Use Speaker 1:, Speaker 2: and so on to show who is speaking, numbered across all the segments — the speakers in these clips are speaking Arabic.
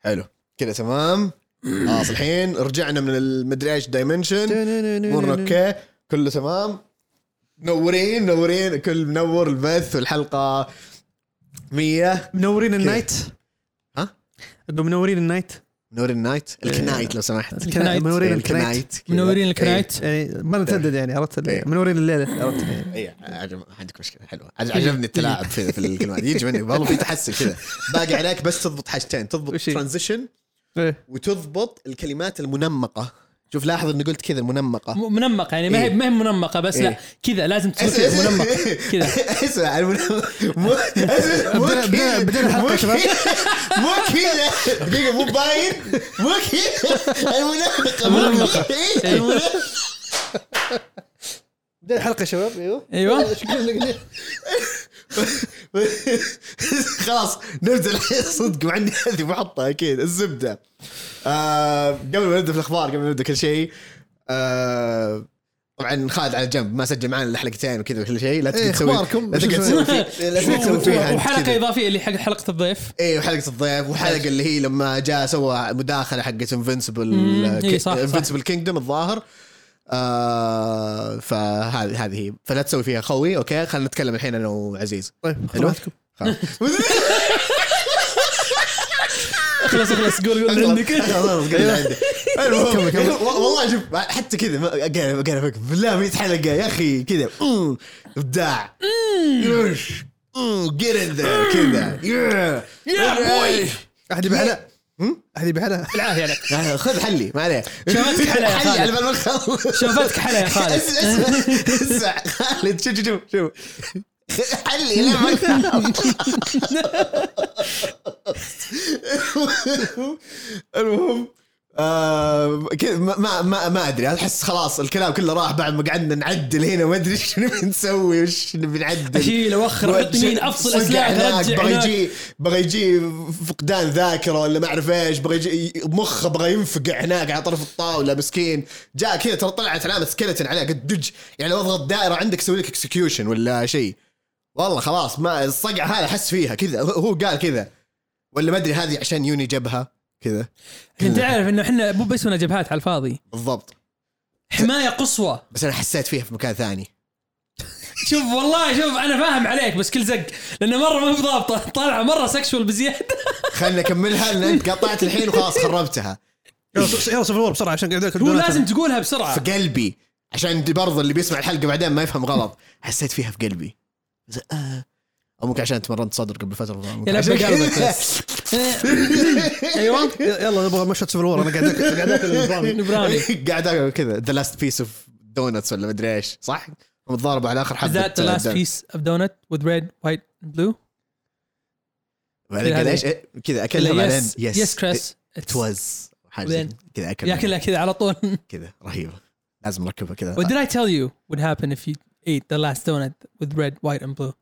Speaker 1: حلو كذا تمام خلاص الحين رجعنا من المدري ايش دايمنشن امورنا اوكي كله تمام منورين منورين كل منور البث والحلقه 100
Speaker 2: منورين النايت
Speaker 1: ها؟
Speaker 2: انه منورين النايت
Speaker 1: منور النايت الكنايت لو سمحت
Speaker 3: الكنايت.
Speaker 2: إيه. منورين الكنايت
Speaker 1: الكنايت كذا.
Speaker 3: منورين الكنايت
Speaker 2: يعني ما نتندد يعني عرفت
Speaker 1: إيه.
Speaker 2: اللي- منورين الليله عرفت
Speaker 1: إيه، إيه، عجب- ما عندك مشكله حلوه عج- عجبني التلاعب في, في الكلمات يجي مني والله في تحسن كذا باقي عليك بس تضبط حاجتين تضبط
Speaker 2: وش هي؟
Speaker 1: ترانزيشن
Speaker 2: إيه.
Speaker 1: وتضبط الكلمات المنمقه شوف لاحظ اني قلت كذا المنمقه
Speaker 3: م- منمقه يعني ما هي
Speaker 1: إيه.
Speaker 3: ما هي منمقه بس لا
Speaker 1: إيه.
Speaker 3: كذا لازم تصير
Speaker 1: اسمع-
Speaker 3: كذا منمقه
Speaker 1: اسمع-
Speaker 3: كذا.
Speaker 1: اسمع المنمق مو اسمع- مو
Speaker 2: بدنا- بدنا-
Speaker 1: كذا-
Speaker 2: بدنا الحلقة
Speaker 1: مو
Speaker 2: شباب.
Speaker 1: كذا- مو كذا دقيقه مو باين مو كذا المنمقه مو
Speaker 3: المنمقة.
Speaker 1: كذا.
Speaker 3: إيه.
Speaker 1: المنمقة.
Speaker 2: بدينا الحلقه شباب ايوه
Speaker 3: ايوه
Speaker 1: خلاص نبدا الحين صدق مع اني هذه محطه اكيد الزبده آه قبل ما نبدا في الاخبار قبل ما نبدا كل شيء آه طبعا خالد على جنب ما سجل معنا الا حلقتين وكذا وكل شيء لا تقعد
Speaker 2: إيه،
Speaker 1: تسوي
Speaker 2: أخباركم.
Speaker 1: لا تقعد
Speaker 2: شو
Speaker 1: تسوي فيه- لا تقعد تسوي فيها أنت
Speaker 3: وحلقه
Speaker 1: كذا.
Speaker 3: اضافيه اللي حق حلقه الضيف
Speaker 1: ايه وحلقه الضيف وحلقه اللي هي لما جاء سوى مداخله حقت آه، انفنسبل
Speaker 3: مم، إيه، صح، صح.
Speaker 1: انفنسبل كينجدم الظاهر آه فهذه هذه هي فلا تسوي فيها خوي اوكي خلينا نتكلم الحين انا وعزيز
Speaker 2: طيب
Speaker 1: حلو؟
Speaker 2: خلاصكم
Speaker 1: خلاص.
Speaker 3: خلاص خلاص قول قول اللي عندك
Speaker 1: خلاص، قول اللي عندك. المهم،
Speaker 2: كمل، كمل.
Speaker 1: و- والله شوف حتى كذا ما قاعد قاعد افكر بالله 100 حلقه يا اخي كذا أمم، ابداع يوش جيت ان ذير كذا يا
Speaker 3: boy.
Speaker 2: احد يبي حلا احد يبي حلا
Speaker 3: بالعافيه عليك
Speaker 1: آه، خذ حلي ما عليه
Speaker 3: شفتك حلا يا خالد.
Speaker 1: على بال ما نخلص
Speaker 3: شفتك حلا يا خالد
Speaker 1: اسمع اسمع اسمع خالد شوف شوف شوف شوف. حلي لا ما نخلص. المهم آه كذا ما- ما ما ما ادري احس خلاص الكلام كله راح بعد ما قعدنا نعدل هنا ما ادري شنو بنسوي وش بنعدل
Speaker 3: اشيل اوخر احط يمين افصل اسلاك ارجع
Speaker 1: بغى
Speaker 3: هناك.
Speaker 1: يجي بغى يجي فقدان ذاكره ولا ما اعرف ايش بغى يجي مخه بغى ينفقع هناك على طرف الطاوله مسكين جاء كذا ترى طلعت علامه سكلتن عليه قد دج يعني لو اضغط دائره عندك يسوي لك اكسكيوشن ولا شيء والله خلاص ما الصقعه هذا احس فيها كذا هو- هو قال كذا ولا ما ادري هذه عشان يوني جبهه كذا
Speaker 3: انت عارف انه احنا مو بس هنا جبهات على الفاضي
Speaker 1: بالضبط
Speaker 3: حمايه قصوى
Speaker 1: بس انا حسيت فيها في مكان ثاني
Speaker 3: شوف والله شوف انا فاهم عليك بس كل زق لانه مره ما بضابطه طالعه مره سكشوال بزياده
Speaker 1: خلنا نكملها لان انت قطعت الحين وخلاص خربتها
Speaker 2: يلا صف- يلا صف الور بسرعه عشان قاعد
Speaker 3: هو لازم تقولها بسرعه
Speaker 1: في قلبي عشان برضه اللي بيسمع الحلقه بعدين ما يفهم غلط حسيت فيها في قلبي بس- آه. او ممكن عشان تمرنت صدر قبل فتره
Speaker 3: يا لبى قلبك بس. أيوة.
Speaker 2: ايوه يلا نبغى مشهد صف الور انا قاعد آكل- قاعد اكل البرامي.
Speaker 3: نبراني
Speaker 1: قاعد اكل كذا ذا لاست بيس اوف دونتس ولا مدري ايش صح؟ متضاربة على اخر
Speaker 3: Is
Speaker 1: حبه
Speaker 3: that the last piece of donut with red, white, and blue?
Speaker 1: بعدين قال ايش إيه، كذا اكلها بعدين
Speaker 3: yes, yes, Chris.
Speaker 1: ات واز حاجه زي
Speaker 3: بعدين.
Speaker 1: كذا اكلها
Speaker 3: ياكلها كذا على طول.
Speaker 1: كذا رهيبه لازم نركبها كذا
Speaker 3: What did I tell you would happen if you ate the last donut with red, white, and blue?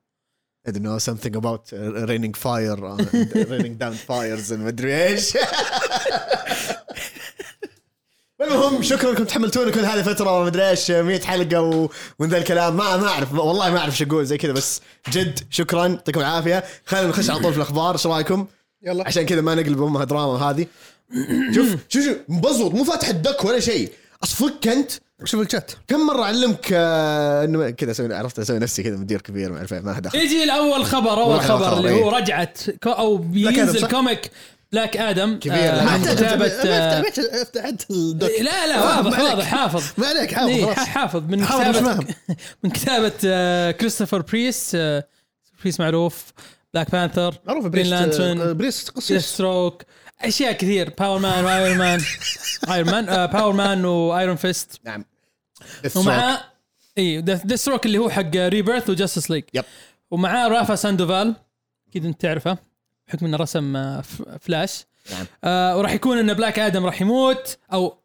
Speaker 1: I don't know something about uh, raining fire uh, raining down fires and مدري ايش المهم شكرا انكم تحملتونا كل هذه الفتره ومدري ايش 100 حلقه و... ومن ذا الكلام ما ما اعرف والله ما اعرف شو اقول زي كذا بس جد شكرا يعطيكم العافيه خلينا نخش على طول في الاخبار ايش رايكم؟
Speaker 2: يلا
Speaker 1: عشان كذا ما نقلب امها دراما هذه شوف شوف شوف مبزوط مو فاتح الدك ولا شيء اصفك انت
Speaker 2: شوف الشات
Speaker 1: كم مره اعلمك آه، انه كذا اسوي عرفت اسوي نفسي كذا مدير كبير ما اعرف إيه، ما له دخل
Speaker 3: يجي الاول خبر اول
Speaker 1: والله
Speaker 3: خبر
Speaker 1: خبر،
Speaker 3: اللي هو
Speaker 1: إيه.
Speaker 3: رجعت كو- او
Speaker 2: آدم،
Speaker 3: بينزل
Speaker 2: صح؟
Speaker 3: كوميك بلاك ادم
Speaker 1: كبير،
Speaker 3: آه،
Speaker 1: ما
Speaker 3: عن
Speaker 1: يحتاج-
Speaker 3: كتابه آه،
Speaker 2: افتح انت الدوك
Speaker 3: لا لا واضح
Speaker 2: ما عليك.
Speaker 3: واضح حافظ
Speaker 2: ما عليك حافظ
Speaker 3: إيه،
Speaker 2: خلاص
Speaker 3: حافظ من
Speaker 2: حافظ مش
Speaker 3: كتابه
Speaker 2: فاهم.
Speaker 3: من كتابه آه، كريستوفر بريس آه، بريس معروف بلاك بانثر
Speaker 2: معروف آه،
Speaker 3: جرين لانترن
Speaker 2: بريست قصيص
Speaker 3: ستروك اشياء كثير باور مان وايرون مان ايرون مان آه، باور مان وايرون فيست
Speaker 1: نعم
Speaker 3: ومعاه اي ستروك إيه، اللي هو حق ريبيرث وجاستس ليج
Speaker 1: يب.
Speaker 3: ومعاه رافا ساندوفال اكيد انت تعرفه بحكم انه رسم آه، ف- فلاش
Speaker 1: نعم.
Speaker 3: آه وراح يكون ان بلاك ادم راح يموت او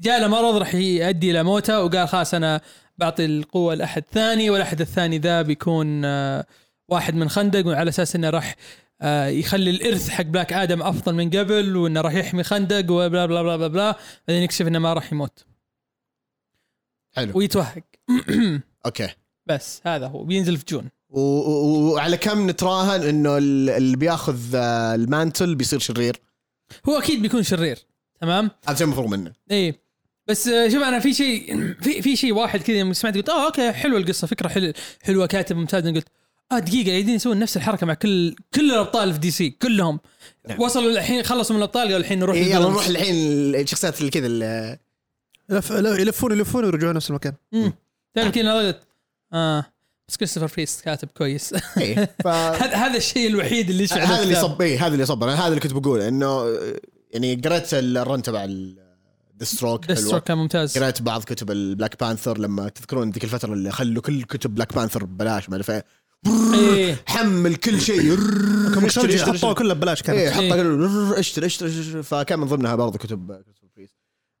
Speaker 3: جاء له مرض راح يؤدي الى موته وقال خلاص انا بعطي القوه لاحد ثاني والاحد الثاني ذا بيكون آه واحد من خندق وعلى اساس انه راح آه يخلي الارث حق بلاك ادم افضل من قبل وانه راح يحمي خندق وبلا بلا بلا بلا بلا بعدين يكشف انه ما راح يموت
Speaker 1: حلو.
Speaker 3: ويتوهق
Speaker 1: اوكي
Speaker 3: بس هذا هو بينزل في جون
Speaker 1: و- و- وعلى كم نتراهن انه ال- اللي بياخذ آه، المانتل بيصير شرير
Speaker 3: هو اكيد بيكون شرير تمام
Speaker 1: هذا شيء مفروض منه
Speaker 3: ايه بس آه، شوف انا في شيء في في شيء واحد كذا لما سمعت قلت اه اوكي حلوه القصه فكره حلوه حلوه كاتب ممتاز أنا قلت اه دقيقه قاعدين يسوون نفس الحركه مع كل كل الابطال في دي سي كلهم
Speaker 1: نعم.
Speaker 3: وصلوا الحين خلصوا من الابطال قالوا الحين نروح
Speaker 1: إيه يلا
Speaker 3: للفيلنز.
Speaker 1: نروح الحين الشخصيات اللي كذا ال-
Speaker 2: لف- لا، يلفون يلفون ويرجعون نفس المكان
Speaker 3: امم تعرف كذا أنا قلت اه بس كريستوفر بريست كاتب كويس
Speaker 1: إيه ف-
Speaker 3: هذا هذا الشيء الوحيد اللي يشعر
Speaker 1: هذا اللي
Speaker 3: بالكتاب.
Speaker 1: صب إيه، هذا اللي صب انا هذا اللي كنت بقوله انه آه، يعني قريت ال- الرن تبع الدستروك
Speaker 3: دستروك
Speaker 1: حلوه
Speaker 3: كان ممتاز
Speaker 1: قريت بعض كتب البلاك بانثر لما تذكرون ذيك الفتره اللي خلوا كل كتب بلاك بانثر ببلاش ما اعرف إيه.
Speaker 3: إيه.
Speaker 1: حمل كل شيء
Speaker 2: كم
Speaker 1: اشتري
Speaker 2: شوجي
Speaker 1: اشتري
Speaker 2: حطوه
Speaker 1: اشتري
Speaker 2: كله ببلاش كان
Speaker 1: ايه حطها
Speaker 3: إيه.
Speaker 1: قالوا اشتري اشتري اشتري فكان من ضمنها برضه كتب كتب بريس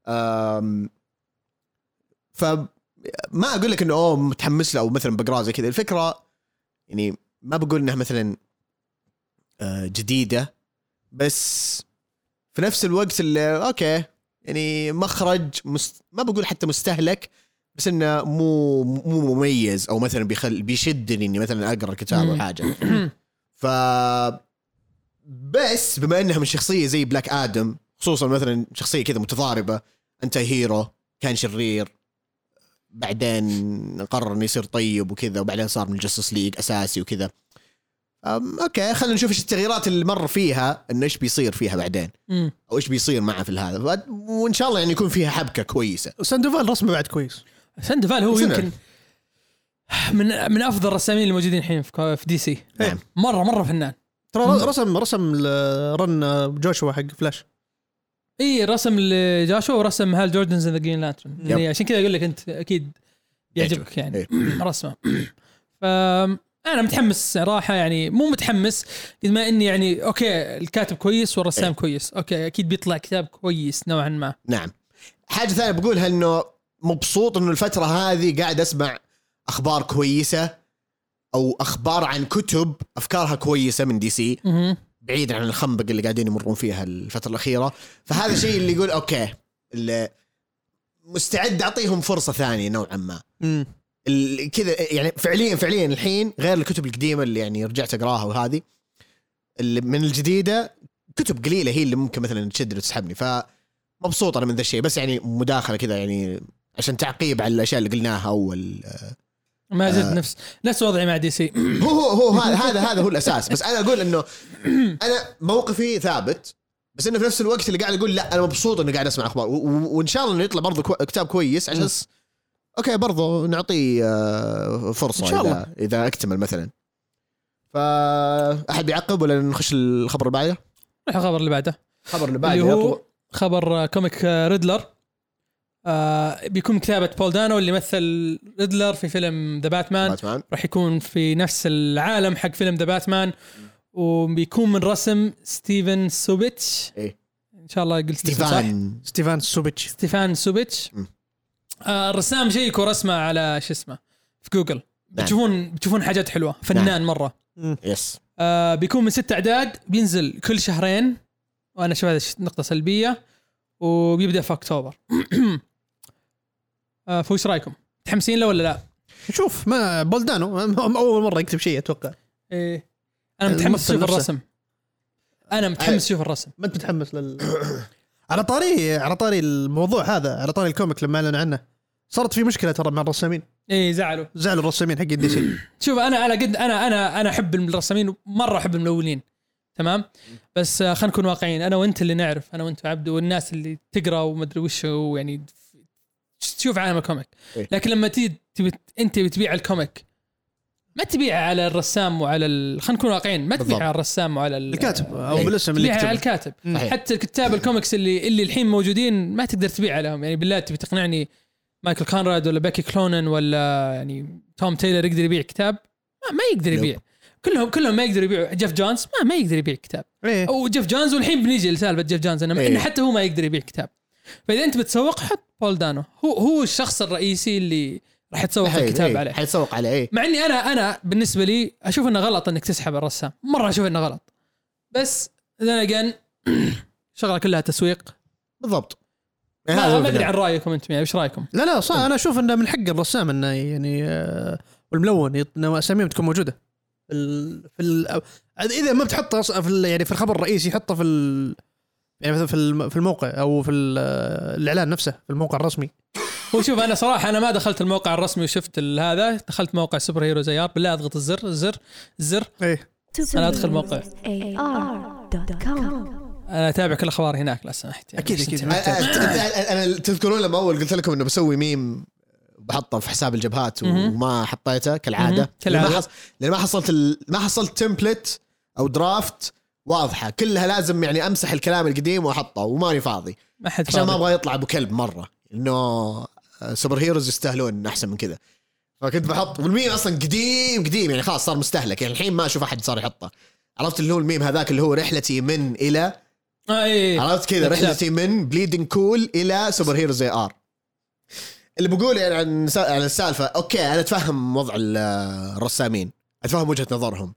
Speaker 1: أم، ف ما اقول لك انه اوه متحمس له او مثلا بقراه زي كذا الفكره يعني ما بقول انها مثلا آه، جديده بس في نفس الوقت اللي اوكي يعني مخرج مست... ما بقول حتى مستهلك بس انه مو مو مميز او مثلا بيخل بيشدني اني مثلا اقرا الكتاب او
Speaker 3: مم.
Speaker 1: حاجه ف بس بما انها من شخصيه زي بلاك ادم خصوصا مثلا شخصيه كذا متضاربه انت هيرو كان شرير بعدين قرر انه يصير طيب وكذا وبعدين صار من الجاستس ليج اساسي وكذا أم اوكي خلينا نشوف ايش التغييرات اللي مر فيها انه ايش بيصير فيها بعدين
Speaker 3: مم.
Speaker 1: او ايش بيصير معه في هذا ف- وان شاء الله يعني يكون فيها حبكه كويسه
Speaker 2: ساندوفال رسمه بعد كويس
Speaker 3: ساندوفال هو
Speaker 1: سنة.
Speaker 3: يمكن من من افضل الرسامين الموجودين الحين في كو- في دي سي
Speaker 1: نعم.
Speaker 3: مره مره فنان
Speaker 2: ترى رسم رسم آه، رن جوشوا حق فلاش
Speaker 3: اي رسم لجاشو ورسم هال جوردنز ذا جرين لانترن يعني عشان كذا اقول لك انت اكيد يعجبك يعني رسمه ف انا متحمس صراحه يعني مو متحمس قد ما اني يعني اوكي الكاتب كويس والرسام كويس اوكي اكيد بيطلع كتاب كويس نوعا ما
Speaker 1: نعم حاجه ثانيه بقولها انه مبسوط انه الفتره هذه قاعد اسمع اخبار كويسه او اخبار عن كتب افكارها كويسه من دي سي
Speaker 3: مهم.
Speaker 1: بعيد عن الخنبق اللي قاعدين يمرون فيها الفتره الاخيره فهذا الشيء اللي يقول اوكي اللي مستعد اعطيهم فرصه ثانيه نوعا ما ال- كذا يعني فعليا فعليا الحين غير الكتب القديمه اللي يعني رجعت اقراها وهذه اللي من الجديده كتب قليله هي اللي ممكن مثلا تشد وتسحبني فمبسوط انا من ذا الشيء بس يعني مداخله كذا يعني عشان تعقيب على الاشياء اللي قلناها اول
Speaker 3: ما زلت نفس نفس وضعي مع دي سي
Speaker 1: هو هو هو هذا هذا هذا هو الاساس بس انا اقول انه انا موقفي ثابت بس انه في نفس الوقت اللي قاعد اقول لا انا مبسوط انه قاعد اسمع اخبار و- و- وان شاء الله انه يطلع برضه كو- كتاب كويس عشان س- اوكي برضه نعطيه آه، فرصه
Speaker 2: إن شاء الله.
Speaker 1: اذا اذا اكتمل مثلا فا احد بيعقب ولا نخش الخبر اللي بعده؟
Speaker 3: نروح الخبر اللي بعده
Speaker 1: الخبر اللي بعده
Speaker 3: اللي
Speaker 1: يا
Speaker 3: هو
Speaker 1: طو-
Speaker 3: خبر آه، كوميك آه، ريدلر آه بيكون كتابة بول دانو اللي مثل ريدلر في فيلم ذا باتمان
Speaker 1: باتمان
Speaker 3: راح يكون في نفس العالم حق فيلم ذا باتمان وبيكون من رسم ستيفن سوبيتش
Speaker 1: إيه.
Speaker 3: ان شاء الله قلت اسمه صح
Speaker 1: ستيفان
Speaker 2: ستيفان سوبيتش
Speaker 3: ستيفان سوبيتش
Speaker 1: مم.
Speaker 3: آه الرسام شيك ورسمه على شو اسمه في جوجل بتشوفون بتشوفون حاجات حلوه فنان
Speaker 1: نعم.
Speaker 3: مره
Speaker 1: يس
Speaker 3: آه بيكون من ست اعداد بينزل كل شهرين وانا اشوف هذا الش- نقطه سلبيه وبيبدا في اكتوبر آه فوش رايكم؟ متحمسين له ولا لا؟
Speaker 2: شوف ما بولدانو اول مره يكتب شيء اتوقع
Speaker 3: ايه انا متحمس
Speaker 2: الممثل
Speaker 3: اشوف
Speaker 2: نفسه.
Speaker 3: الرسم انا متحمس اشوف الرسم
Speaker 2: ما انت متحمس لل على طاري على طاري الموضوع هذا على طاري الكوميك لما اعلنوا عنه صارت في مشكله ترى مع الرسامين
Speaker 3: ايه زعلوا
Speaker 2: زعلوا الرسامين حق دي سي
Speaker 3: شوف انا على قد انا انا انا احب الرسامين مره احب الملونين تمام بس آه، خلينا نكون واقعيين انا وانت اللي نعرف انا وانت وعبد والناس اللي تقرا ومدري وش هو يعني تشوف عالم الكوميك
Speaker 1: إيه.
Speaker 3: لكن لما تيجي تبي- انت بتبيع الكوميك ما تبيعه على الرسام وعلى ال... خلينا نكون واقعيين ما
Speaker 1: بالضبط.
Speaker 3: تبيعه على الرسام وعلى ال...
Speaker 2: الكاتب او
Speaker 1: إيه.
Speaker 2: بالاسم اللي
Speaker 3: تبيعها على
Speaker 2: يكتب
Speaker 3: الكاتب
Speaker 2: مم.
Speaker 1: صحيح.
Speaker 3: حتى الكتاب الكوميكس اللي اللي الحين موجودين ما تقدر تبيع لهم يعني بالله تبي تقنعني مايكل كونراد ولا باكي كلونن ولا يعني توم تايلر يقدر يبيع كتاب ما, ما يقدر يبيع كلهم كلهم ما يقدر يبيع جيف جونز ما ما يقدر يبيع كتاب
Speaker 2: ايه
Speaker 3: او جيف جونز والحين بنيجي لسالفه جيف جونز انه
Speaker 1: إيه.
Speaker 3: إنه حتى هو ما يقدر يبيع كتاب فاذا انت بتسوق حط بول دانو هو هو الشخص الرئيسي اللي راح تسوق
Speaker 1: إيه،
Speaker 3: الكتاب
Speaker 1: إيه،
Speaker 3: عليه
Speaker 1: حيتسوق عليه إيه.
Speaker 3: مع اني انا انا بالنسبه لي اشوف انه غلط انك تسحب على الرسام مره اشوف انه غلط بس انا اجين شغله كلها تسويق
Speaker 1: بالضبط إيه، هذا
Speaker 3: ما
Speaker 1: هو
Speaker 3: ما ادري
Speaker 1: الفكرة.
Speaker 3: عن رايكم انتم يعني ايش رايكم؟
Speaker 2: لا لا صح انا اشوف انه من حق الرسام انه يعني آه، والملون يط- إنه اساميهم تكون موجوده في ال... في ال... أو- اذا ما بتحطه أص- في ال... يعني في الخبر الرئيسي حطه في ال... يعني مثلا في الم- في الموقع او في ال- الاعلان نفسه في الموقع الرسمي
Speaker 3: هو شوف انا صراحه انا ما دخلت الموقع الرسمي وشفت ال- هذا دخلت موقع سوبر هيروز اي ار بالله اضغط الزر الزر الزر
Speaker 2: ايه
Speaker 3: انا ادخل موقع
Speaker 4: superheroesar.com
Speaker 3: انا اتابع كل الاخبار هناك لو سمحت يعني.
Speaker 2: أكيد، أكيد.
Speaker 1: أنا- أنا- انا تذكرون لما اول قلت لكم انه بسوي ميم بحطه في حساب الجبهات
Speaker 3: مهم.
Speaker 1: وما حطيته
Speaker 3: مهم.
Speaker 1: كالعاده لأن
Speaker 3: كالعادة.
Speaker 1: ما حص... لان ما حصلت ال... ما حصلت تمبلت او درافت واضحه كلها لازم يعني امسح الكلام القديم واحطه وماني فاضي
Speaker 3: ما حد
Speaker 1: عشان ما
Speaker 3: فاضي.
Speaker 1: ابغى يطلع ابو كلب مره انه سوبر هيروز يستاهلون احسن من كذا فكنت بحط والميم اصلا قديم قديم يعني خلاص صار مستهلك يعني الحين ما اشوف احد صار يحطه عرفت اللي هو الميم هذاك اللي هو رحلتي من الى
Speaker 3: آه، إيه.
Speaker 1: عرفت كذا
Speaker 3: الكتاب.
Speaker 1: رحلتي من بليدنج كول الى سوبر هيرو زي ار اللي بقوله يعني عن سا- عن السالفه اوكي انا اتفهم وضع ال- الرسامين اتفهم وجهه نظرهم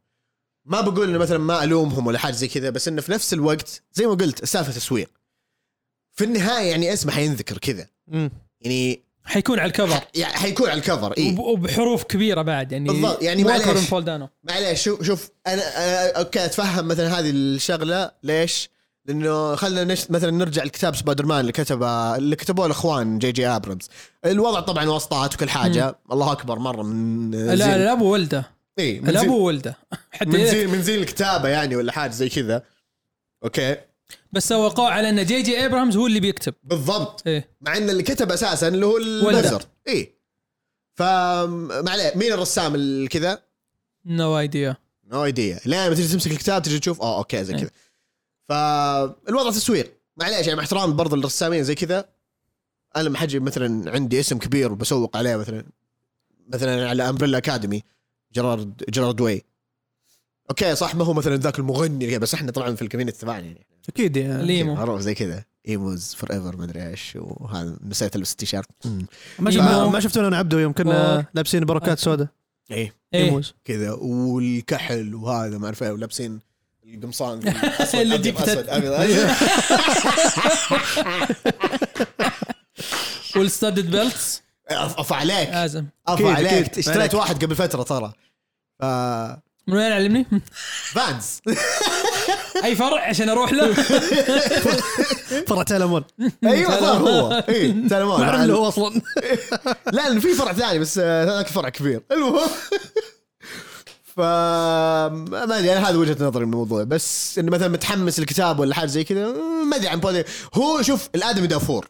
Speaker 1: ما بقول انه مثلا ما الومهم ولا حاجه زي كذا بس انه في نفس الوقت زي ما قلت السالفه تسويق في النهايه يعني اسمه حينذكر كذا
Speaker 2: مم.
Speaker 1: يعني
Speaker 3: حيكون على الكفر
Speaker 1: يعني حيكون على الكفر اي
Speaker 3: وب- وبحروف كبيره بعد يعني
Speaker 1: بالضبط، يعني
Speaker 3: ووكر
Speaker 1: معليش.
Speaker 3: فول دانو
Speaker 1: معليش شوف شوف انا أنا- اوكي اتفهم مثلا هذه الشغله ليش؟ لانه خلينا نش... مثلا نرجع لكتاب سبايدر مان اللي كتبه اللي كتبوه الاخوان جي جي ابرمز الوضع طبعا واسطات وكل حاجه الله اكبر مره من
Speaker 3: لا لا الاب وولده
Speaker 1: إيه من
Speaker 3: الاب
Speaker 1: زين
Speaker 3: وولده حتى
Speaker 1: من
Speaker 3: إيه.
Speaker 1: زين, من زين الكتابه يعني ولا حاجه زي كذا اوكي
Speaker 3: بس سوى قوع على ان جي جي ابرامز هو اللي بيكتب
Speaker 1: بالضبط
Speaker 3: ايه
Speaker 1: مع ان اللي كتب اساسا اللي هو البزر إيه. اي فمعليه مين الرسام ال- كذا
Speaker 3: نو ايديا
Speaker 1: نو ايديا لا لما تجي تمسك الكتاب تجي تشوف اه اوكي
Speaker 3: إيه.
Speaker 1: زي كذا فالوضع تسويق معليش يعني مع احترام برضو للرسامين زي كذا انا لما حجي مثلا عندي اسم كبير وبسوق عليه مثلا مثلا على امبريلا اكاديمي جيرارد جيرارد واي اوكي صح ما هو مثلا ذاك المغني بس احنا طبعا في الكوميونتي تبعنا يعني
Speaker 2: اكيد يعني
Speaker 3: ليمو
Speaker 1: معروف زي كذا ايموز فور ايفر مدري ايش وهذا نسيت البس التيشيرت
Speaker 2: ما شفت ما,
Speaker 3: ليمو.
Speaker 2: ما شفتونا انا عبده يوم كنا
Speaker 3: آه.
Speaker 2: لابسين بركات سوداء
Speaker 1: ايه
Speaker 3: ايه
Speaker 2: ليموز.
Speaker 1: كذا والكحل وهذا ما اعرف إيه، ولابسين القمصان الأسود،
Speaker 3: اللي
Speaker 1: أبيض،
Speaker 3: جبته.
Speaker 1: أسود، أبيض، أيوه. أسود.
Speaker 3: والستادد بيلتس
Speaker 1: أف أف عليك
Speaker 3: لازم
Speaker 1: أف
Speaker 2: أكيد،
Speaker 1: عليك
Speaker 2: أكيد.
Speaker 1: اشتريت
Speaker 2: عليك.
Speaker 1: واحد قبل فترة ترى ف-
Speaker 3: من وين علمني؟
Speaker 1: فانز
Speaker 3: اي فرع عشان اروح له
Speaker 2: فرع تيلمون
Speaker 1: ايوه صار هو اي
Speaker 2: ما اعرف اللي
Speaker 1: تلمون
Speaker 2: هو اصلا
Speaker 1: لا لأن في فرع ثاني بس آه، هذاك فرع كبير المهم ف ما ادري انا هذا وجهه نظري من الموضوع بس انه مثلا متحمس الكتاب ولا حاجه زي كذا ما ادري عن بودي هو شوف الادمي دافور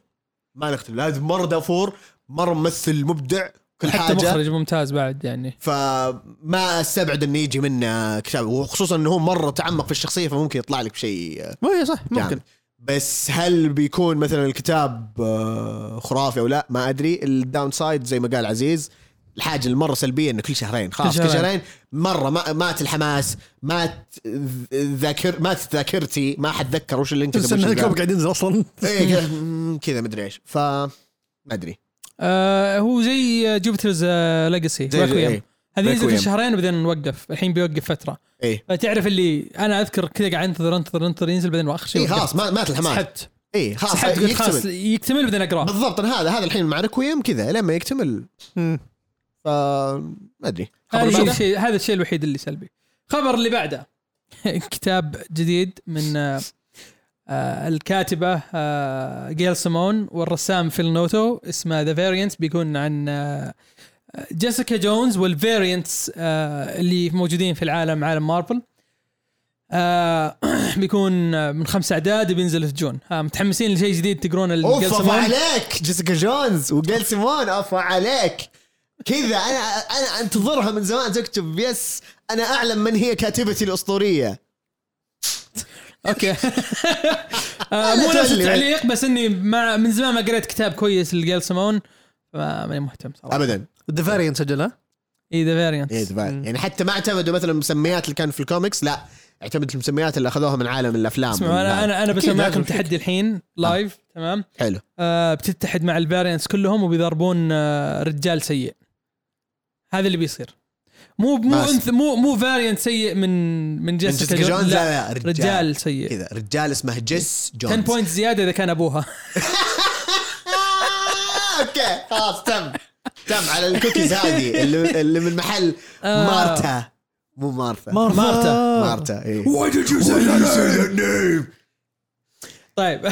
Speaker 1: ما نختلف الادمي مره دافور مره ممثل مبدع كل
Speaker 3: حتى
Speaker 1: حاجه
Speaker 3: مخرج ممتاز بعد يعني
Speaker 1: فما استبعد انه يجي منه كتاب وخصوصا انه هو مره تعمق في الشخصيه فممكن يطلع لك بشيء آه،
Speaker 2: ما هي إيه، صح ممكن
Speaker 1: جامد بس هل بيكون مثلا الكتاب آه، خرافي او لا ما ادري الداون سايد زي ما قال عزيز الحاجه المره سلبيه انه كل شهرين خلاص كل
Speaker 3: شهرين.
Speaker 1: شهرين مره ما مات الحماس مات ذاكر مات ذاكرتي ما حتذكر وش اللي انت
Speaker 2: تستنى الكوب قاعد ينزل اصلا
Speaker 1: كذا مدري ايش ف ما ادري
Speaker 3: آه هو زي جوبيترز ليجاسي
Speaker 1: زي-
Speaker 3: هذه
Speaker 1: إيه.
Speaker 3: ينزل
Speaker 1: Requiem.
Speaker 3: شهرين وبعدين نوقف الحين بيوقف فتره
Speaker 1: ايه
Speaker 3: فتعرف اللي انا اذكر كذا قاعد انتظر انتظر انتظر ينزل بعدين واخر شيء
Speaker 1: ايه خلاص ما- مات الحماس
Speaker 3: سحبت
Speaker 1: ايه خلاص
Speaker 3: سحبت قلت خلاص
Speaker 1: يكتمل
Speaker 3: يكتمل بعدين اقراه
Speaker 1: بالضبط أنا هذا هذا الحين مع ريكويم كذا لما يكتمل
Speaker 2: مم.
Speaker 1: ف ما ادري خبر
Speaker 3: هذا
Speaker 1: بعده؟
Speaker 3: الشيء هذا الشيء الوحيد اللي سلبي خبر اللي بعده كتاب جديد من آه، آه، الكاتبه آه، جيل سيمون والرسام فيل نوتو اسمه ذا فاريانت بيكون عن آه، جيسيكا جونز والفاريانتس آه، اللي موجودين في العالم عالم مارفل آه، بيكون آه، من خمس اعداد بينزل في جون آه، متحمسين لشيء جديد تقرون
Speaker 1: اوف
Speaker 3: الجيل
Speaker 1: أف
Speaker 3: سيمون
Speaker 1: عليك جيسيكا جونز وجيل سيمون اوف عليك كذا انا انا انتظرها من زمان تكتب يس انا اعلم من هي كاتبتي الاسطوريه
Speaker 3: اوكي آه، مو نفس التعليق بس اني مع من زمان ما قريت كتاب كويس لجيل سيمون فما- ماني مهتم صراحه
Speaker 1: ابدا
Speaker 2: ذا فاريان سجلها
Speaker 3: اي ذا فاريانت
Speaker 1: إيه، تبان. يعني حتى ما اعتمدوا مثلا المسميات اللي كان في الكوميكس لا اعتمدوا المسميات اللي اخذوها من عالم الافلام
Speaker 3: اسمعوا انا انا انا
Speaker 1: أكيد
Speaker 3: بسوي معكم
Speaker 1: لازم
Speaker 3: تحدي الحين لايف تمام
Speaker 1: حلو
Speaker 3: آه بتتحد مع الفاريانتس كلهم وبيضربون آه رجال سيء هذا اللي بيصير مو مو
Speaker 1: ماس.
Speaker 3: انث مو مو فاريانت سيء من من
Speaker 1: من
Speaker 3: جيسيكا
Speaker 1: جيسيكا
Speaker 3: جونز,
Speaker 1: جونز
Speaker 3: لا
Speaker 1: لا لا رجال,
Speaker 3: رجال سيء
Speaker 1: كذا رجال اسمه جيس
Speaker 3: 10
Speaker 1: جونز
Speaker 3: بوينت زياده اذا كان ابوها
Speaker 1: آه، اوكي خلاص تم تم على الكوكيز هذه اللي, اللي من محل
Speaker 3: آه.
Speaker 1: مارتا مو مارثا
Speaker 2: مارثا.
Speaker 1: مارتا إيه. اي
Speaker 2: Why did you
Speaker 1: say that name?
Speaker 3: طيب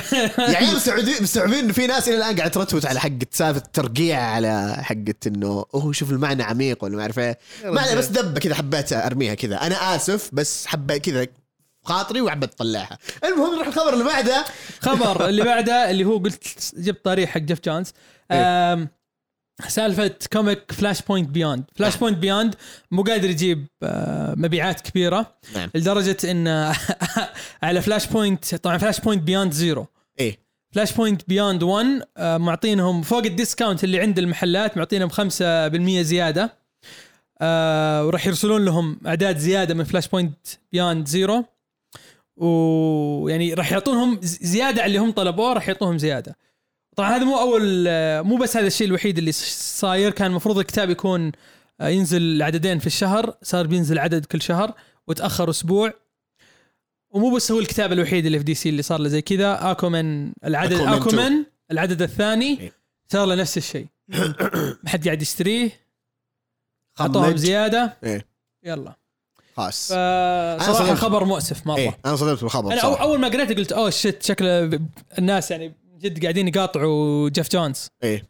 Speaker 1: يعني مستوعبين مستوعبين انه في ناس الى الان قاعد ترتوت على حق سالفه ترقيع على حقه انه اوه شوف المعنى عميق ولا ما اعرف ايه ما عليه، بس دبه كذا حبيت ارميها كذا انا اسف بس حبيت كذا في خاطري وحبيت اطلعها المهم نروح الخبر اللي بعده
Speaker 3: خبر اللي بعده اللي هو قلت جبت طريق حق جيف جونز أم، سالفه كوميك فلاش بوينت بياند فلاش بوينت بياند مو قادر يجيب آه، مبيعات كبيره
Speaker 1: نعم.
Speaker 3: لدرجه ان على فلاش بوينت طبعا فلاش بوينت بياند زيرو
Speaker 1: ايه
Speaker 3: فلاش بوينت بياند 1 آه، معطينهم فوق الديسكاونت اللي عند المحلات معطينهم 5% زياده آه، وراح يرسلون لهم اعداد زياده من فلاش بوينت بياند زيرو ويعني يعني راح يعطونهم ز- زياده على اللي هم طلبوه راح يعطوهم زياده طبعا هذا مو اول آه، مو بس هذا الشيء الوحيد اللي ص- صاير كان المفروض الكتاب يكون آه، ينزل عددين في الشهر صار بينزل عدد كل شهر وتاخر اسبوع ومو بس هو الكتاب الوحيد اللي في دي سي اللي صار له زي كذا اكومن العدد
Speaker 1: Aquaman two.
Speaker 3: اكومن العدد الثاني
Speaker 1: إيه.
Speaker 3: صار له نفس الشيء ما حد قاعد يشتريه اعطوهم زياده
Speaker 1: إيه.
Speaker 3: يلا
Speaker 1: خلاص
Speaker 3: فصراحه
Speaker 2: آه،
Speaker 1: صدمت.
Speaker 3: خبر مؤسف مره
Speaker 2: إيه،
Speaker 1: ايه انا صدمت بالخبر
Speaker 3: انا أو
Speaker 1: بصراحه
Speaker 3: اول ما قريته قلت اوه شت شكله ب- الناس يعني جد قاعدين يقاطعوا جيف جونز
Speaker 2: إيه.
Speaker 1: ايه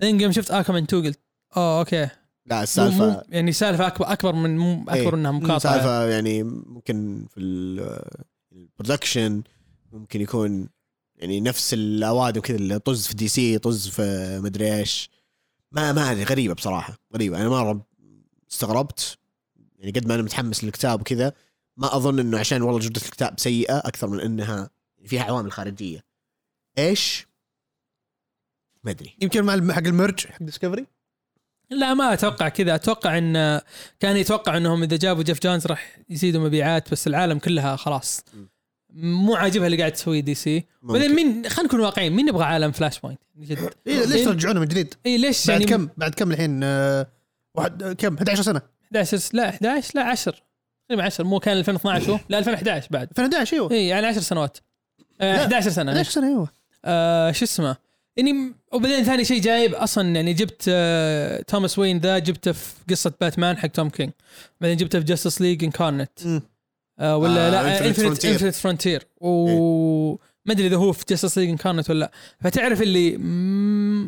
Speaker 3: بعدين يوم شفت اكومن 2 قلت اوه اوكي مو-
Speaker 1: لا
Speaker 3: مو
Speaker 1: السالفه
Speaker 3: يعني سالفه اكبر اكبر من مو اكبر
Speaker 1: إيه.
Speaker 3: انها مقاطعه
Speaker 1: سالفه يعني ممكن في ال- البرودكشن ممكن يكون يعني نفس الاوادم كذا اللي طز في دي سي طز في مدري ايش ما ما ادري غريبه بصراحه غريبه انا مره استغربت يعني قد ما انا متحمس للكتاب وكذا ما اظن انه عشان والله جوده الكتاب سيئه اكثر من انها فيها عوامل خارجيه ايش؟ ما ادري
Speaker 2: يمكن مع الم- حق المرج حق ديسكفري
Speaker 3: لا ما اتوقع كذا اتوقع ان كان يتوقع انهم اذا جابوا جيف جونز راح يزيدوا مبيعات بس العالم كلها خلاص مو عاجبها اللي قاعد تسويه دي سي بعدين مين خلينا نكون واقعيين مين يبغى عالم فلاش بوينت جد
Speaker 2: إيه، ليش ترجعونه من جديد؟
Speaker 3: اي ليش
Speaker 2: بعد
Speaker 3: يعني
Speaker 2: كم بعد كم الحين آه، واحد آه، كم 11 سنه
Speaker 3: 11 لا 11 لا 10 تقريبا 10 مو كان 2012 هو لا 2011 بعد
Speaker 2: 2011 ايوه
Speaker 3: اي يعني 10 سنوات آه
Speaker 2: لا،
Speaker 3: 11 سنه
Speaker 2: 11 سنه ايوه
Speaker 3: آه شو اسمه يعني م- وبعدين ثاني شيء جايب اصلا يعني جبت آه توماس وين ذا جبته في قصه باتمان حق توم كينج بعدين جبته في جاستس ليج انكارنت
Speaker 2: مم.
Speaker 3: آه ولا
Speaker 1: آه،
Speaker 3: لا
Speaker 1: Infinite
Speaker 3: انفنت
Speaker 1: Frontier.
Speaker 3: انفنت فرونتير و ما ادري اذا هو في جاستس ليج انكارنت ولا لا فتعرف اللي مم،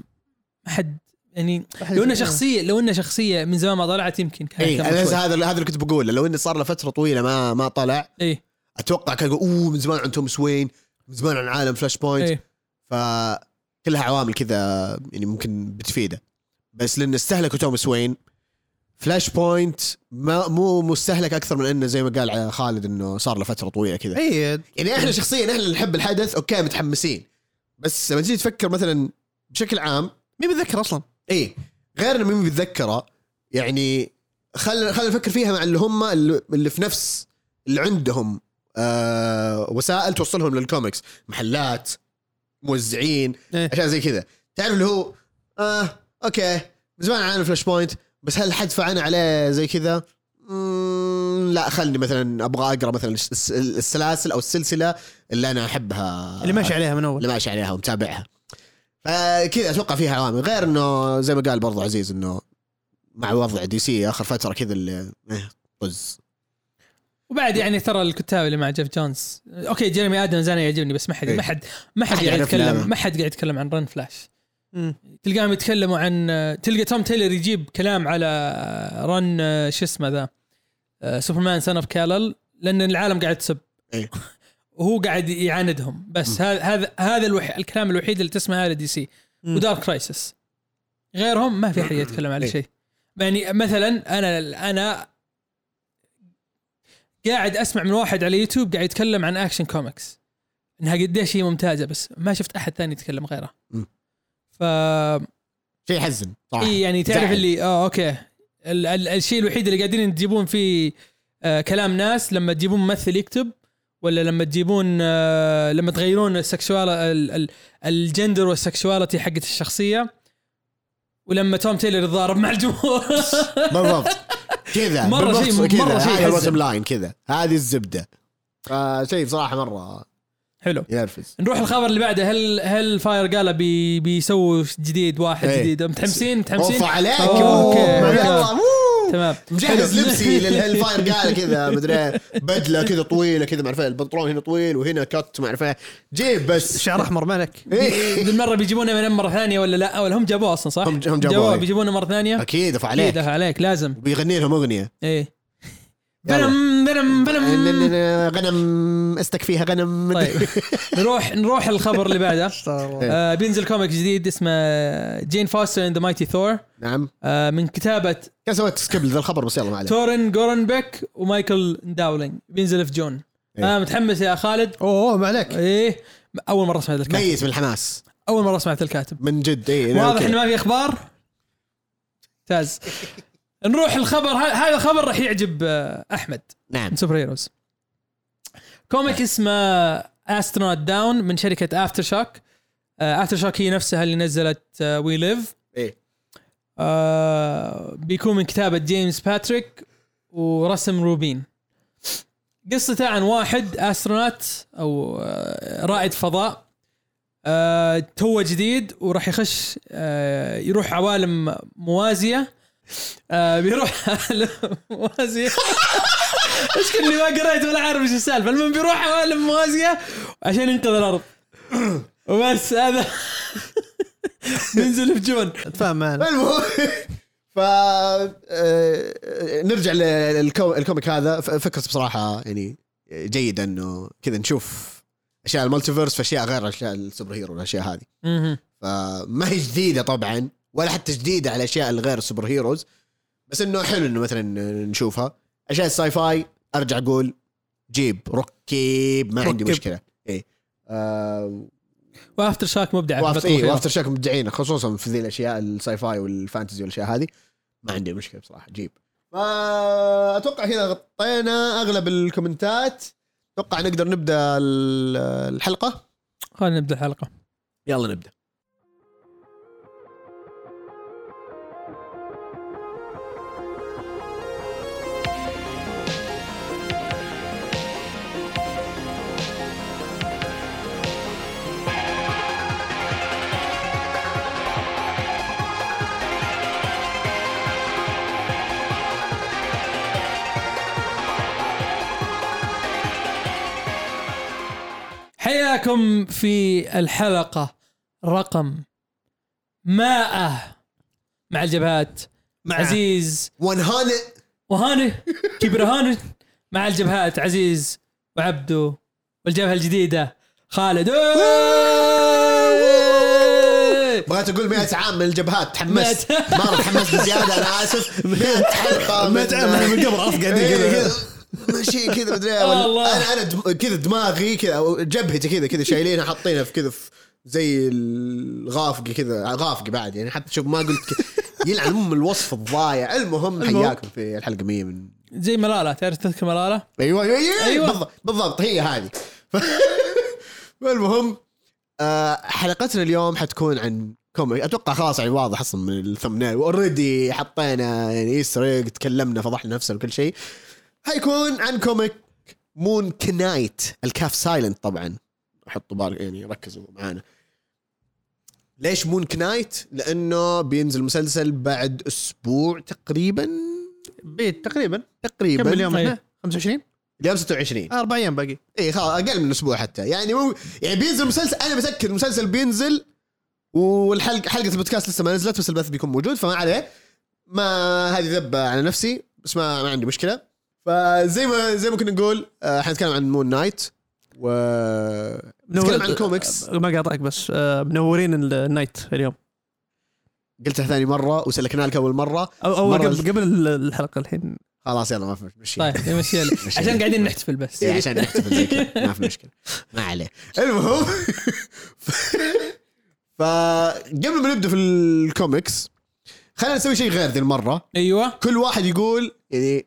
Speaker 3: ما حد يعني لو انه شخصيه لو انه شخصيه من زمان ما طلعت يمكن كان
Speaker 1: اي
Speaker 3: كان
Speaker 1: إيه، أنا
Speaker 3: شوي.
Speaker 1: هذا هذا اللي كنت بقوله لو انه صار له فتره طويله ما ما طلع
Speaker 3: اي
Speaker 1: اتوقع كان يقول اوه من زمان عن توماس وين من زمان عن عالم فلاش بوينت
Speaker 3: اي
Speaker 1: فكلها عوامل كذا يعني ممكن بتفيده بس لان استهلكوا توماس وين فلاش بوينت ما مو مستهلك اكثر من انه زي ما قال خالد انه صار له فتره طويله كذا
Speaker 2: اي
Speaker 1: يعني احنا شخصيا احنا اللي نحب الحدث اوكي متحمسين بس لما تيجي تفكر مثلا بشكل عام
Speaker 2: مين بيتذكر اصلا؟
Speaker 1: ايه غير انه مين بيتذكره يعني خلينا خلينا نفكر فيها مع اللي هم اللي اللي في نفس اللي عندهم آه وسائل توصلهم للكوميكس محلات موزعين
Speaker 2: إيه.
Speaker 1: اشياء زي كذا تعرف اللي هو اه اوكي من زمان عن فلاش بوينت بس هل حد فعل عليه زي كذا؟ مم، لا خلني مثلا ابغى اقرا مثلا الس- السلاسل او السلسله اللي انا احبها
Speaker 2: اللي ماشي عليها من اول
Speaker 1: اللي ماشي عليها ومتابعها فكذا اتوقع فيها عوامل غير انه زي ما قال برضو عزيز انه مع وضع دي سي اخر فتره كذا اللي إيه، طز
Speaker 3: وبعد يعني ترى الكتاب اللي مع جيف جونز اوكي جيرمي ادمز انا يعجبني بس ما حد
Speaker 1: إيه.
Speaker 3: ما حد ما حد
Speaker 1: حد
Speaker 3: قاعد
Speaker 1: يعرف
Speaker 3: يتكلم
Speaker 1: لا.
Speaker 3: ما حد قاعد يتكلم عن رن فلاش
Speaker 2: مم.
Speaker 3: تلقاهم يتكلموا عن تلقى توم تايلر يجيب كلام على رن شو اسمه ذا آه، سوبرمان سان اوف كالل لان العالم قاعد تسب
Speaker 1: إيه.
Speaker 3: وهو قاعد يعاندهم بس هذا هذا هذا الوح- الكلام الوحيد اللي تسمعه على دي سي
Speaker 2: مم.
Speaker 3: ودارك كرايسس غيرهم ما في احد يتكلم على
Speaker 1: إيه.
Speaker 3: شيء يعني مثلا انا انا قاعد اسمع من واحد على يوتيوب قاعد يتكلم عن اكشن كوميكس انها قديش هي ممتازه بس ما شفت احد ثاني يتكلم غيره
Speaker 1: مم.
Speaker 3: ف
Speaker 1: شيء يحزن صراحه
Speaker 3: إيه يعني تعرف
Speaker 1: زعل.
Speaker 3: اللي اه اوكي ال- ال- الشيء الوحيد اللي قاعدين تجيبون فيه آه كلام ناس لما تجيبون ممثل يكتب ولا لما تجيبون آه لما تغيرون السكشوال ال- ال- الجندر والسكشواليتي حقت الشخصيه ولما توم تايلر يتضارب مع الجمهور
Speaker 1: بالضبط كذا
Speaker 3: مرة
Speaker 1: بالضبط
Speaker 3: شيء-
Speaker 1: كذا.
Speaker 3: مرة
Speaker 1: هذا
Speaker 3: شيء يحزن.
Speaker 1: البوتم لاين كذا هذه الزبده فشيء بصراحه مره
Speaker 3: حلو
Speaker 1: ينرفز
Speaker 3: نروح الخبر اللي بعده هل هل فاير قالوا بي بيسووا جديد واحد
Speaker 1: إيه.
Speaker 3: جديد متحمسين متحمسين
Speaker 1: اوف عليك
Speaker 3: أوكي،
Speaker 1: أوه،
Speaker 3: أوكي.
Speaker 1: يلا، أوه.
Speaker 3: تمام
Speaker 1: مجهز
Speaker 3: حلو.
Speaker 1: لبسي للهيل فاير قال كذا مدري بدله كذا طويله كذا ما اعرف إيه، البنطلون هنا طويل وهنا كت ما اعرف إيه. جيب بس
Speaker 2: شعر احمر مالك
Speaker 1: إيه.
Speaker 3: ذي المره بيجيبونه من مره ثانيه ولا لا ولا هم جابوه اصلا صح؟
Speaker 1: هم- هم جابوه،
Speaker 3: جابوه
Speaker 1: إيه.
Speaker 3: بيجيبونه مره ثانيه
Speaker 1: اكيد دفع
Speaker 3: إيه،
Speaker 1: عليك
Speaker 3: دفع عليك لازم
Speaker 1: بيغني لهم اغنيه
Speaker 3: ايه
Speaker 1: يلا.
Speaker 3: بنم بنم بنم
Speaker 1: غنم استكفيها غنم
Speaker 3: آه. طيب نروح نروح الخبر اللي بعده
Speaker 1: إيه.
Speaker 2: استغفر الله.
Speaker 3: آه بينزل كوميك جديد اسمه جين فاستر اند ذا مايتي ثور
Speaker 1: نعم
Speaker 3: آه، من كتابه
Speaker 1: كان سويت سكيب ذا الخبر بس يلا ما عليه
Speaker 3: تورن جورنبيك ومايكل داولينج بينزل في جون
Speaker 1: إيه.
Speaker 3: انا متحمس يا خالد
Speaker 2: اوه ما عليك
Speaker 3: ايه اول مره سمعت الكاتب
Speaker 1: ميت إيه، من الحماس
Speaker 3: اول مره سمعت الكاتب
Speaker 1: من جد اي
Speaker 3: واضح انه ما في اخبار ممتاز نروح الخبر ه- هذا خبر راح يعجب آه، احمد
Speaker 1: نعم
Speaker 3: من سوبر هيروز كوميك اسمه استرونات داون من شركه افتر شوك افتر شوك هي نفسها اللي نزلت uh, وي ليف
Speaker 1: ايه
Speaker 3: آه، بيكون من كتابه جيمس باتريك ورسم روبين قصته عن واحد استرونات او آه، رائد فضاء آه، توه جديد وراح يخش آه، يروح عوالم موازيه آه، بيروح عوالم موازيه ايش كني ما قريت ولا عارف ايش السالفه المهم بيروح عوالم موازيه عشان ينقذ الارض وبس هذا ننزل في جون
Speaker 2: تفهم معنا
Speaker 1: المهم ف آه، نرجع للكو- الكوميك هذا ف- فكرته بصراحه يعني جيده انه كذا نشوف اشياء المالتيفيرس فاشياء غير اشياء السوبر هيرو والاشياء هذه
Speaker 3: مهم.
Speaker 1: فما هي جديده طبعا ولا حتى جديده على الاشياء الغير سوبر هيروز بس انه حلو انه مثلا نشوفها اشياء الساي فاي ارجع اقول جيب ركب ما عندي
Speaker 2: ركب.
Speaker 1: مشكله اي آه
Speaker 3: وافتر شاك مبدع في
Speaker 1: وافتر
Speaker 3: بطل
Speaker 1: إيه
Speaker 3: الخيار.
Speaker 1: وافتر شاك مبدعين خصوصا في ذي الاشياء الساي فاي والفانتزي والاشياء هذه ما عندي مشكله بصراحه جيب ما اتوقع كذا غطينا اغلب الكومنتات اتوقع نقدر نبدا ال- الحلقه
Speaker 3: خلينا نبدا الحلقه
Speaker 1: يلا نبدا
Speaker 3: حياكم في الحلقه رقم 100 مع الجبهات مع عزيز
Speaker 1: 100
Speaker 3: وهاني كبر هاني مع الجبهات عزيز وعبدو والجبهه الجديده خالد
Speaker 1: بغيت اقول 100 عام من الجبهات تحمست مره تحمست بزياده انا اسف 100 حلقه
Speaker 2: 100 عام أنا من قبل أصقع دي
Speaker 1: إيه،
Speaker 2: كذا.
Speaker 1: ماشي كذا مدري
Speaker 3: الله.
Speaker 1: انا انا دم- كذا دماغي كذا أو جبهتي كذا كذا شايلينها حاطينها في كذا في زي الغافقي كذا غافقي بعد يعني حتى شوف ما قلت كذا. يلعن ام الوصف الضايع المهم
Speaker 3: المهم.
Speaker 1: حياكم في الحلقه 100 من
Speaker 3: زي ملاله تعرف تذكر ملاله؟
Speaker 1: ايوه ايوه, أيوة,
Speaker 3: أيوة.
Speaker 1: بالضبط, بالضبط هي هذه المهم آه حلقتنا اليوم حتكون عن كوميك اتوقع خلاص يعني واضح اصلا من الثمنيل اوريدي حطينا يعني ايستر ايج تكلمنا فضحنا نفسنا وكل شيء حيكون عن كوميك مون كنايت الكاف سايلنت طبعا حطوا بالك يعني ركزوا معانا ليش مون كنايت؟ لانه بينزل مسلسل بعد اسبوع تقريبا
Speaker 2: بيت تقريبا
Speaker 1: تقريبا
Speaker 2: كم اليوم
Speaker 3: إيه.
Speaker 2: احنا؟ 25
Speaker 1: اليوم 26
Speaker 2: آه، اربع ايام باقي
Speaker 1: اي إيه، خلاص اقل من اسبوع حتى يعني مو يعني بينزل مسلسل انا متاكد المسلسل بينزل والحلقه حلقه البودكاست لسه ما نزلت بس البث بيكون موجود فما عليه ما هذه ذبه على نفسي بس ما, ما عندي مشكله فزي ما زي ما كنا نقول آه، حنتكلم عن مون نايت و نتكلم عن كوميكس
Speaker 2: ما قاطعك بس آه، منورين ال- النايت اليوم
Speaker 1: قلتها ثاني مره وسلكنا لك اول مره
Speaker 2: او اول
Speaker 1: مرة-
Speaker 2: قبل, قبل ال- الحلقه الحين
Speaker 1: خلاص يلا ما في مشكله
Speaker 3: طيب مشي عشان قاعدين نحتفل بس
Speaker 1: إيه، عشان نحتفل زي كذا ما في مشكله ما عليه المهم ف- فقبل ما نبدا في الكوميكس خلينا نسوي شيء غير ذي المره
Speaker 3: ايوه
Speaker 1: كل واحد يقول يعني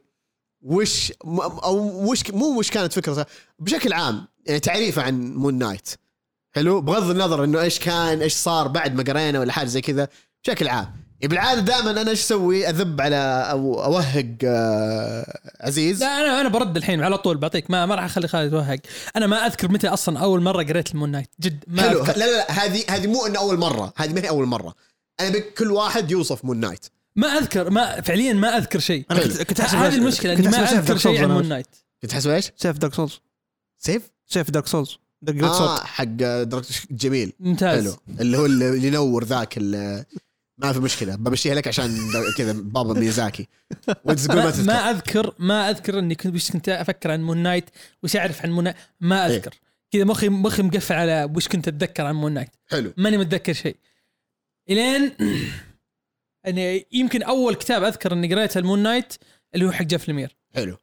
Speaker 1: وش م- او وش مو وش كانت فكرته بشكل عام يعني تعريفه عن مون نايت حلو بغض النظر انه ايش كان ايش صار بعد ما قرينا ولا حاجه زي كذا بشكل عام يعني بالعاده دائما انا ايش اسوي اذب على او اوهق آه، عزيز
Speaker 3: لا انا انا برد الحين على طول بعطيك ما ما راح اخلي خالد يتوهق انا ما اذكر متى اصلا اول مره قريت المون نايت جد ما
Speaker 1: حلو
Speaker 3: أذكر.
Speaker 1: لا لا لا هذه هذه مو انه اول مره هذه ما هي اول مره انا بك كل واحد يوصف مون نايت
Speaker 3: ما اذكر ما فعليا ما اذكر شيء
Speaker 2: انا
Speaker 1: حلو.
Speaker 2: كنت كنت احسب
Speaker 3: هذه المشكله اني ما اذكر شيء عن مون نايت
Speaker 1: كنت حسب ايش؟
Speaker 2: سيف دارك سولز
Speaker 1: سيف؟
Speaker 2: سيف دارك سولز دق
Speaker 1: اه
Speaker 2: صوت
Speaker 1: حق دركت جميل حلو
Speaker 3: ممتاز
Speaker 1: اللي هو اللي ينور ذاك ال- ما في مشكله بمشيها لك عشان كذا بابا ميزاكي وانت تقول ما
Speaker 3: ما,
Speaker 1: تذكر
Speaker 3: ما اذكر ما اذكر اني كنت وش كنت افكر عن مون نايت وش اعرف عن مون نايت ما
Speaker 1: إيه.
Speaker 3: اذكر كذا مخي مخي مقفل على وش كنت اتذكر عن مون نايت
Speaker 1: حلو
Speaker 3: ماني متذكر شيء الين يعني يمكن اول كتاب اذكر اني قريته المون نايت اللي هو حق جيف لمير
Speaker 1: حلو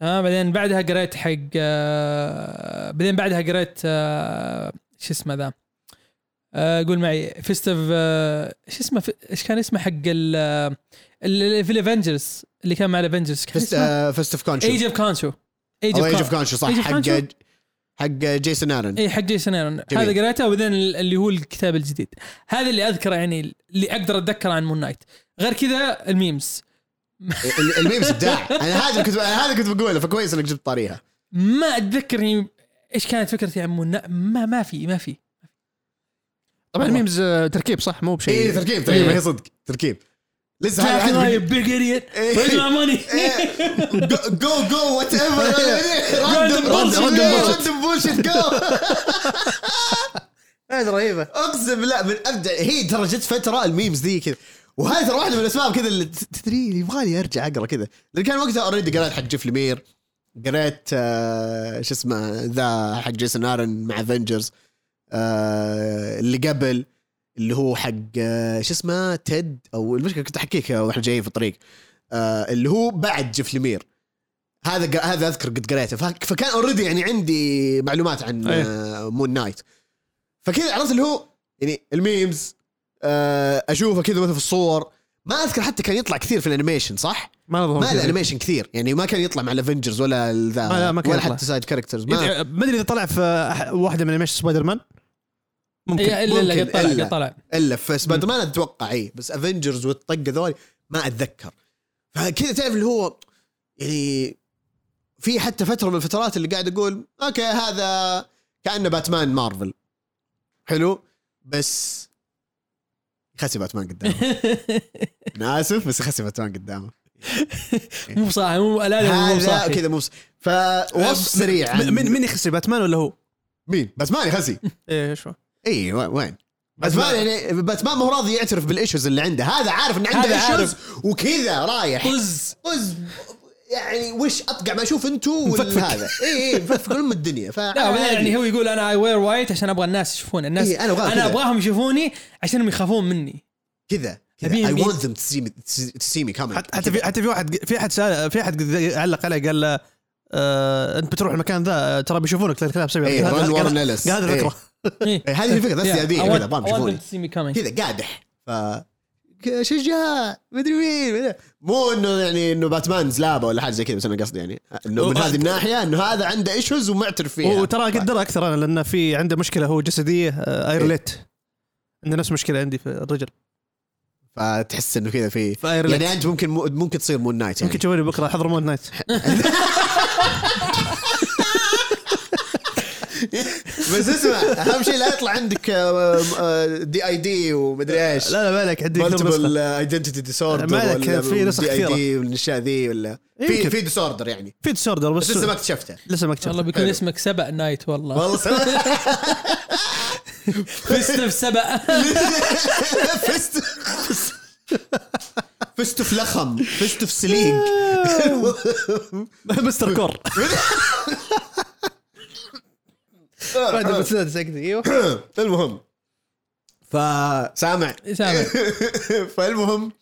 Speaker 3: تمام بعدين بعدها قريت حق آه، بعدين بعدها قريت آه، شو اسمه ذا آه، قول معي فيستف آه، شو اسمه في- ايش كان اسمه حق ال آه، ال- ال- في الافنجرز اللي كان مع الافنجرز كان
Speaker 1: فست
Speaker 3: اسمه
Speaker 1: آه، فست اوف كونشو
Speaker 3: ايج اوف كانشو
Speaker 1: او ايج اوف كونشو
Speaker 3: Age
Speaker 1: صح
Speaker 3: of
Speaker 1: حق
Speaker 3: Conscious.
Speaker 1: حق جيسون ارن
Speaker 3: اي حق جيسون ايرون
Speaker 1: جميل.
Speaker 3: هذا قريته وبعدين اللي هو الكتاب الجديد هذا اللي اذكره يعني اللي اقدر اتذكره عن مون نايت غير كذا الميمز
Speaker 1: ال- الميمز ابداع انا هذا اللي كنت أنا هذا اللي كنت بقوله فكويس انك جبت طاريها
Speaker 3: ما اتذكرني ايش كانت فكرتي عن مون نايت ما ما في ما في
Speaker 2: طبعا
Speaker 3: والله.
Speaker 2: ميمز آه، تركيب صح مو بشيء
Speaker 1: اي تركيب تركيب
Speaker 2: إيه.
Speaker 1: هي صدق تركيب لسه
Speaker 3: تاكل
Speaker 1: هذا- إيه.
Speaker 3: ماي
Speaker 1: هذا
Speaker 3: بيج ايديت ويز ماي ماني إيه.
Speaker 1: جو جو وات ايفر
Speaker 3: Random bullshit.
Speaker 1: راندوم بولشيت جو
Speaker 2: هذه رهيبه
Speaker 1: اقسم لا من ابدع هي ترى جت فتره الميمز ذي كذا وهذه ترى واحده من الاسباب كذا اللي ت- تدري اللي يبغالي ارجع اقرا كذا لان كان وقتها اوريدي قريت حق جيف لمير قريت آه شو اسمه ذا حق جيسون ارن مع افنجرز آه اللي قبل اللي هو حق آه شو اسمه تيد او المشكله كنت احكيك واحنا جايين في الطريق آه اللي هو بعد جيف لمير هذا ق- هذا اذكر قد قريته فك- فكان اوريدي يعني عندي معلومات عن
Speaker 3: أيه.
Speaker 1: آه مون نايت فكذا عرفت اللي هو يعني الميمز آه اشوفه كذا مثلا في الصور ما اذكر حتى كان يطلع كثير في الانيميشن صح؟
Speaker 2: ما ظهر
Speaker 1: ما
Speaker 2: فيه.
Speaker 1: الانيميشن كثير يعني ما كان يطلع مع الافنجرز ولا ذا
Speaker 2: ما- آه، لا، ما كان
Speaker 1: ولا
Speaker 2: يطلع.
Speaker 1: حتى سايد كاركترز ما
Speaker 2: يدعي- ما ادري اذا طلع في أح- واحده من انيميشن سبايدر مان ممكن
Speaker 3: الا الا
Speaker 1: ممكن،
Speaker 3: إيه، قد طلع
Speaker 1: إلا.
Speaker 3: قد طلع
Speaker 1: الا في سبايدر مان اتوقع اي بس افنجرز والطق ذول ما اتذكر فكذا تعرف اللي هو يعني في حتى فتره من الفترات اللي قاعد اقول اوكي هذا كانه باتمان مارفل حلو بس يخسي باتمان قدامه انا اسف بس يخسي باتمان قدامه
Speaker 3: مو بصاحي مو لا مو
Speaker 1: هذا
Speaker 3: بصاحي
Speaker 1: كذا مو بص- فوصف سريع عن-
Speaker 2: من من- من يخسر باتمان ولا هو؟
Speaker 1: مين باتمان يخسي
Speaker 2: ايه شو
Speaker 1: اي وين- وين باتمان يعني باتمان ما هو راضي يعترف بالايشوز اللي عنده هذا عارف ان عنده
Speaker 3: هذا
Speaker 1: ايشوز
Speaker 3: عارف.
Speaker 1: وكذا رايح
Speaker 3: طز
Speaker 1: طز يعني وش اطقع ما اشوف انتو
Speaker 2: مفكفك.
Speaker 1: ولا هذا اي اي مفكفك ام الدنيا ف
Speaker 3: لا بعدين يعني هو يقول انا اي وير وايت عشان ابغى الناس يشوفوني الناس
Speaker 1: آه، إيه، أنا أبغاه
Speaker 3: انا
Speaker 1: كذا.
Speaker 3: ابغاهم يشوفوني عشان هم يخافون مني
Speaker 1: كذا
Speaker 3: أبي-
Speaker 1: اي
Speaker 3: أبي-
Speaker 1: ونت ذم تو سي مي كامينج
Speaker 2: حتى حتى في حتى في واحد في احد سال في احد علق عليه قال له آه انت بتروح المكان ذا آه، ترى بيشوفونك تلاقي كلاب سبيع
Speaker 1: إيه،
Speaker 2: قال-
Speaker 1: ران
Speaker 2: قال-
Speaker 1: وارن
Speaker 2: قال-
Speaker 1: إليس.
Speaker 2: قال هذه الفكره
Speaker 3: إيه.
Speaker 1: هذه الفكره ذاتس
Speaker 3: Yeah,
Speaker 1: ذا
Speaker 3: I
Speaker 1: ايديا
Speaker 3: want-
Speaker 1: كذا
Speaker 3: I
Speaker 1: ابغاهم
Speaker 3: want
Speaker 1: يشوفوني
Speaker 3: them to see me coming.
Speaker 1: كذا قادح ف ك- شجاع مدري مين مدري- مو انه يعني انه باتمان زلابه ولا حاجه زي كذا بس انا قصدي يعني انه من
Speaker 2: هو-
Speaker 1: هذه الناحيه انه هذا عنده ايشوز ومعترف فيها
Speaker 2: وترى اقدر اكثر انا لان في عنده مشكله هو جسديه آه اي
Speaker 1: إيه.
Speaker 2: ريليت عنده نفس مشكله عندي في الرجل
Speaker 1: فتحس انه كذا في
Speaker 2: في اي ريليت
Speaker 1: يعني انت ممكن ممكن تصير مون نايت يعني
Speaker 2: يمكن تشوفوني بكره احضر مون نايت
Speaker 1: بس اسمع اهم شيء لا يطلع عندك آه، دي اي دي ومدري آه، ايش
Speaker 2: لا لا بالك عندي كثير
Speaker 1: مالتيبل
Speaker 2: نسخة.
Speaker 1: ايدنتيتي ديسوردر
Speaker 2: مالك،
Speaker 1: ولا
Speaker 2: في نسخ
Speaker 1: دي اي
Speaker 2: كثيرة.
Speaker 1: دي والاشياء ذي ولا في
Speaker 2: يمكن.
Speaker 1: في ديسوردر يعني
Speaker 2: في ديسوردر
Speaker 1: بس
Speaker 2: بس
Speaker 1: لسه ما اكتشفته
Speaker 2: لسه ما
Speaker 3: والله
Speaker 2: اكتشفت
Speaker 3: بيكون
Speaker 1: حلو.
Speaker 3: اسمك سبأ نايت والله
Speaker 1: أيوه. والله صراحة.
Speaker 3: فيستف سبأ
Speaker 1: فست فست في لخم فست في سليق
Speaker 2: مستر كور بعد المسدس حقتي ايوه
Speaker 1: المهم فسامع
Speaker 3: سامع
Speaker 1: فالمهم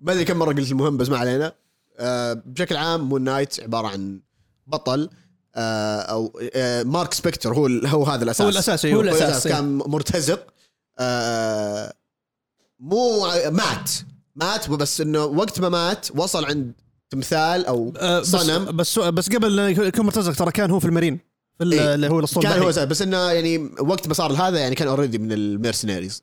Speaker 1: ما ادري كم مره قلت المهم بس ما علينا آه، بشكل عام مون نايت عباره عن بطل آه، او آه، مارك سبكتر هو ال- هو هذا الاساس
Speaker 2: هو الاساس
Speaker 3: هو
Speaker 2: ايوه
Speaker 3: الأساس.
Speaker 1: الاساس
Speaker 3: إيه.
Speaker 1: كان مرتزق آه، مو مات مات بس انه وقت ما مات وصل عند تمثال او
Speaker 2: آه، بس-
Speaker 1: صنم
Speaker 2: بس بس قبل لا يكون مرتزق ترى كان هو في المارين في ال-
Speaker 1: إيه.
Speaker 2: اللي هو الاسطول
Speaker 1: كان هو
Speaker 2: البحري.
Speaker 1: سا- بس انه يعني وقت ما صار هذا يعني كان اوريدي من الميرسنيريز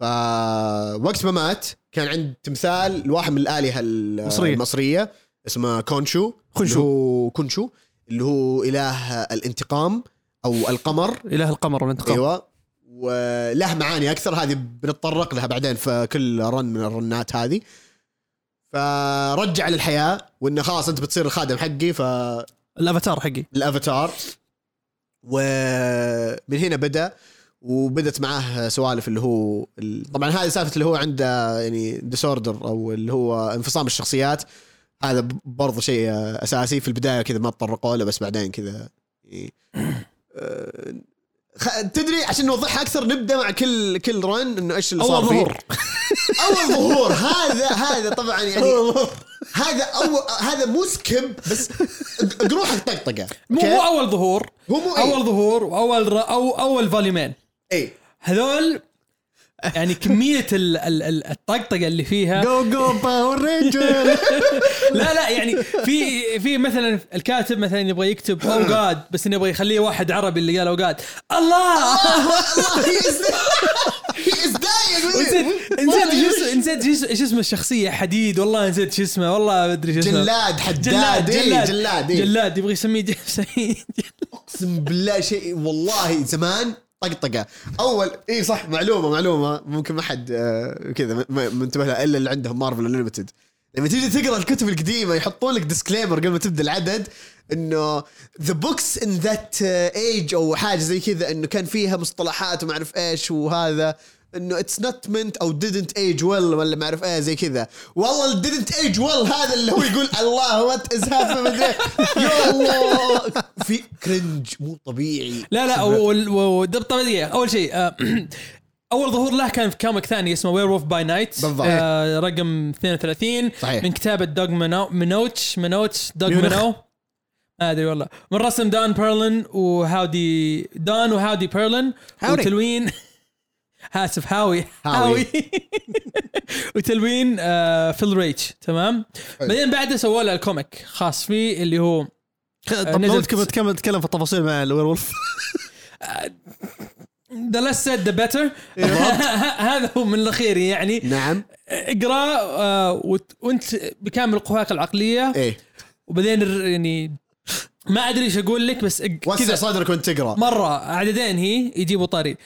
Speaker 1: فوقت ما مات كان عند تمثال لواحد من الالهه ال-
Speaker 2: مصرية.
Speaker 1: المصريه اسمه كونشو
Speaker 2: خنشو.
Speaker 1: اللي هو كونشو اللي هو اله الانتقام او القمر
Speaker 2: اله القمر والانتقام
Speaker 1: ايوه وله معاني اكثر هذه بنتطرق لها بعدين في كل رن من الرنات هذه فرجع للحياه وانه خلاص انت بتصير الخادم حقي فالافاتار
Speaker 2: الافاتار حقي
Speaker 1: ومن هنا بدا وبدت معاه سوالف اللي هو ال- طبعا هذه سالفه اللي هو عنده يعني ديسوردر او اللي هو انفصام الشخصيات هذا ب- برضه شيء اساسي في البدايه كذا ما تطرقوا له بس بعدين كذا يعني، آه، خ- تدري عشان نوضحها اكثر نبدا مع كل كل رن انه ايش اللي صار
Speaker 3: اول
Speaker 1: فيه
Speaker 3: ظهور
Speaker 1: اول ظهور هذا هذا طبعا يعني هذا اول هذا مو سكيب بس قروحك طقطقه
Speaker 3: مو
Speaker 1: أوكي؟
Speaker 3: مو اول ظهور
Speaker 1: هو مو إيه.
Speaker 3: اول
Speaker 1: اول
Speaker 3: ظهور واول ر- او اول فوليمين
Speaker 1: اي
Speaker 3: هذول يعني كميه ال- ال- ال- الطقطقه اللي فيها
Speaker 2: جو جو باور رينجر
Speaker 3: لا لا يعني في في مثلا الكاتب مثلا يبغى يكتب اوقات بس انه يبغى يخليه واحد عربي اللي قال اوقات الله
Speaker 1: هي از
Speaker 3: نسيت
Speaker 1: دايق
Speaker 3: نسيت شو- نسيت شو- شو اسمه الشخصيه حديد والله نسيت شو اسمه والله ما ادري شو اسمه
Speaker 1: جلاد حداد إي،
Speaker 3: جلاد
Speaker 1: جلاد إيه. إي.
Speaker 3: جلاد يبغى يسميه ج- سعيد.
Speaker 1: اقسم بالله شيء والله زمان طقطقه اول اي إيه، صح معلومه معلومه ممكن ما حد آه، كذا م- ما ما انتبه لها الا اللي عندهم مارفل انليمتد لما تيجي تقرا الكتب القديمه يحطون لك ديسكليمر قبل ما تبدا العدد انه ذا بوكس ان ذات ايج او حاجه زي كذا انه كان فيها مصطلحات وما اعرف ايش وهذا انه اتس نوت منت او didn't ايج ويل ولا ما اعرف ايه زي كذا والله didn't ايج ويل هذا اللي هو يقول الله وات از هابن يا الله في كرنج مو طبيعي
Speaker 3: لا لا وال- و- و- دب- طب دقيقه اول شيء آه، اول ظهور له كان في كوميك ثاني اسمه وير وولف باي نايت
Speaker 1: بالضبط.
Speaker 3: آه، رقم 32
Speaker 1: صحيح.
Speaker 3: من كتابه دوغ منو منوتش منوتش دوغ
Speaker 2: ميونخ.
Speaker 3: منو ما ادري والله من رسم دان بيرلن وهاودي دان وهاودي بيرلن
Speaker 2: هاوري.
Speaker 3: وتلوين اسف هاوي
Speaker 1: هاوي.
Speaker 3: هاوي وتلوين آه، فيل ريتش تمام بعدين بعده سووا له الكوميك خاص فيه اللي هو آه،
Speaker 2: طب لو
Speaker 3: نزلت.
Speaker 2: تكمل تكمل تتكلم في التفاصيل مع الوير وولف
Speaker 3: ذا ليس سيد ذا بيتر هذا هو من الاخير يعني
Speaker 1: إيه. نعم
Speaker 3: اقرا آه، وت- وانت بكامل قواك العقليه
Speaker 1: ايه
Speaker 3: وبعدين الر- يعني ما ادري ايش اقول لك بس اق-
Speaker 1: وسع
Speaker 3: كذا
Speaker 1: صدرك وانت تقرا
Speaker 3: مره عددين هي يجيبوا طري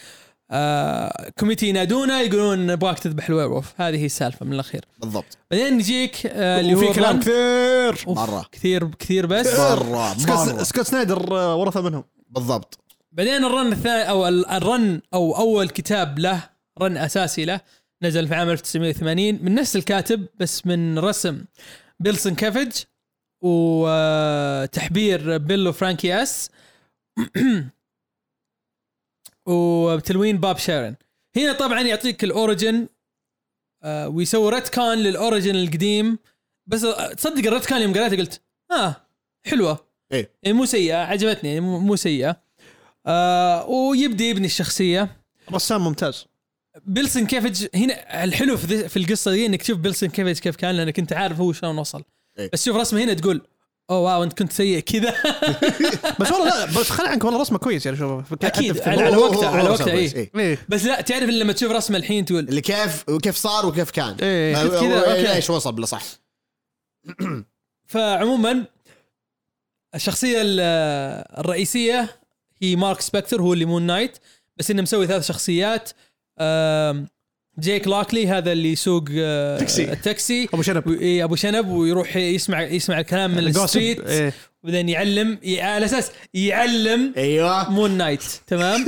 Speaker 3: آه كوميتي ينادونه يقولون نبغاك تذبح الويرولف هذه هي السالفه من الاخير
Speaker 1: بالضبط
Speaker 3: بعدين يجيك آه اللي هو
Speaker 2: وفي كلام
Speaker 3: الرن.
Speaker 2: كثير
Speaker 3: أوف،
Speaker 1: مرة.
Speaker 3: كثير كثير بس إيه.
Speaker 1: مره
Speaker 2: سكوت-
Speaker 1: مره
Speaker 2: سكوت سنايدر آه، ورثه منهم
Speaker 1: بالضبط
Speaker 3: بعدين الرن الثاني او ال- الرن او اول كتاب له رن اساسي له نزل في عام 1980 من نفس الكاتب بس من رسم بيلسون آه، كافج وتحبير بيلو فرانكي اس وتلوين باب شيرن هنا طبعا يعطيك الاوريجن آه، ويسوي رتكان للاوريجن القديم بس آه، تصدق الرتكان يوم قريته قلت اه حلوه
Speaker 1: إيه.
Speaker 3: يعني مو سيئه عجبتني يعني مو مو سيئه آه ويبدا يبني الشخصيه
Speaker 2: رسام ممتاز
Speaker 3: بيلسون كيفج هنا الحلو في, ذي- في القصه دي انك تشوف بيلسون كيفج كيف كان لانك انت عارف هو شلون وصل
Speaker 1: إيه.
Speaker 3: بس شوف رسمه هنا تقول اوه واو انت كنت سيء كذا
Speaker 2: بس والله لا بس خلي عنك والله رسمه كويس يعني شوف
Speaker 3: اكيد
Speaker 2: حتى في-
Speaker 3: على, على
Speaker 1: هو- هو-
Speaker 3: وقته
Speaker 1: هو
Speaker 3: على
Speaker 1: رسم
Speaker 3: وقته إيه.
Speaker 1: كويس،
Speaker 3: اي
Speaker 2: ايه
Speaker 3: بس لا تعرف إن لما تشوف رسمه الحين تقول
Speaker 1: اللي كيف وكيف صار وكيف كان
Speaker 2: إيه.
Speaker 1: ما-
Speaker 3: كذا، أوكي.
Speaker 1: ليش وصل له صح
Speaker 3: فعموما الشخصيه ال- الرئيسيه هي مارك سبكتر هو اللي مون نايت بس انه مسوي ثلاث شخصيات آم، جيك لاكلي هذا اللي يسوق آه،
Speaker 2: تاكسي.
Speaker 3: التاكسي
Speaker 2: ابو شنب
Speaker 3: و- إيه، ابو شنب ويروح يسمع يسمع الكلام من
Speaker 2: الجوسب.
Speaker 3: الستريت
Speaker 2: إيه.
Speaker 3: وبعدين يعلم ي- على اساس يعلم
Speaker 1: ايوه
Speaker 3: مون نايت تمام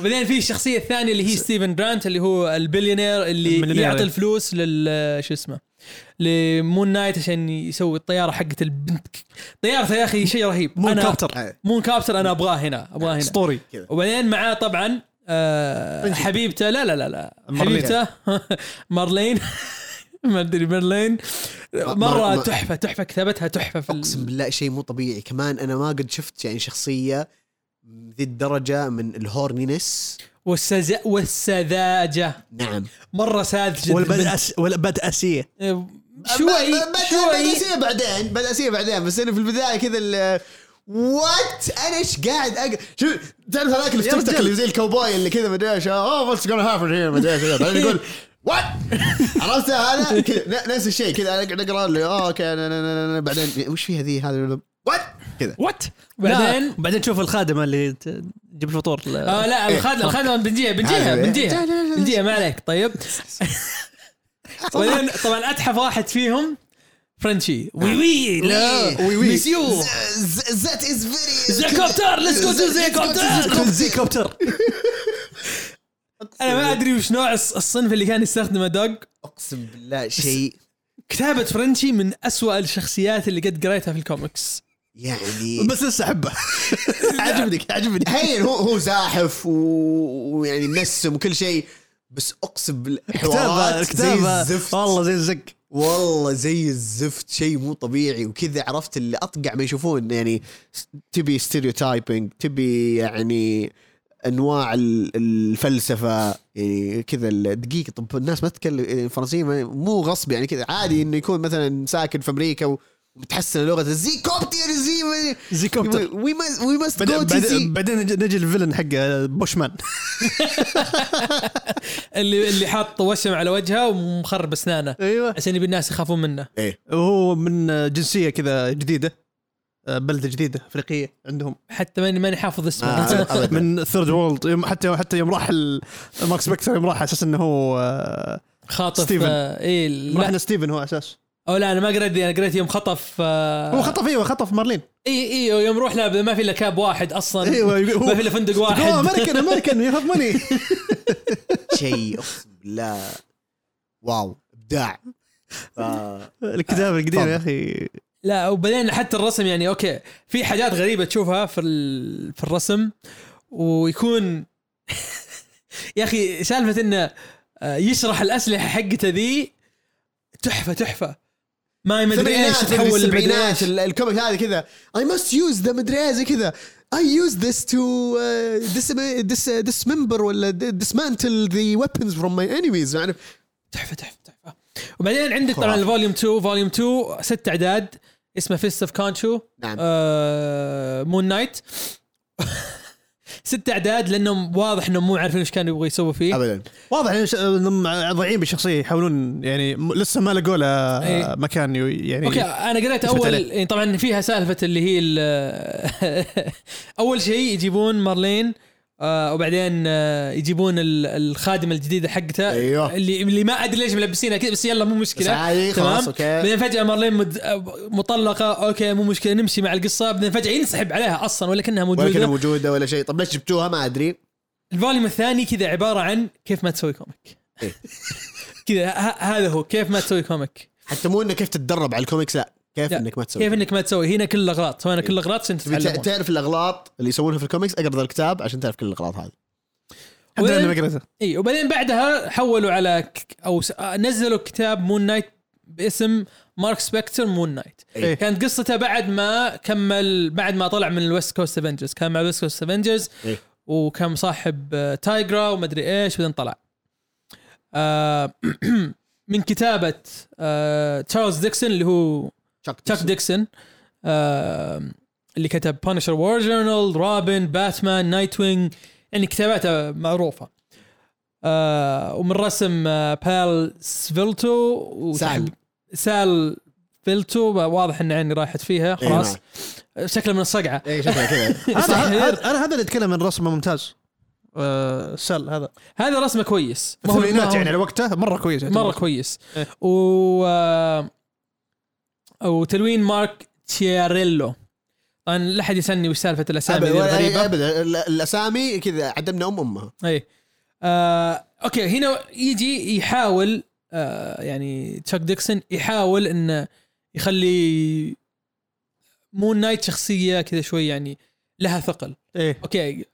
Speaker 3: وبعدين في الشخصيه الثانيه اللي هي ستيفن جرانت اللي هو البليونير اللي
Speaker 2: المليونير.
Speaker 3: يعطي الفلوس لل شو اسمه لمون نايت عشان يسوي الطياره حقت البنت طيارته يا اخي شيء رهيب
Speaker 2: مون
Speaker 3: أنا-
Speaker 2: كابتر
Speaker 3: مون كابتر انا ابغاه هنا ابغاه هنا
Speaker 2: اسطوري
Speaker 3: وبعدين معاه طبعا آه حبيبته لا لا لا لا
Speaker 2: مارلين.
Speaker 3: حبيبته مارلين ما ادري مارلين
Speaker 1: مار-
Speaker 3: مره
Speaker 1: مار-
Speaker 3: تحفه تحفه كتابتها تحفه في ال-
Speaker 1: اقسم بالله شيء مو طبيعي كمان انا ما قد شفت يعني شخصيه ذي الدرجه من الهورنينس
Speaker 3: والسذا والسذاجه
Speaker 1: نعم
Speaker 3: مره ساذجه
Speaker 2: والبدأس والبدأسية
Speaker 3: آه،
Speaker 1: شوي
Speaker 3: شوي شوي
Speaker 1: بدأسية بعدين بدأسية بعدين بس انا في البدايه كذا ال وات انا ايش قاعد اقرا شوف تعرف هذاك اللي في
Speaker 2: يا
Speaker 1: تيك توك
Speaker 2: رجال.
Speaker 1: اللي زي الكوباي اللي كذا مدري Oh, ايش اوه واتس جونا هابن هير مدري ايش كذا. بعدين يقول وات عرفت هذا كذا، ن- نفس الشيء كذا انا اقعد اقرا اللي اه اوكي أنا- أنا- أنا- أنا- بعدين وش في هذه هذا وات كذا
Speaker 2: وات
Speaker 3: بعدين-
Speaker 2: بعدين تشوف الخادمة اللي ت- تجيب الفطور ل-
Speaker 3: آه إيه. لا الخادم الخادم بنجيها بنجيها
Speaker 1: هذا-
Speaker 3: بنجيها بنجيها ما عليك طيب بعدين طبعا اتحف واحد فيهم فرنشي وي نعم. وي لا
Speaker 1: Oh, وي وي
Speaker 3: مسيو
Speaker 1: ذات از فيري
Speaker 3: زيكوبتر ليتس جو تو زيكوبتر
Speaker 2: زيكوبتر
Speaker 3: انا ما ادري وش نوع الص- الصنف اللي كان يستخدمه دوج
Speaker 1: اقسم بالله شيء
Speaker 3: كتابة فرنشي من أسوأ الشخصيات اللي قد قريتها في الكوميكس
Speaker 1: يعني
Speaker 2: بس لسه احبه عجبني عجبني
Speaker 1: هين هو هو زاحف و- ويعني منسم وكل شيء بس اقسم بالله
Speaker 2: كتابه
Speaker 1: حوارات زي
Speaker 2: كتابه
Speaker 1: الزفت
Speaker 2: والله زي الزق
Speaker 1: والله زي الزفت شيء مو طبيعي وكذا عرفت اللي اطقع ما يشوفون يعني س- تبي ستيريوتايبنج تبي يعني انواع ال- الفلسفه يعني كذا ال- دقيقه طب الناس ما تتكلم فرنسيه ما- مو غصب يعني كذا عادي انه يكون مثلا ساكن في امريكا ومتحسن لغه زي كوبتر زي ما-
Speaker 2: زيكوبتر
Speaker 1: وي ماست وي ماست جو
Speaker 2: بعدين-
Speaker 1: تو
Speaker 2: بعدين
Speaker 1: سي
Speaker 2: بعدين نجي نجي الفيلن حقه بوشمان
Speaker 3: اللي اللي حاط وشم على وجهه ومخرب أسنانه
Speaker 2: ايوه
Speaker 3: عشان يبي الناس يخافون منه
Speaker 1: ايه
Speaker 2: وهو من جنسيه كذا جديده آه، بلده جده افريقيه عندهم
Speaker 3: حتى ماني ماني حافظ اسمه
Speaker 1: آه. أبداً.
Speaker 2: من ثيرد وورلد حتى حتى يوم راح ال- مارك سبكتر يوم راح على اساس انه هو آه،
Speaker 3: خاطف
Speaker 2: ستيفن.
Speaker 3: آه، ايه
Speaker 2: يوم راح
Speaker 3: لا
Speaker 2: لستيفن هو اساس
Speaker 3: او لا انا ما قريت دي، انا قريت يوم خطف آه،
Speaker 2: هو خطف ايوه خطف مارلين
Speaker 3: اي اي يوم روح لا ما في الا كاب واحد اصلا
Speaker 2: ايوه
Speaker 3: ما في الا فندق
Speaker 2: هو
Speaker 3: واحد
Speaker 2: امريكان امريكان يو هاف ماني
Speaker 1: شيء اقسم بالله واو ابداع ف-
Speaker 2: الكتابه القديمه يا اخي
Speaker 3: لا وبعدين حتى الرسم يعني اوكي في حاجات غريبه تشوفها في ال- في الرسم ويكون يا اخي سالفه انه آه، يشرح الاسلحه حقته ذي تحفه تحفه ما مدري ايش
Speaker 1: السبعينات،
Speaker 3: تحول المدري
Speaker 1: السبعينات
Speaker 3: ايش
Speaker 1: ال- الكوميك هذا كذا اي ماست يوز ذا مدري إيه زي كذا اي يوز ذس تو ديسمبر ولا ديسمانتل ذا ويبنز فروم ماي انميز عارف
Speaker 3: تحفه تحفه تحفه وبعدين عندك طبعا الفوليوم 2 فوليوم 2 ست اعداد اسمه فيست اوف كانشو
Speaker 1: نعم.
Speaker 3: مون نايت آه، ست اعداد لانهم واضح انهم مو عارفين ايش كانوا يبغوا يسووا فيه
Speaker 1: ابدا
Speaker 2: واضح إن ش- انهم ضايعين بالشخصيه يحاولون يعني م- لسه ما لقوا له آه،
Speaker 3: إيه.
Speaker 2: مكان يو- يعني
Speaker 3: اوكي
Speaker 1: إيه.
Speaker 3: انا
Speaker 2: يثبت
Speaker 3: قريت اول
Speaker 2: عليه.
Speaker 3: يعني طبعا فيها سالفه اللي هي ال- اول شيء يجيبون مارلين آه وبعدين آه يجيبون ال- الخادمه الجديده حقتها
Speaker 1: أيوه.
Speaker 3: اللي اللي ما ادري ليش ملبسينها كذا بس يلا مو
Speaker 1: بس
Speaker 3: مشكله
Speaker 1: عادي خلاص اوكي
Speaker 3: بعدين فجاه مارلين مد... مطلقه اوكي مو مشكله نمشي مع القصه بعدين فجاه ينسحب عليها اصلا ولا كانها
Speaker 1: ولا كانها
Speaker 3: موجوده
Speaker 1: موجوده ولا شيء طب ليش جبتوها ما ادري
Speaker 3: الفوليوم الثاني كذا عباره عن كيف ما تسوي كوميك
Speaker 1: إيه.
Speaker 3: كذا ه- هذا هو كيف ما تسوي كوميك
Speaker 1: حتى مو انه كيف تتدرب على الكوميكس لا كيف
Speaker 3: لا.
Speaker 1: انك ما تسوي إيه.
Speaker 3: كيف انك ما تسوي هنا كل الاغلاط هنا كل الاغلاط عشان
Speaker 1: تبي تع-
Speaker 3: تتعلمون
Speaker 1: تعرف الاغلاط اللي يسوونها في الكوميكس اقرا ذا الكتاب عشان تعرف كل الاغلاط هذه
Speaker 2: الحمد لله
Speaker 3: وين-
Speaker 2: إني ما قريته
Speaker 3: اي إيه، وبعدين بعدها حولوا على ك... او س... آه، نزلوا كتاب مون نايت باسم مارك سبكتر مون نايت
Speaker 1: إيه.
Speaker 3: كانت قصته بعد ما كمل بعد ما طلع من الويست كوست افنجرز كان مع الويست كوست افنجرز
Speaker 1: إيه.
Speaker 3: وكان صاحب آه، تايجرا ومدري ايش بعدين طلع آه، من كتابه آه، تشارلز ديكسون اللي هو تشاك ديكسون آه، اللي كتب بانشر وور جورنال رابن باتمان نايت وينج يعني كتاباته معروفه آه، ومن رسم آه، بال سفيلتو وتح-
Speaker 1: سال.
Speaker 3: سال فيلتو واضح ان عيني راحت فيها
Speaker 1: إيه،
Speaker 3: خلاص
Speaker 2: نعم.
Speaker 3: شكله من الصقعه
Speaker 1: اي
Speaker 2: إيه.
Speaker 1: إيه، شكلها كذا
Speaker 2: هذا
Speaker 3: مستحيل.
Speaker 2: هذا- انا هذا اللي اتكلم عن رسمه ممتاز آه، سال هذا
Speaker 3: هذا رسمه كويس ما هو- ما
Speaker 2: الثمانينات
Speaker 3: هو-
Speaker 2: يعني على وقته مره كويس
Speaker 3: مره كويس
Speaker 2: إيه.
Speaker 3: و آه، وتلوين مارك تشياريلو طبعا لا احد يسالني وش سالفه
Speaker 1: ابدا
Speaker 3: الاسامي ذي الغريبه
Speaker 1: ولا- ابدا ال- الاسامي كذا عدمنا ام امها
Speaker 3: اي إيه. آه، اوكي هنا يجي يحاول آه، يعني تشاك ديكسون يحاول انه يخلي مون نايت شخصيه كذا شوي يعني لها ثقل
Speaker 2: ايه
Speaker 3: اوكي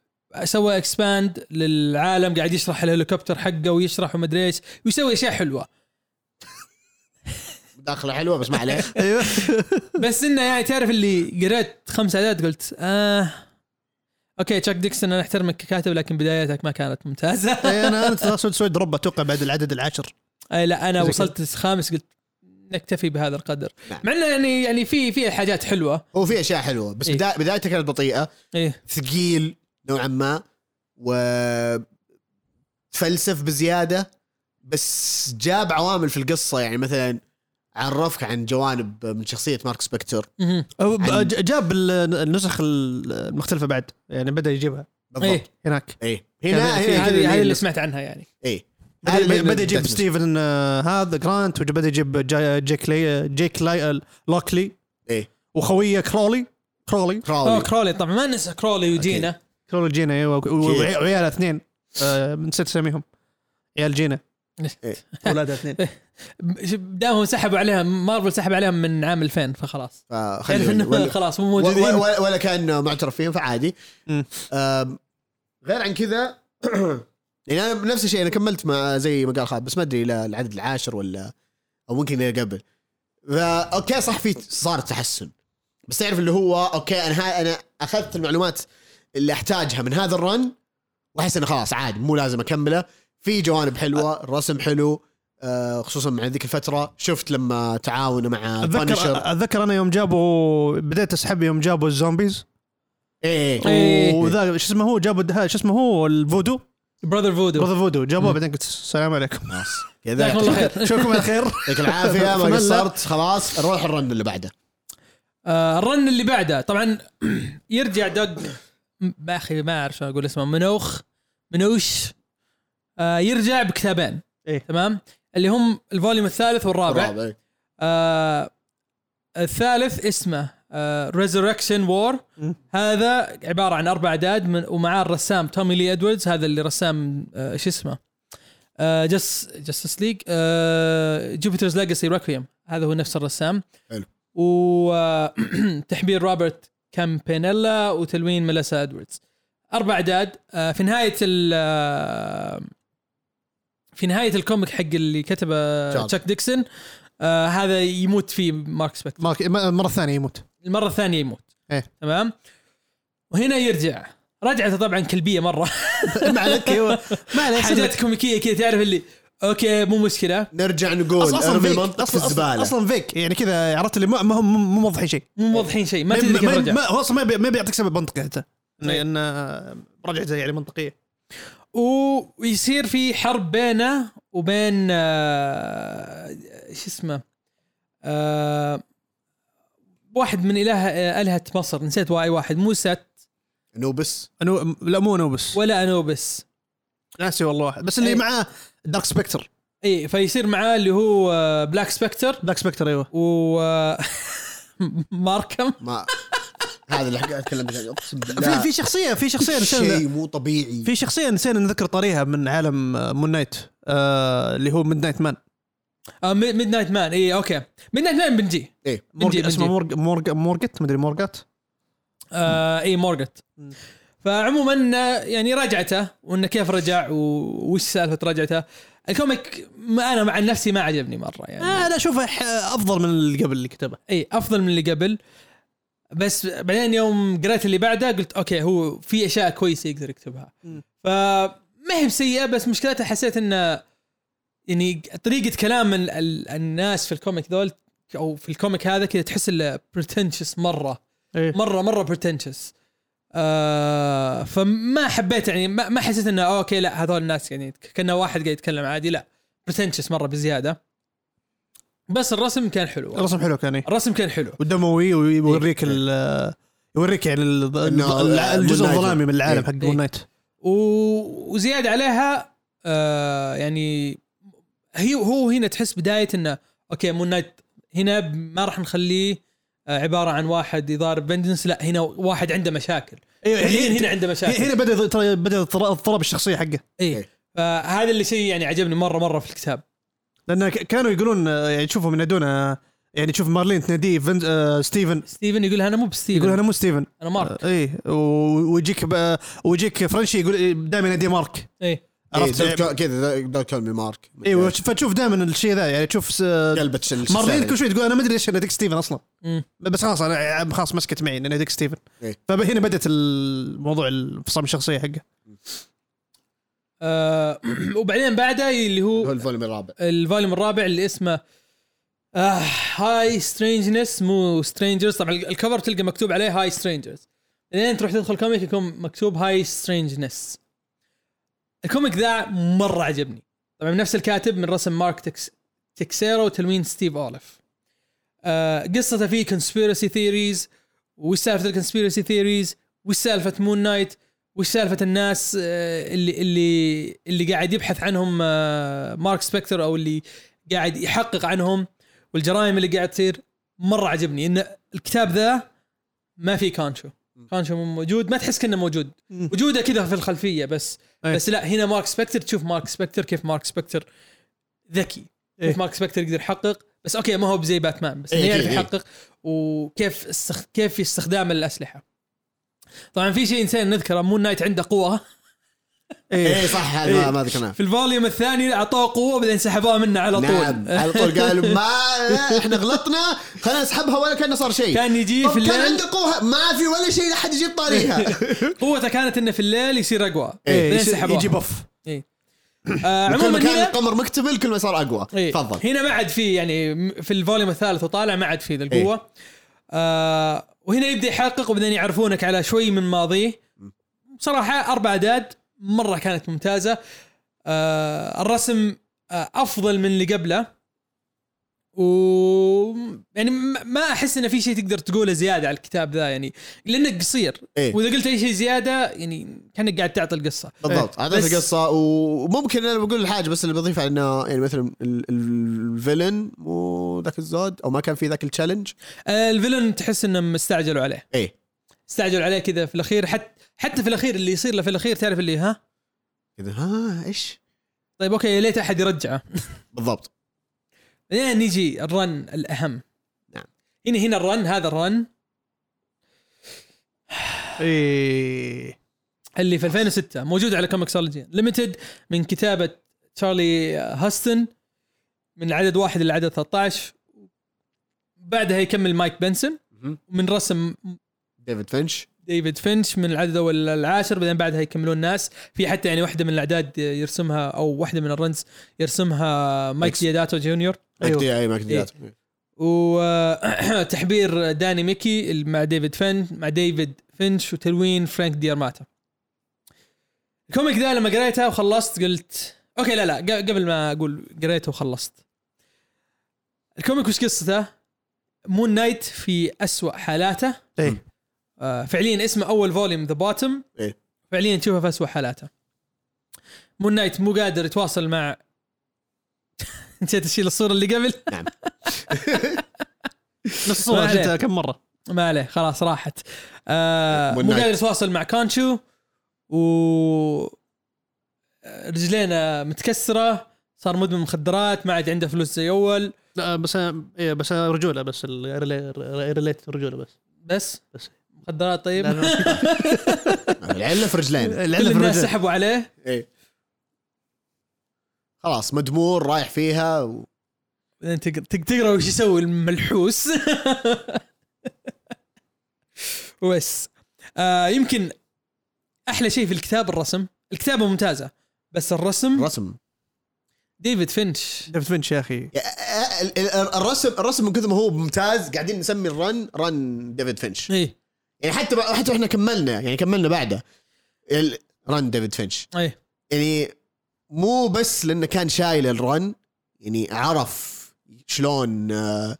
Speaker 3: سوى اكسباند للعالم قاعد يشرح الهليكوبتر حقه ويشرح ومدري ايش ويسوي اشياء حلوه
Speaker 1: داخله حلوه بس ما عليه
Speaker 2: ايوه
Speaker 3: بس انه يعني تعرف اللي قريت خمس اعداد قلت اه اوكي تشاك ديكسون انا احترمك ككاتب لكن بداياتك ما كانت ممتازه
Speaker 2: إيه، انا انا ترى سويت سويت دروب اتوقع بعد العدد العاشر
Speaker 3: اي لا انا
Speaker 2: زي
Speaker 3: وصلت الخامس قلت نكتفي بهذا القدر
Speaker 1: نعم.
Speaker 3: مع انه يعني يعني في في حاجات حلوه
Speaker 1: هو في اشياء حلوه بس
Speaker 3: إيه.
Speaker 1: بدا- بدايته كانت بطيئه
Speaker 3: ايه
Speaker 1: ثقيل نوعا ما و تفلسف بزياده بس جاب عوامل في القصه يعني مثلا عرفك عن جوانب من شخصيه مارك سبكتر
Speaker 3: مهم.
Speaker 2: أو ب-
Speaker 1: عن-
Speaker 2: ج- جاب ال- النسخ ال- المختلفه بعد يعني بدا يجيبها
Speaker 1: بالضبط
Speaker 3: ايه
Speaker 1: ايه,
Speaker 2: هناك
Speaker 1: إيه.
Speaker 2: كان
Speaker 1: هنا
Speaker 2: في-
Speaker 1: هنا
Speaker 3: يعني هذه
Speaker 1: كذا
Speaker 3: هذه اللي
Speaker 1: اللي-
Speaker 3: سمعت عنها يعني
Speaker 1: ايه
Speaker 2: بدا-
Speaker 1: هذا
Speaker 2: بدا يجيب
Speaker 1: Deathmatch.
Speaker 2: ستيفن آه، هذا جرانت وبدا يجيب جا- جيك لي جيك لي لوكلي
Speaker 1: ايه
Speaker 2: وخويه كرولي كرولي
Speaker 3: اوه
Speaker 1: كراولي
Speaker 3: كرولي طبعا ما ننسى كرولي وجينا
Speaker 2: كرولي جينا ايوه وك- وعي- وعيال اثنين آه، نسيت اسميهم عيال جينا
Speaker 1: إيه.
Speaker 2: اولادها اثنين
Speaker 3: بداهم سحبوا عليها مارفل سحب عليهم من عام 2000 فخلاص تعرف انه
Speaker 1: فخليه
Speaker 3: خلاص مو
Speaker 1: و-
Speaker 3: موجودين
Speaker 1: و- و- ولا كان معترف فيهم فعادي
Speaker 2: مم.
Speaker 1: آم، غير عن كذا يعني انا نفس الشيء انا كملت مع زي ما قال خالد بس ما ادري لا العدد العاشر ولا او ممكن إلى قبل فا اوكي صح في صار تحسن بس تعرف اللي هو اوكي انا ها انا اخذت المعلومات اللي احتاجها من هذا الرن واحس انه خلاص عادي مو لازم اكمله في جوانب حلوه الرسم حلو آه، خصوصا مع ذيك الفتره شفت لما تعاونه مع
Speaker 2: اتذكر
Speaker 1: بانشر
Speaker 2: اتذكر انا يوم جابوا بديت اسحب يوم جابوا الزومبيز
Speaker 1: ايه
Speaker 3: إيه.
Speaker 2: وذا شو اسمه هو جابوا ده- شو اسمه هو الفودو
Speaker 3: براذر فودو
Speaker 2: براذر فودو جابوه بعدين قلت السلام عليكم
Speaker 1: خلاص
Speaker 3: جزاكم الله خير
Speaker 2: شوفكم على خير
Speaker 1: يعطيك العافيه ما
Speaker 2: فمن لا.
Speaker 1: قصرت خلاص نروح الرن اللي بعده
Speaker 3: آه، الرن اللي بعده طبعا يرجع دوج ما اخي ما اعرف شلون اقول اسمه منوخ منوش آه، يرجع بكتابين
Speaker 2: إيه.
Speaker 3: تمام اللي هم الفوليوم الثالث والرابع
Speaker 1: الرابع
Speaker 3: آه الثالث اسمه آه Resurrection War
Speaker 2: مم.
Speaker 3: هذا عباره عن اربع اعداد من- ومعاه الرسام تومي لي ادواردز هذا اللي رسام آه شو اسمه آه جس جستس ليج آه جوبيترز ليجاسي ريكويم هذا هو نفس الرسام
Speaker 1: حلو.
Speaker 3: وتحبير روبرت كامبينيلا وتلوين ميليسا ادواردز اربع اعداد آه في نهايه ال آه، في نهايه الكوميك حق اللي كتبه
Speaker 1: جاد.
Speaker 3: تشاك ديكسون آه هذا يموت فيه مارك سبكتر
Speaker 2: مارك- م- مره ثانيه يموت
Speaker 3: المره الثانيه يموت
Speaker 2: إيه.
Speaker 3: تمام وهنا يرجع رجعته طبعا كلبيه مره
Speaker 2: ما عليك ايوه ما عليك
Speaker 3: حاجات كوميكيه كذا تعرف اللي اوكي مو مشكله
Speaker 1: نرجع نقول ارمي
Speaker 2: فيك.
Speaker 1: المنطق في
Speaker 2: أصلاً-
Speaker 1: الزباله
Speaker 2: اصلا فيك يعني كذا عرفت اللي ما ما هو مو موضحين شيء
Speaker 3: مو موضحين شيء إيه. ما
Speaker 2: ما-
Speaker 3: تدري كيف
Speaker 2: ما-
Speaker 3: رجع
Speaker 2: ما هو اصلا ما بي- ما بيعطيك سبب منطقي حتى لان آه، رجعته يعني منطقيه
Speaker 3: و- ويصير في حرب بينه وبين آه، شو اسمه آه، واحد من اله آه، الهه مصر نسيت واي واحد مو ست
Speaker 1: نوبس
Speaker 2: انو لا مو انوبس
Speaker 3: ولا انوبس
Speaker 2: ناسي والله واحد بس اللي
Speaker 3: إيه.
Speaker 2: معاه دارك سبكتر
Speaker 3: اي فيصير معاه اللي هو آه، بلاك سبكتر
Speaker 2: دارك سبكتر ايوه
Speaker 3: و آه، ماركم
Speaker 1: ما هذا اللي قاعد اتكلم عنه اقسم بالله
Speaker 2: في في شخصيه في شخصيه نسينا
Speaker 1: شيء مو طبيعي
Speaker 2: في شخصيه نسينا نذكر طريقها من عالم مون نايت آه اللي هو ميد نايت مان
Speaker 3: ميد نايت مان اي اوكي ميد نايت مان بنجي
Speaker 1: ايه
Speaker 2: مورج
Speaker 3: بنجي.
Speaker 2: اسمه مورج مورج مورجت مدري مورجت
Speaker 3: آه اي مورجت فعموما آه، يعني رجعته وانه كيف رجع و- وش سالفه رجعته الكوميك ما انا مع نفسي ما عجبني مره يعني
Speaker 2: آه انا اشوفه ح- افضل من اللي قبل اللي كتبه
Speaker 3: اي افضل من اللي قبل بس بعدين يوم قريت اللي بعده قلت اوكي هو في اشياء كويسه يقدر يكتبها
Speaker 2: مم.
Speaker 3: فما هي بسيئه بس مشكلتها حسيت انه يعني طريقه كلام ال- ال- الناس في الكوميك ذول او في الكوميك هذا كذا تحس انه بريتنشس مره
Speaker 2: إيه.
Speaker 3: مره مره بريتنشس آه فما حبيت يعني ما, ما حسيت انه اوكي لا هذول الناس يعني كانه واحد قاعد يتكلم عادي لا بريتنشس مره بزياده بس الرسم كان حلو
Speaker 2: الرسم حلو كان إيه.
Speaker 3: الرسم كان حلو
Speaker 2: ودموي ويوريك ال يوريك يعني ال-
Speaker 1: إنه
Speaker 2: ال- الجزء
Speaker 1: Moon Knight.
Speaker 2: الظلامي من العالم
Speaker 1: إيه.
Speaker 2: حق
Speaker 3: إيه.
Speaker 2: مون نايت
Speaker 3: و- وزياده عليها آه يعني هي هو هنا تحس بدايه انه اوكي مون نايت هنا ب- ما راح نخليه آه، عباره عن واحد يضارب بندنس لا هنا واحد عنده مشاكل
Speaker 2: إيه،
Speaker 3: هنا هنا عنده مشاكل
Speaker 2: هنا بدا ترى بدا اضطراب اضطراب الشخصيه حقه
Speaker 3: اي فهذا اللي شيء يعني عجبني مره مره في الكتاب
Speaker 2: لان ك- كانوا يقولون آه، يعني تشوفهم ينادون آه، يعني تشوف مارلين تناديه فين- آه، ستيفن
Speaker 3: ستيفن يقول انا مو بستيفن
Speaker 2: يقول انا مو آه. ستيفن
Speaker 3: انا مارك
Speaker 2: اي ويجيك ب- آه، ويجيك فرنشي يقول دائما يناديه مارك
Speaker 3: اي
Speaker 2: عرفت
Speaker 1: عرفت كذا دونت كول مي مارك
Speaker 2: ايوه فتشوف دائما الشيء ذا يعني تشوف آه،
Speaker 1: قلبت ال-
Speaker 2: مارلين كل شوي تقول انا ما ادري ليش ناديك ستيفن اصلا
Speaker 3: مم.
Speaker 2: بس خلاص انا خلاص مسكت معي ناديك ستيفن
Speaker 1: إيه.
Speaker 2: فهنا بدات الموضوع انفصام الشخصيه حقه
Speaker 3: آه وبعدين بعده اللي هو
Speaker 1: هو الفوليوم الرابع
Speaker 3: الفوليوم الرابع اللي اسمه آه هاي سترينجنس مو سترينجرز طبعا الكفر تلقى مكتوب عليه هاي سترينجرز لين تروح تدخل كوميك يكون مكتوب هاي سترينجنس الكوميك ذا مره عجبني طبعا من نفس الكاتب من رسم مارك تكس تكسيرو وتلوين ستيف اولف آه قصته فيه كونسبيرسي ثيريز وسالفه الكونسبيرسي ثيريز وسالفه مون نايت وش سالفه الناس آه، اللي اللي اللي قاعد يبحث عنهم آه، مارك سبكتر او اللي قاعد يحقق عنهم والجرائم اللي قاعد تصير مره عجبني ان الكتاب ذا ما في كانشو كانشو مو موجود ما تحس كانه موجود
Speaker 2: مم.
Speaker 3: وجوده كذا في الخلفيه بس
Speaker 2: إيه.
Speaker 3: بس لا هنا مارك سبكتر تشوف مارك سبكتر كيف مارك سبكتر ذكي
Speaker 2: إيه.
Speaker 3: كيف مارك سبكتر يقدر يحقق بس اوكي ما هو بزي باتمان بس انه
Speaker 5: إيه،
Speaker 3: يعرف
Speaker 5: إيه، إيه.
Speaker 3: يحقق وكيف استخ... كيف في استخدام الاسلحه طبعا في شيء نسينا نذكره مون نايت عنده قوه
Speaker 2: ايه
Speaker 1: اي صح هذا
Speaker 3: إيه.
Speaker 1: ما- ما ذكرناه
Speaker 3: في الفوليوم الثاني اعطوه قوه بعدين سحبوها منه على طول
Speaker 1: نعم على طول قالوا ما لا، احنا غلطنا خلينا نسحبها ولا كان صار شيء
Speaker 3: كان يجي في
Speaker 1: طب كان
Speaker 3: الليل
Speaker 1: عنده قوه ما في ولا شيء احد يجيب طاريها
Speaker 3: قوته كانت انه في الليل يصير اقوى
Speaker 2: إيه،
Speaker 3: بعدين
Speaker 2: يصير-
Speaker 3: سحبوها.
Speaker 2: يجي بف
Speaker 3: آه
Speaker 1: كل
Speaker 3: عموما
Speaker 1: ما كان
Speaker 3: هنا
Speaker 1: القمر مكتمل كل ما صار اقوى
Speaker 3: إيه.
Speaker 1: تفضل
Speaker 3: هنا ما عاد في يعني م- في الفوليوم الثالث وطالع ما عاد في ذا القوه آه وهنا يبدا يحقق وبعدين يعرفونك على شوي من ماضيه بصراحه اربع اعداد مره كانت ممتازه آه الرسم آه افضل من اللي قبله و يعني ما- ما احس انه في شيء تقدر تقوله زياده على الكتاب ذا يعني لانه قصير
Speaker 1: إيه.
Speaker 3: واذا قلت اي شيء زياده يعني كانك قاعد تعطي القصه
Speaker 1: بالضبط
Speaker 3: إيه، بس-
Speaker 1: اعطيت القصه وممكن انا بقول الحاجه بس اللي بضيفها انه يعني مثلا ال- ال- الفيلن مو ذاك الزود او ما كان في ذاك التشالنج
Speaker 3: آه الفيلن تحس انهم استعجلوا عليه
Speaker 1: ايه
Speaker 3: استعجل عليه كذا في الاخير حتى حتى في الاخير اللي يصير له في الاخير تعرف اللي ها
Speaker 1: كذا ها ايش
Speaker 3: طيب اوكي يا ليت احد يرجعه
Speaker 1: بالضبط
Speaker 3: بعدين نيجي الرن الاهم
Speaker 1: نعم.
Speaker 3: هنا هنا الرن هذا الرن
Speaker 2: ايه
Speaker 3: اللي في 2006 موجود على كوميكسولوجي ليمتد من كتابه تشارلي هاستن من العدد واحد الى العدد 13 بعدها يكمل مايك بنسون
Speaker 1: مهم.
Speaker 3: من رسم
Speaker 1: ديفيد فينش
Speaker 3: ديفيد فينش من العدد الاول للعاشر بعدين بعدها يكملون ناس في حتى يعني واحده من الاعداد يرسمها او واحده من الرنز يرسمها مايك
Speaker 1: Mike.
Speaker 3: دياداتو جونيور
Speaker 1: ماك
Speaker 2: أيوة.
Speaker 1: دي اي ماك دي
Speaker 3: إيه.
Speaker 1: آت.
Speaker 3: وتحبير داني ميكي مع ديفيد فين مع ديفيد فينش وتلوين فرانك ديارماتا الكوميك ذا لما قريته وخلصت قلت اوكي لا لا ق- قبل ما اقول قريته وخلصت الكوميك وش قصته؟ مون نايت في أسوأ حالاته
Speaker 2: ايه
Speaker 3: آه، فعليا اسمه اول فوليوم ذا باتم
Speaker 1: إيه.
Speaker 3: فعليا تشوفه في اسوء حالاته مون نايت مو قادر يتواصل مع نسيت اشيل الصوره اللي قبل
Speaker 1: نعم
Speaker 2: نفس الصورة
Speaker 3: ما عليه.
Speaker 2: شفتها كم مرة
Speaker 3: ما عليه خلاص راحت آه
Speaker 1: Moon
Speaker 3: مو
Speaker 1: Knight.
Speaker 3: قادر يتواصل مع كانشو و رجلينا متكسره صار مدمن مخدرات ما عاد عنده فلوس زي اول
Speaker 2: لا بس أنا- إيه بس أنا رجولة بس ال- ريلي- ريلي- ريليت رجولة بس
Speaker 3: بس
Speaker 2: بس.
Speaker 3: مخدرات طيب
Speaker 2: لا، لا.
Speaker 1: العله في رجلين
Speaker 2: العلة
Speaker 3: كل
Speaker 2: في
Speaker 3: الناس
Speaker 2: الرجل.
Speaker 3: سحبوا عليه
Speaker 1: ايه خلاص مدمور رايح فيها و...
Speaker 3: بعدين تق- تق- تقرا وش يسوي الملحوس وبس آه يمكن احلى شيء في الكتاب الرسم الكتابه ممتازه بس الرسم
Speaker 1: رسم
Speaker 3: ديفيد فينش
Speaker 2: ديفيد فينش يا اخي
Speaker 1: يا- ال- ال- الرسم الرسم من كثر ما هو ممتاز قاعدين نسمي الرن رن ديفيد فينش
Speaker 3: ايه
Speaker 1: يعني حتى بع- حتى احنا كملنا يعني كملنا بعده ال- رن ديفيد فينش
Speaker 3: ايه
Speaker 1: يعني مو بس لانه كان شايل الرن يعني عرف شلون آه،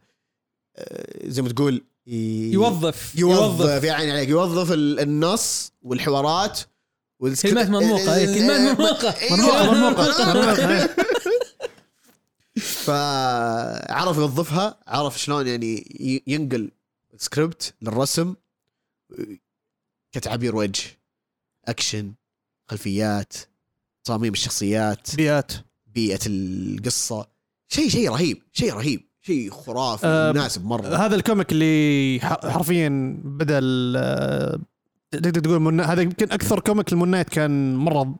Speaker 1: آه، زي ما تقول ي-
Speaker 3: يوظف
Speaker 1: يوظف يعني عليك يوظف ال- النص والحوارات والسك-
Speaker 3: كلمات مرموقة، إيه، كلمات
Speaker 1: ال-
Speaker 3: مرموقة.
Speaker 1: إيه،
Speaker 3: مرموقة،
Speaker 2: مرموقة. مرموقة.
Speaker 1: فعرف يوظفها عرف شلون يعني ي- ينقل سكريبت للرسم كتعابير وجه اكشن خلفيات تصاميم الشخصيات
Speaker 2: بيئات
Speaker 1: بيئه القصه شيء شيء رهيب شيء رهيب شيء خرافي
Speaker 2: أه،
Speaker 1: مناسب مره
Speaker 2: هذا الكوميك اللي ح- حرفيا بدا ال- تقدر تقول من هذا يمكن اكثر كوميك المون نايت كان مره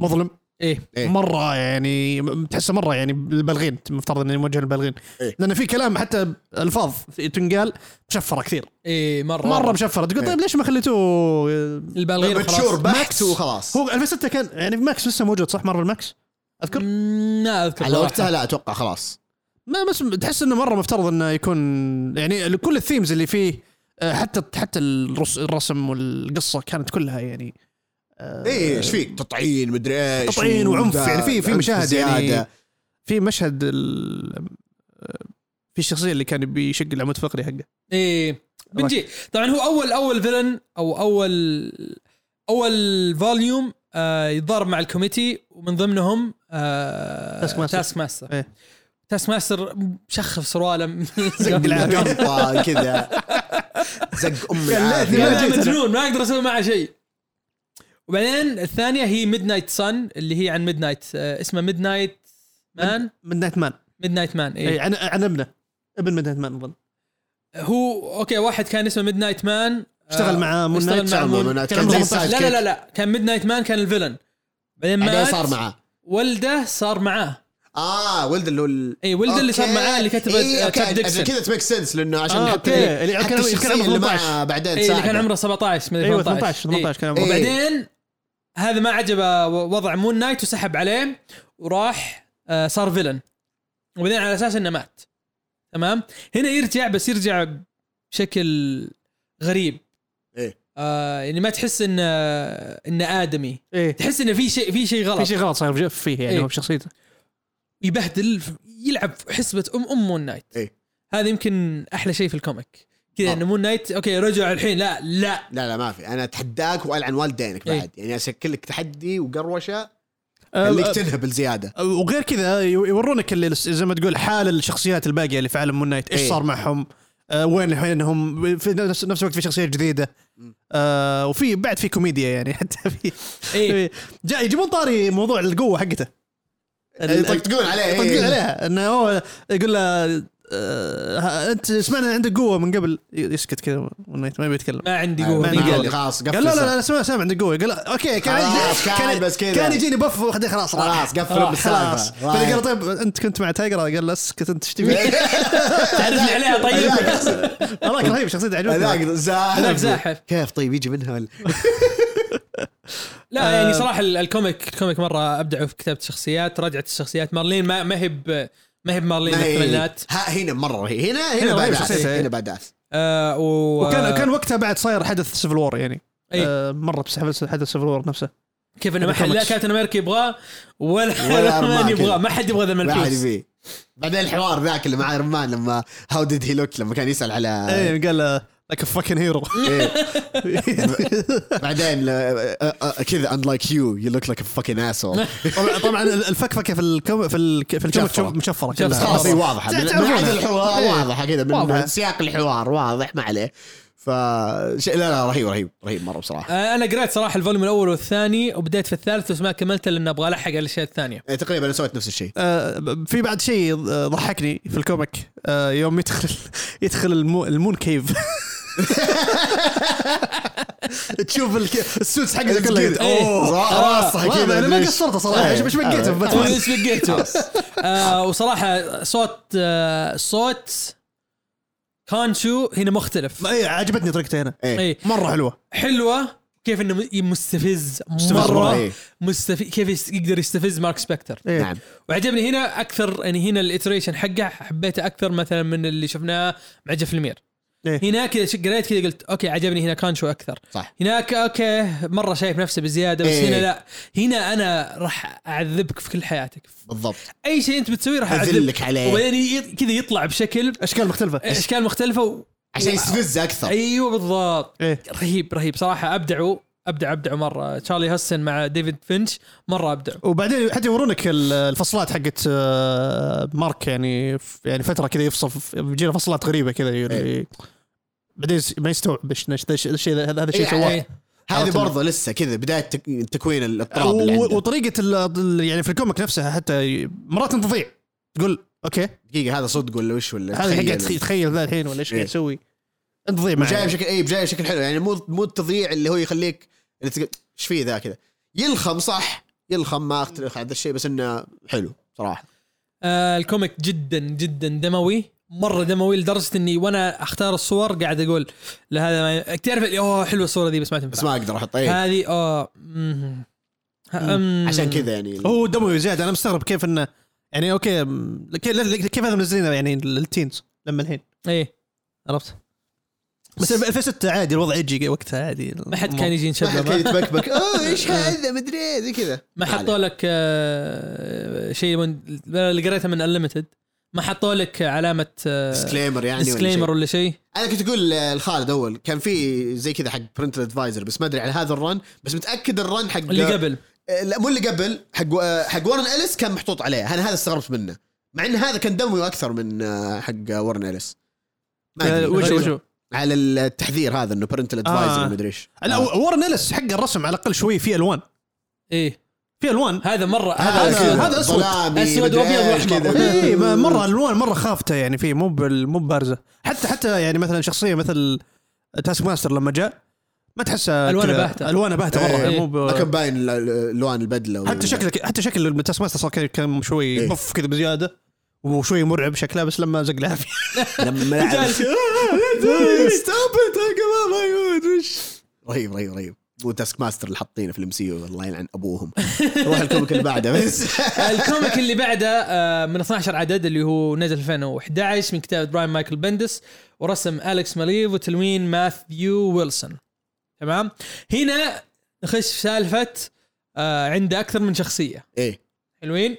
Speaker 2: مظلم
Speaker 3: ايه
Speaker 1: إيه.
Speaker 2: مره يعني م- تحسه مره يعني بالبالغين مفترض انه موجه للبالغين
Speaker 1: إيه.
Speaker 2: لان في كلام حتى الفاظ تنقال مشفره كثير
Speaker 3: ايه مره
Speaker 2: مره مشفره تقول
Speaker 1: إيه.
Speaker 2: طيب ليش ما خليتوه
Speaker 3: البالغين
Speaker 1: بتشور
Speaker 2: ماكس.
Speaker 1: بحت طيب، وخلاص
Speaker 2: هو 2006 كان يعني ماكس لسه موجود صح مارفل ماكس اذكر
Speaker 3: ما اذكر
Speaker 1: على
Speaker 3: صراحة.
Speaker 1: وقتها لا اتوقع خلاص
Speaker 2: ما بس تحس انه مره مفترض انه يكون يعني كل الثيمز اللي فيه آه، حتى حتى الرس- الرسم والقصه كانت كلها يعني آه،
Speaker 1: ايه ايش فيك تطعين مدري ايش
Speaker 2: تطعين وعنف
Speaker 1: وذا-
Speaker 2: يعني في في
Speaker 1: عنف
Speaker 2: مشاهد يعني
Speaker 1: زيادة.
Speaker 2: في مشهد ال- آه، في الشخصيه اللي كان بيشق العمود
Speaker 3: إيه،
Speaker 2: الفقري حقه
Speaker 3: ايه بنجي طبعا هو اول اول فيلن او اول اول فوليوم آه يتضارب مع الكوميتي ومن ضمنهم آه
Speaker 2: تاسك ماستر.
Speaker 3: تاسك ماستر
Speaker 2: إيه.
Speaker 3: تاسك ماستر مشخف سرواله من-
Speaker 1: زق بالقبطه كذا زق ام
Speaker 2: ما
Speaker 1: العافيه
Speaker 3: لا،
Speaker 2: جيت أنا.
Speaker 3: مجنون ما اقدر اسوي معه شيء وبعدين الثانيه هي ميد نايت سن اللي هي عن ميد نايت اسمه ميد نايت مان
Speaker 2: ميد نايت مان
Speaker 3: ميد نايت مان
Speaker 2: اي
Speaker 1: إيه،
Speaker 3: اي
Speaker 2: إيه، عن عن ابنه ابن ميد نايت مان اظن
Speaker 3: هو اوكي واحد كان اسمه ميد نايت مان
Speaker 2: اشتغل مع مون
Speaker 3: اشتغل
Speaker 2: نايت
Speaker 3: مع مون
Speaker 1: مون نايت.
Speaker 2: كان
Speaker 1: كان
Speaker 2: عمره
Speaker 1: زي
Speaker 2: 18.
Speaker 1: سايد
Speaker 3: لا لا لا
Speaker 1: كيك.
Speaker 3: لا كان ميد نايت مان كان الفيلن بعدين
Speaker 1: بعدين
Speaker 3: مات
Speaker 1: صار معاه
Speaker 3: ولده صار معاه
Speaker 1: اه ولد اللي هو ال-
Speaker 3: اي ولده اللي صار
Speaker 1: أوكي.
Speaker 3: معاه اللي كتب
Speaker 1: إيه، أوكي.
Speaker 3: تاب
Speaker 1: عشان
Speaker 3: ديكسون
Speaker 1: كذا تميك سنس لانه عشان
Speaker 2: آه،
Speaker 1: حتى
Speaker 2: أوكي. اللي كان-
Speaker 1: حتى
Speaker 2: كان
Speaker 1: الشخصيه
Speaker 2: عمره إيه،
Speaker 1: اللي
Speaker 2: 18.
Speaker 1: معه بعدين
Speaker 3: اي إيه، اللي كان
Speaker 1: ساعده.
Speaker 3: عمره 17 مدري
Speaker 2: ايوه
Speaker 3: 18
Speaker 2: 18 18 كان
Speaker 1: إيه.
Speaker 2: عمره
Speaker 3: وبعدين هذا ما عجبه وضع مون نايت وسحب عليه وراح آه، صار فيلن وبعدين على اساس انه مات تمام هنا يرجع بس يرجع بشكل غريب
Speaker 1: إيه.
Speaker 3: آه يعني ما تحس انه انه ادمي
Speaker 2: ايه
Speaker 3: تحس انه في شيء في شيء
Speaker 2: إيه، في
Speaker 3: غلط
Speaker 2: شيء غلط صاير في- فيه يعني
Speaker 3: إيه.
Speaker 2: هو بشخصيته
Speaker 3: يبهدل يلعب في حسبه ام ام مون نايت
Speaker 1: إيه.
Speaker 3: هذا يمكن احلى شيء في الكوميك كذا
Speaker 1: آه.
Speaker 3: ان مون نايت اوكي رجع الحين لا لا
Speaker 1: لا لا ما في انا اتحداك والعن والدينك
Speaker 3: إيه.
Speaker 1: بعد يعني اشكل لك تحدي وقروشه
Speaker 2: آه،
Speaker 1: خليك
Speaker 2: آه،
Speaker 1: تنهبل زياده
Speaker 2: وغير كذا يو- يورونك اللي زي ما تقول حال الشخصيات الباقيه اللي في عالم مون نايت ايش
Speaker 1: إيه.
Speaker 2: صار معهم آه وين الحين هم في نفس نفس الوقت في شخصيات جديده آه وفي بعد في كوميديا يعني حتى في
Speaker 3: إيه.
Speaker 2: جاء يجيبون طاري موضوع القوه حقته
Speaker 1: يطقطقون عليه إيه.
Speaker 2: يطقطقون عليها انه هو يقول له آه ها- انت سمعنا عندك قوه من قبل يسكت كذا مون نايت ما يبي يتكلم
Speaker 3: ما عندي
Speaker 1: آه،
Speaker 3: قوه
Speaker 1: ما
Speaker 2: عندي
Speaker 3: ما
Speaker 2: قوة.
Speaker 3: قادر.
Speaker 1: عندي، خلاص قفل
Speaker 2: قال لا لا
Speaker 1: السالفة.
Speaker 2: لا سمع سامع عندك قوه قال اوكي كان
Speaker 1: خلاص، كان
Speaker 2: كان
Speaker 1: بس كذا.
Speaker 2: كان يجيني بف واحده خلاص راح.
Speaker 1: خلاص قفل
Speaker 3: راح،
Speaker 2: خلاص
Speaker 1: بالسالفه
Speaker 2: فأنا قال طيب انت كنت مع تايجر قال لا اسكت انت ايش تبي؟
Speaker 3: تعرف لي عليها طيب
Speaker 2: هذاك رهيب شخصيته عجبتني
Speaker 1: هذاك
Speaker 3: هذاك
Speaker 1: زاحف
Speaker 3: زاحف.
Speaker 1: كيف طيب يجي منها ولا
Speaker 3: لا يعني
Speaker 1: آه.
Speaker 3: صراحه ال- الكوميك الكوميك مره ابدعوا في كتابه الشخصيات رجعت الشخصيات مارلين ما ما هي ب- ما هي بمارلين
Speaker 1: ما هي-
Speaker 3: الثمانينات
Speaker 1: ها هنا مره هي هنا
Speaker 2: هنا
Speaker 1: هنا
Speaker 2: رهيب
Speaker 1: باداس
Speaker 2: شخصيتها، إيه.
Speaker 1: هنا باداس
Speaker 3: آه و...
Speaker 2: وكان كان وقتها بعد صاير حدث سيفل وور يعني
Speaker 3: إيه.
Speaker 2: آه مرت بسحب حدث سيفل وور نفسه
Speaker 3: كيف انه ما حد لا
Speaker 2: الكوميكس.
Speaker 3: كابتن امريكا يبغاه ولا
Speaker 1: ولا
Speaker 3: ولا مان
Speaker 1: أرمان
Speaker 3: يبغاه
Speaker 1: كذا.
Speaker 3: ما حد يبغى ذا
Speaker 1: ما حد
Speaker 3: الملحوس
Speaker 1: يبيه بعدين الحوار ذاك اللي مع ايرون مان لما هاو ديد هي لوك لما كان يسال على
Speaker 2: ايه قال لك فاكن هيرو
Speaker 1: إيه. بعدين ل- أ- أ- كذا unlike you you look like a fucking asshole
Speaker 2: طبعا الفكفكه في الكم في الك- في الكوميك
Speaker 1: مشفرة. أيوة.
Speaker 2: مشفره
Speaker 3: مشفرة.
Speaker 2: كلها.
Speaker 1: خلاص هي واضحه آه، من من
Speaker 2: تعرفونها.
Speaker 1: عاد الحوار
Speaker 2: إيه.
Speaker 1: واضحه كذا من
Speaker 2: واضحة.
Speaker 1: من سياق الحوار واضح ما عليه ف شيء- لا لا رهيب رهيب رهيب مره بصراحه
Speaker 3: آه انا قريت صراحه الفوليوم الاول والثاني وبديت في الثالث بس ما كملته لان ابغى الحق على الاشياء الثانيه
Speaker 1: إيه، تقريبا انا سويت نفس الشيء
Speaker 2: آه، ب- في بعد شيء آه، ضحكني في الكوميك آه، يوم يدخل يدخل المو المون كيف تشوف الك- السوتس حقه كله
Speaker 3: إيه.
Speaker 1: راسه
Speaker 2: والله
Speaker 1: كذا
Speaker 2: انا آه، ما
Speaker 1: ليش؟
Speaker 2: قصرت صراحه ايش
Speaker 1: إيه.
Speaker 2: ايش بقيته في باتمان
Speaker 3: بس بقيته آه وصراحه صوت آه صوت كانشو هنا مختلف
Speaker 2: اي إيه. عجبتني طريقته هنا
Speaker 1: إيه.
Speaker 3: اي
Speaker 2: مره حلوه
Speaker 3: حلوه كيف انه م- مستفز
Speaker 1: مستفز مرة،
Speaker 3: مره
Speaker 1: إيه.
Speaker 3: مستفز كيف يس- يقدر يستفز مارك سبكتر
Speaker 2: إيه.
Speaker 1: نعم
Speaker 3: وعجبني هنا اكثر يعني هنا الاتريشن حقه حبيته اكثر مثلا من اللي شفناه مع جيف المير
Speaker 2: إيه.
Speaker 3: هنا كذا ش- قريت كذا قلت اوكي عجبني هنا كانشو اكثر
Speaker 1: صح.
Speaker 3: هناك اوكي مره شايف نفسه بزياده بس
Speaker 1: إيه.
Speaker 3: هنا لا هنا انا راح اعذبك في كل حياتك
Speaker 1: بالضبط
Speaker 3: اي شيء انت بتسويه راح
Speaker 1: اذلك
Speaker 3: اعذبك
Speaker 1: عليه
Speaker 3: وبعدين ي- كذا يطلع بشكل
Speaker 2: اشكال مختلفه
Speaker 3: اشكال مختلفه و...
Speaker 1: عشان يستفز اكثر
Speaker 3: ايوه بالضبط
Speaker 2: ايه
Speaker 3: رهيب رهيب صراحه ابدعوا ابدعوا ابدعوا مره تشارلي هاسن مع ديفيد فينش مره ابدعوا
Speaker 2: وبعدين حتى يورونك ال- الفصلات حقت آه، مارك يعني ف- يعني فتره كذا يفصل ف- بيجينا فصلات غريبه كذا ي- بعدين س- ما يستوعب إيش- إيش- إيش- الشيء هذا هذا الشيء
Speaker 1: إيه،
Speaker 2: سواه
Speaker 3: إيه.
Speaker 1: هذه
Speaker 2: عرفت
Speaker 1: برضه لسه كذا بدايه تك- تكوين الاضطراب اللي
Speaker 2: و-
Speaker 1: عنده
Speaker 2: وطريقه ال- ال- يعني في الكوميك نفسها حتى ي- مرات انت تضيع تقول اوكي
Speaker 1: دقيقه هذا صدق ولا وش ولا
Speaker 2: هذا
Speaker 1: تخيل
Speaker 2: قاعد تخ- تخيل ذا الحين ولا ايش
Speaker 1: يعني. إيه.
Speaker 2: قاعد يسوي انت تضيع معه
Speaker 1: جاي بشكل اي جاي بشكل حلو يعني مو مو التضييع اللي هو يخليك اللي تقول ايش فيه ذا كذا يلخم صح يلخم ما اختلف عن ذا الشيء بس انه حلو صراحه
Speaker 3: آه الكوميك جدا جدا دموي مره دموي لدرجه اني وانا اختار الصور قاعد اقول لهذا ما تعرف اللي، اوه حلوه الصوره دي بس ما
Speaker 1: بس
Speaker 3: تنفع
Speaker 1: ما اقدر احط اي
Speaker 3: هذه اوه مم. ها- مم.
Speaker 1: عشان كذا يعني
Speaker 2: هو دموي زياده انا مستغرب كيف انه يعني اوكي م- كي- كيف هذا منزلينه يعني للتينز لما الحين
Speaker 3: ايه
Speaker 2: عرفت؟ بس 2006 عادي الوضع يجي وقتها عادي
Speaker 3: ما حد كان يجي
Speaker 1: ما حد كان
Speaker 3: نشبه
Speaker 1: يتبكبك اوه ايش هذا مدري إيه، زي كذا
Speaker 3: ما
Speaker 1: عليه.
Speaker 3: حطوا لك آه شيء من اللي قريته من انليمتد ما حطوا لك علامه
Speaker 1: ديسكليمر يعني
Speaker 3: ديسكليمر
Speaker 1: ولا
Speaker 3: ولا شيء
Speaker 1: شيء. انا كنت اقول آه، لخالد اول كان في زي كذا حق برنت ادفايزر بس ما ادري على هذا الرن بس متاكد الرن حق
Speaker 3: اللي قبل
Speaker 1: آه، لا مو اللي قبل حق آه، حق ورن اليس كان محطوط عليه انا هذا استغربت منه مع ان هذا كان دموي اكثر من آه، حق آه، ورن اليس ما أدري.
Speaker 3: وشو وشو
Speaker 1: على التحذير هذا انه برنت ادفايزر
Speaker 2: آه، آه.
Speaker 1: مدري ايش
Speaker 2: لا
Speaker 1: آه.
Speaker 2: وارن اليس حق الرسم على الاقل شوي فيه الوان
Speaker 3: ايه
Speaker 2: فيه الوان
Speaker 3: هذا مره
Speaker 1: هذا
Speaker 3: هذا-
Speaker 1: كذا،
Speaker 2: هذا أسود.
Speaker 1: ظلامي،
Speaker 3: أسود
Speaker 1: مدري
Speaker 3: وأبيض
Speaker 1: إيش
Speaker 3: وأحمر.
Speaker 1: كذا.
Speaker 2: اي إيه، ما- مره الوان مره خافته يعني فيه مو بال- مو بارزه حتى حتى يعني مثلا شخصيه مثل تاسك ماستر لما جاء ما تحسها
Speaker 3: ألوانه
Speaker 2: كذا-
Speaker 3: باهتة.
Speaker 2: الوانه باهته مره
Speaker 1: إيه.
Speaker 2: يعني مو
Speaker 1: ما كان
Speaker 2: ب...
Speaker 1: باين ال- ال- الوان البدله وال-
Speaker 2: حتى شكل حتى شكل تاسك ماستر صار كان- كان شوي
Speaker 1: إيه.
Speaker 2: بف كذا بزياده وشوي مرعب شكلها بس لما زق العافيه
Speaker 1: لما لعب
Speaker 2: ستوب يا جماعه
Speaker 1: رهيب رهيب رهيب مو تاسك ماستر اللي حاطينه في الام سي الله يلعن ابوهم روح الكوميك اللي بعده بس
Speaker 3: الكوميك اللي بعده آه، من 12 عدد اللي هو نزل 2011 من كتابة براين مايكل بندس ورسم أليكس ماليف وتلوين ماثيو ويلسون تمام هنا نخش في سالفة آه، عنده أكثر من شخصية
Speaker 1: ايه
Speaker 3: حلوين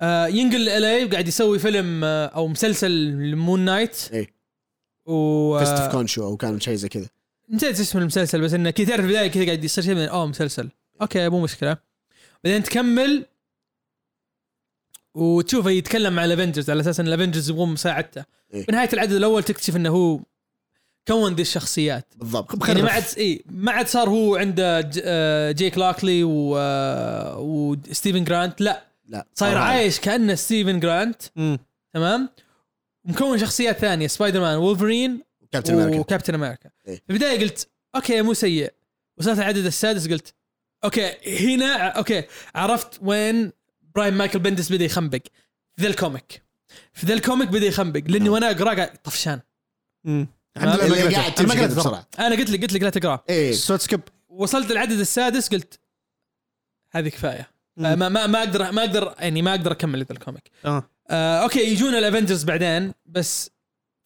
Speaker 3: آه، ينقل لألي وقاعد يسوي فيلم آه، أو مسلسل مون نايت
Speaker 1: إيه.
Speaker 3: و آه،
Speaker 1: فيست اوف كونشو او كان شيء زي كذا
Speaker 3: نسيت اسم المسلسل بس انه كذا تعرف في البدايه كذا قاعد يصير شيء من اوه مسلسل اوكي مو مشكله بعدين تكمل وتشوفه يتكلم مع الافنجرز على اساس ان الافنجرز يبغون مساعدته
Speaker 1: إيه.
Speaker 3: بنهايه العدد الاول تكتشف انه هو كون ذي الشخصيات
Speaker 1: بالضبط
Speaker 3: يعني ما عاد اي ما عاد صار هو عنده ج... آه، جيك لاكلي و... آه، وستيفن جرانت لا
Speaker 1: لا
Speaker 3: صاير
Speaker 1: آه.
Speaker 3: عايش كانه ستيفن جرانت تمام ومكون شخصيات ثانيه سبايدر مان وولفرين
Speaker 1: كابتن امريكا
Speaker 3: وكابتن امريكا
Speaker 1: إيه.
Speaker 3: في البدايه قلت اوكي مو سيء وصلت العدد السادس قلت اوكي هنا ع- اوكي عرفت وين براين مايكل بندس بدا يخنبق في ذا الكوميك في ذا الكوميك بدا يخنبق لاني وانا اقرا قاعد طفشان
Speaker 2: الحمد لله
Speaker 1: اللي
Speaker 2: ما
Speaker 1: قاعد
Speaker 2: قريته. أنا ما
Speaker 1: تمشي
Speaker 2: قريته
Speaker 1: كذا
Speaker 2: بصراحه
Speaker 1: بسرعه
Speaker 3: انا قلت لك قلت لك لا تقرا
Speaker 1: ايه
Speaker 2: سويت سكيب
Speaker 3: وصلت العدد السادس قلت هذه كفايه
Speaker 2: مم.
Speaker 3: ما ما ما اقدر ما اقدر يعني ما اقدر اكمل ذا الكوميك
Speaker 2: اه
Speaker 3: آه، اوكي يجونا الافنجرز بعدين بس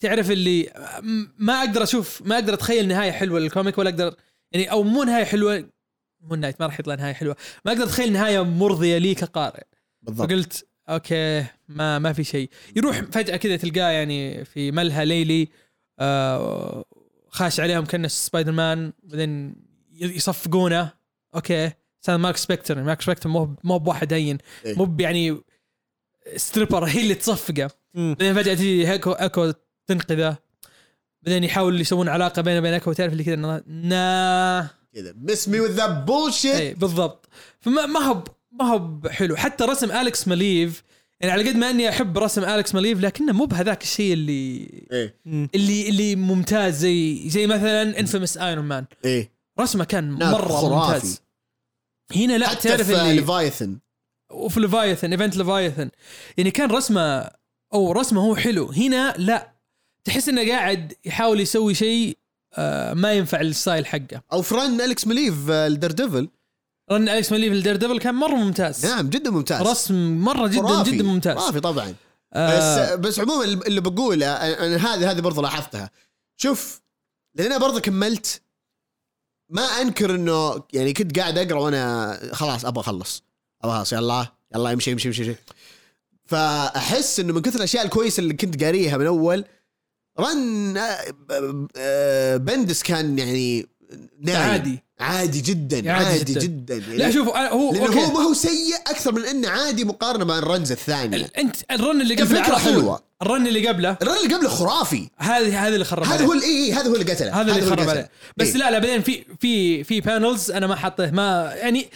Speaker 3: تعرف اللي م- ما اقدر اشوف ما اقدر اتخيل نهايه حلوه للكوميك ولا اقدر يعني او مو نهايه حلوه مو نايت ما راح يطلع نهايه حلوه ما اقدر اتخيل نهايه مرضيه لي كقارئ
Speaker 1: بالضبط
Speaker 3: فقلت اوكي ما ما في شيء يروح فجاه كذا تلقاه يعني في ملهى ليلي آه، خاش عليهم كانه سبايدر مان بعدين ي- يصفقونه اوكي كان مارك سبكتر مارك سبكتر مو ب- مو بواحد هين
Speaker 1: إيه.
Speaker 3: مو ب- يعني ستريبر هي اللي تصفقه
Speaker 2: مم.
Speaker 3: بعدين فجاه تجي اكو اكو تنقذه بعدين يحاول يسوون علاقه بينه وبين اكو وتعرف اللي كذا إنه نا
Speaker 1: كذا مس مي وذ ذا بولشيت
Speaker 3: اي إيه، بالضبط فما ما هو ب- ما هو بحلو حتى رسم اليكس ماليف يعني على قد ما اني احب رسم اليكس ماليف لكنه مو بهذاك الشيء اللي
Speaker 1: ايه
Speaker 3: اللي اللي ممتاز زي زي مثلا انفيمس ايرون مان
Speaker 1: ايه
Speaker 3: رسمه كان
Speaker 1: لا،
Speaker 3: مره
Speaker 1: خرافي.
Speaker 3: ممتاز هنا لا
Speaker 1: حتى
Speaker 3: تعرف
Speaker 1: في
Speaker 3: اللي
Speaker 1: ليفايثن
Speaker 3: وفي ليفايثن ايفنت ليفايثن يعني كان رسمه او رسمه هو حلو هنا لا تحس انه قاعد يحاول يسوي شيء آه، ما ينفع الستايل حقه
Speaker 1: او فران اليكس مليف الدر ديفل
Speaker 3: رن اليكس ماليف الدير ديفل كان مره ممتاز
Speaker 1: نعم جدا ممتاز
Speaker 3: رسم مره جدا
Speaker 1: خرافي.
Speaker 3: جدا ممتاز
Speaker 1: خرافي طبعا
Speaker 3: آه
Speaker 1: بس بس عموما اللي بقوله أنا- انا هذه هذه برضه لاحظتها شوف لان انا برضه كملت ما انكر انه يعني كنت قاعد اقرا وانا خلاص ابغى اخلص ابغى خلاص يلا يلا امشي امشي امشي امشي. فاحس انه من كثر الاشياء الكويسه اللي كنت قاريها من اول رن آه، آه، بندس كان يعني نايم.
Speaker 3: عادي.
Speaker 1: عادي جدا
Speaker 3: عادي
Speaker 1: عادي,
Speaker 3: جدا.
Speaker 1: جدا, جدا.
Speaker 3: لا شوف أنا- هو
Speaker 1: لانه
Speaker 3: اوكي
Speaker 1: هو ما هو سيء اكثر من انه عادي مقارنه مع الرنز الثانيه
Speaker 3: ال- انت الرن اللي قبله
Speaker 1: الفكرة
Speaker 3: على طول.
Speaker 1: حلوة.
Speaker 3: الرن اللي قبله
Speaker 1: الرن اللي قبله خرافي
Speaker 3: هذه هذه اللي خرب
Speaker 1: هذا
Speaker 3: عليه.
Speaker 1: هو اي هذا هو اللي قتله
Speaker 3: هذا اللي
Speaker 1: هو
Speaker 3: خرب
Speaker 1: قتله.
Speaker 3: عليه بس
Speaker 1: إيه.
Speaker 3: لا لا بعدين في في في بانلز انا ما حطيه ما يعني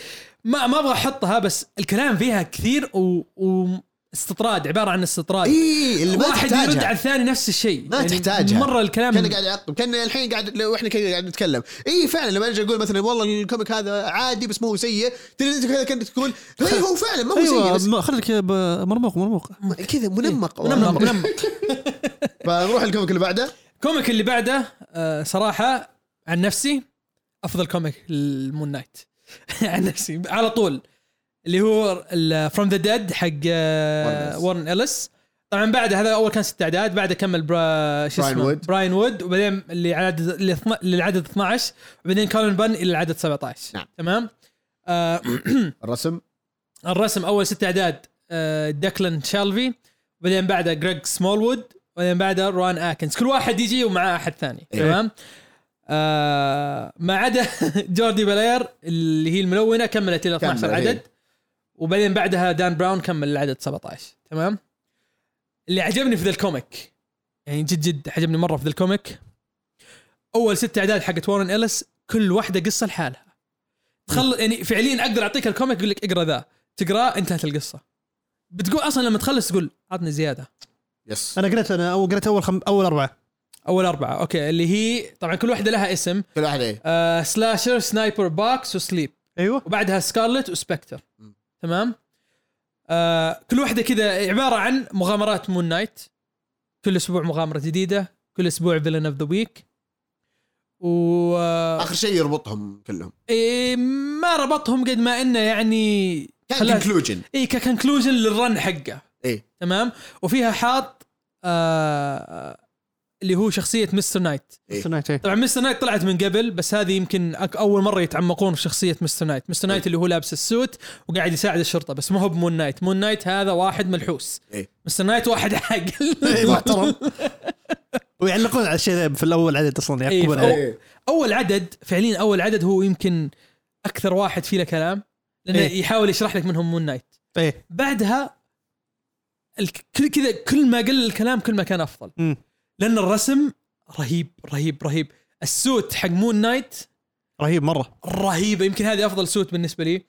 Speaker 3: ما ما ابغى احطها بس الكلام فيها كثير و, و استطراد عباره عن استطراد
Speaker 1: اي اللي إيه، ما
Speaker 3: واحد يرد على
Speaker 1: تحتاجها
Speaker 3: الثاني نفس الشيء
Speaker 1: ما تحتاجها.
Speaker 3: مره الكلام
Speaker 1: كان قاعد يعقب كان الحين قاعد لو احنا كذا قاعد نتكلم اي فعلا لما اجي اقول مثلا والله الكوميك هذا عادي بس مو هو سيء تدري انت كذا كنت تقول اي هو فعلا أيوة، ما هو سيء بس
Speaker 2: ايوه خليك ب- مرموق مرموق
Speaker 1: كذا منمق
Speaker 3: أيوة، إيه، منمق منمق
Speaker 1: فنروح الكوميك اللي بعده
Speaker 3: كوميك اللي بعده آه، صراحه عن نفسي افضل كوميك المون نايت عن نفسي على طول اللي هو فروم ذا ديد حق آه،
Speaker 1: Warren Ellis.
Speaker 3: وارن اليس طبعا بعده هذا اول كان ست اعداد بعده كمل برا شو
Speaker 1: Brian
Speaker 3: اسمه
Speaker 1: Wood.
Speaker 3: براين وود وبعدين اللي عدد اللي اثنا- للعدد 12 وبعدين كولن بن الى العدد 17
Speaker 1: نعم.
Speaker 3: تمام آه
Speaker 1: الرسم
Speaker 3: الرسم اول ست اعداد آه، داكلن شالفي بعدين بعده جريج سمولوود بعدين بعده روان اكنز كل واحد يجي ومعاه احد ثاني تمام آه ما عدا جوردي بلاير اللي هي الملونه كملت الى 12
Speaker 1: كمل، إيه.
Speaker 3: عدد وبعدين بعدها دان براون كمل العدد 17 تمام اللي عجبني في ذا الكوميك يعني جد جد عجبني مره في ذا الكوميك اول ست اعداد حقت وارن اليس كل واحده قصه لحالها تخل يعني فعليا اقدر اعطيك الكوميك اقول لك اقرا ذا تقراه انتهت القصه بتقول اصلا لما تخلص تقول عطني زياده
Speaker 1: يس
Speaker 2: انا قريت انا اول قريت اول خم... اول اربعه
Speaker 3: اول اربعه اوكي اللي هي طبعا كل واحده لها اسم
Speaker 1: كل واحد ايه
Speaker 3: آه سلاشر سنايبر باكس وسليب
Speaker 2: ايوه
Speaker 3: وبعدها سكارلت وسبكتر تمام آه كل واحده كذا عباره عن مغامرات مون نايت كل اسبوع مغامره جديده كل اسبوع فيلن اوف ذا ويك و آه،
Speaker 1: اخر شيء يربطهم كلهم
Speaker 3: إيه ما ربطهم قد ما انه يعني
Speaker 1: كان
Speaker 3: خلاك-
Speaker 1: كونكلوجن
Speaker 3: اي ككنكلوجن للرن حقه
Speaker 1: إيه.
Speaker 3: تمام وفيها حاط آه اللي هو شخصيه مستر نايت
Speaker 1: إيه.
Speaker 2: مستر نايت، إيه.
Speaker 3: طبعا مستر نايت طلعت من قبل بس هذه يمكن أك- اول مره يتعمقون في شخصيه مستر نايت مستر
Speaker 2: إيه.
Speaker 3: نايت اللي هو لابس السوت وقاعد يساعد الشرطه بس ما هو بمون نايت مون نايت هذا واحد ملحوس
Speaker 1: إيه.
Speaker 3: مستر نايت واحد عاقل
Speaker 2: محترم ويعلقون على الشيء ذا في الاول عدد اصلا
Speaker 3: إيه،
Speaker 2: يعقبون
Speaker 3: فأو-
Speaker 2: عليه
Speaker 3: اول عدد فعليا اول عدد هو يمكن اكثر واحد فيه له كلام لانه
Speaker 2: إيه.
Speaker 3: يحاول يشرح لك منهم مون نايت
Speaker 2: ايه
Speaker 3: بعدها الك- كل كذا كل ما قل الكلام كل ما كان افضل
Speaker 2: مم.
Speaker 3: لان الرسم رهيب رهيب رهيب السوت حق مون نايت
Speaker 2: رهيب مره
Speaker 3: رهيبه يمكن هذه افضل سوت بالنسبه لي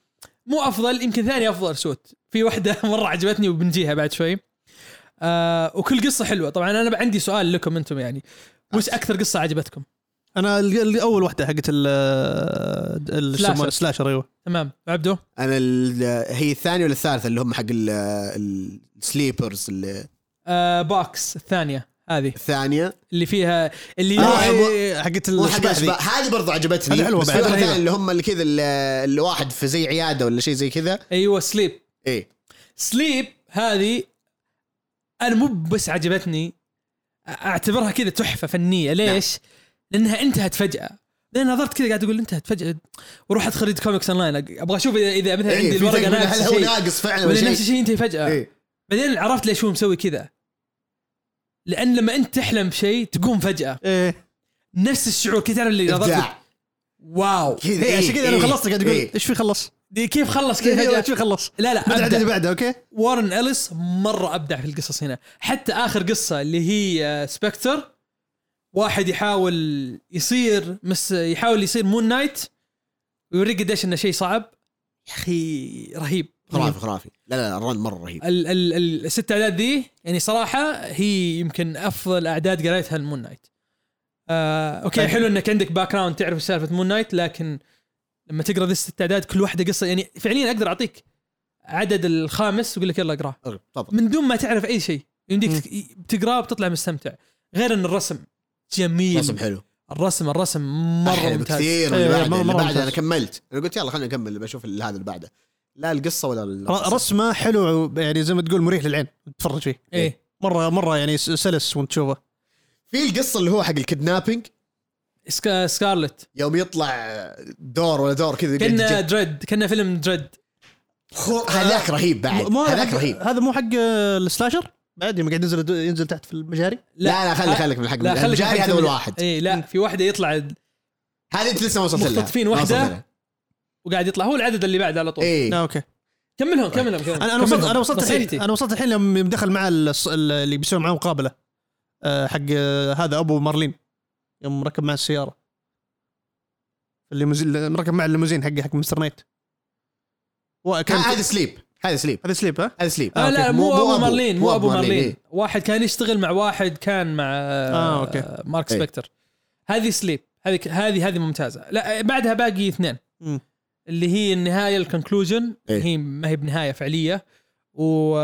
Speaker 3: مو افضل يمكن ثاني افضل سوت في واحده مره عجبتني وبنجيها بعد شوي آه وكل قصه حلوه طبعا انا عندي سؤال لكم انتم يعني وش اكثر قصه عجبتكم
Speaker 2: انا ال- ال- اول واحده حقت ال ال-
Speaker 3: سلاشر.
Speaker 2: يسمونه سلاشر ايوه
Speaker 3: تمام عبدو
Speaker 1: انا ال- هي الثانيه ولا الثالثه اللي هم حق ال- السليبرز اللي-
Speaker 3: آه باكس الثانيه هذه
Speaker 1: الثانيه
Speaker 3: اللي فيها اللي
Speaker 1: آه،
Speaker 3: آه
Speaker 2: إيه،
Speaker 1: وحق
Speaker 2: حقت الاشباح ذي
Speaker 1: أشباح. هذه برضو عجبتني
Speaker 2: هذه حلوة
Speaker 1: بس
Speaker 2: بعد.
Speaker 1: في واحدة
Speaker 2: حلوة.
Speaker 1: ثانية اللي هم اللي كذا ال- الواحد في زي عياده ولا شيء زي كذا
Speaker 3: ايوه سليب
Speaker 1: ايه
Speaker 3: سليب هذه انا مو بس عجبتني اعتبرها كذا تحفه فنيه ليش؟ نعم. لانها انتهت فجاه لان نظرت كذا قاعد اقول انتهت فجاه ورحت خريطه كوميكس اونلاين ابغى اشوف اذا اذا مثلا
Speaker 1: إيه،
Speaker 3: عندي
Speaker 1: في
Speaker 3: الورقه
Speaker 1: تقول هل
Speaker 3: ناقص
Speaker 1: هو
Speaker 3: شيء
Speaker 1: ناقص فعلا ولا
Speaker 3: ولا نفس
Speaker 1: شيء
Speaker 3: الشيء ينتهي فجاه
Speaker 1: إيه.
Speaker 3: بعدين عرفت ليش هو مسوي كذا لان لما انت تحلم بشيء تقوم فجاه
Speaker 2: ايه
Speaker 3: نفس الشعور كذا تعرف اللي نظرت
Speaker 1: إبداع.
Speaker 3: واو
Speaker 1: كذا
Speaker 2: إيه، عشان كذا انا
Speaker 1: إيه،
Speaker 2: خلصت قاعد اقول
Speaker 1: إيه.
Speaker 2: ايش في خلص؟
Speaker 3: دي كيف خلص كذا
Speaker 2: ايش
Speaker 3: فجاه
Speaker 2: في خلص؟
Speaker 3: لا لا
Speaker 2: بدعة
Speaker 3: أبدأ.
Speaker 2: اللي بعده اوكي؟
Speaker 3: وارن اليس مره ابدع في القصص هنا حتى اخر قصه اللي هي آه، سبكتر واحد يحاول يصير مس يحاول يصير مون نايت ويوريك قديش انه شيء صعب يا اخي رهيب
Speaker 1: خرافي خرافي لا لا لا، الرن مره رهيب
Speaker 3: ال ال ال- الست اعداد ذي يعني صراحه هي يمكن افضل اعداد قريتها لمون نايت آه، اوكي
Speaker 2: طيب.
Speaker 3: حلو انك عندك باك جراوند تعرف سالفه مون نايت لكن لما تقرا ذي الست اعداد كل واحده قصه يعني فعليا اقدر اعطيك عدد الخامس واقول لك يلا اقراه
Speaker 1: طبعا
Speaker 3: من دون ما تعرف اي شيء يمديك تك- تقراه بتطلع مستمتع غير ان الرسم جميل
Speaker 1: رسم حلو
Speaker 3: الرسم الرسم مره
Speaker 1: مرة
Speaker 3: ممتاز
Speaker 1: كثير
Speaker 2: إيه،
Speaker 1: اللي بعده
Speaker 2: مرة-
Speaker 1: اللي
Speaker 2: مرة
Speaker 1: بعده انا
Speaker 2: ممتاز.
Speaker 1: كملت انا قلت يلا خلينا نكمل بشوف ال- هذا اللي بعده لا القصه ولا ال-
Speaker 2: ر- رسمه حلو يعني زي ما تقول مريح للعين تتفرج فيه
Speaker 3: ايه
Speaker 2: مره مره يعني س- سلس وانت تشوفه
Speaker 1: في القصه اللي هو حق الكidnapping
Speaker 3: سكا سكارلت
Speaker 1: يوم يطلع دور ولا دور كذا يقعد
Speaker 3: كنا
Speaker 1: يجي-
Speaker 3: دريد كنا فيلم دريد
Speaker 1: خو- هذاك رهيب بعد
Speaker 2: مو
Speaker 1: هذاك
Speaker 2: حق-
Speaker 1: رهيب
Speaker 2: هذا مو حق آه، السلاشر بعد يوم قاعد ينزل ينزل تحت في المجاري
Speaker 1: لا لا خلي خليك من حق
Speaker 3: أه؟ آه، لا خليك إيه.
Speaker 1: الجاري هذا هو الواحد
Speaker 3: اي لا في واحده يطلع
Speaker 1: هذه انت لسه ما وصلت لها
Speaker 3: مختطفين
Speaker 1: ما
Speaker 3: واحدة.
Speaker 1: وصلت لها.
Speaker 3: وقاعد يطلع هو العدد اللي بعده على طول
Speaker 1: ايه
Speaker 2: آه، اوكي
Speaker 1: طيب.
Speaker 3: كملهم كملهم كملهم.
Speaker 2: انا انا وصلت
Speaker 3: كملهم.
Speaker 2: انا وصلت الحين
Speaker 3: نصيحتي.
Speaker 2: انا وصلت الحين لما دخل مع الص- اللي بيسوي معاه مقابله آه، حق آه، هذا ابو مارلين يوم ركب مع السياره الليموزين ركب مع الليموزين حقه حق مستر نايت وكان
Speaker 1: ه- هذا سليب هذا سليب
Speaker 2: هذا سليب ها
Speaker 1: هذا سليب
Speaker 3: آه
Speaker 2: أوكي.
Speaker 3: لا مو ابو مارلين مو ابو مارلين
Speaker 1: إيه.
Speaker 3: واحد كان يشتغل مع واحد كان مع
Speaker 2: آه، أوكي.
Speaker 3: آه مارك
Speaker 1: إيه.
Speaker 3: سبكتر هذه سليب هذه هذه هذه ممتازه لا بعدها باقي اثنين
Speaker 2: مم.
Speaker 3: اللي هي النهايه الكونكلوجن
Speaker 1: إيه.
Speaker 3: هي ما هي بنهايه فعليه وهذه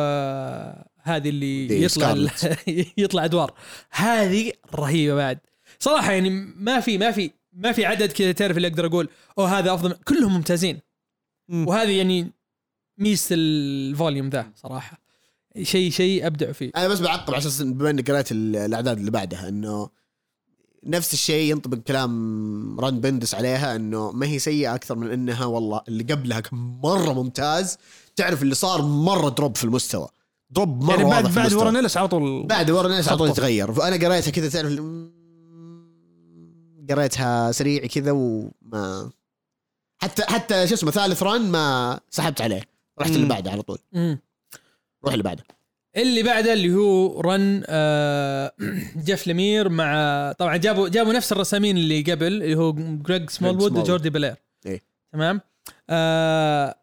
Speaker 3: آه، اللي
Speaker 1: دي
Speaker 3: يطلع يطلع ادوار هذه رهيبه بعد صراحه يعني ما في ما في ما في عدد كذا تعرف اللي اقدر اقول او هذا افضل من- كلهم ممتازين
Speaker 2: مم.
Speaker 3: وهذه يعني ميزه الفوليوم ذا صراحه شيء شيء ابدع فيه
Speaker 1: انا بس بعقب عشان بما اني قريت ال- الاعداد اللي بعدها انه نفس الشيء ينطبق كلام ران بندس عليها انه ما هي سيئه اكثر من انها والله اللي قبلها كان مره ممتاز تعرف اللي صار مره دروب في المستوى دروب مره
Speaker 2: يعني
Speaker 1: واضح
Speaker 2: بعد
Speaker 1: في
Speaker 2: بعد
Speaker 1: المستوى.
Speaker 2: ورنيلس على طول
Speaker 1: بعد ورنيس على طول
Speaker 2: حطه.
Speaker 1: يتغير فانا قريتها كذا تعرف ال- قريتها سريع كذا وما حتى حتى شو اسمه ثالث ران ما سحبت عليه رحت اللي
Speaker 2: مم.
Speaker 1: بعده على طول
Speaker 3: مم. إيه.
Speaker 1: روح اللي بعده
Speaker 3: اللي بعده اللي هو رن آه، جيف لمير مع طبعا جابوا جابوا نفس الرسامين اللي قبل اللي هو جريج سمولوود
Speaker 1: سمولوود.
Speaker 3: وجوردي بلير
Speaker 1: إيه.
Speaker 3: تمام آه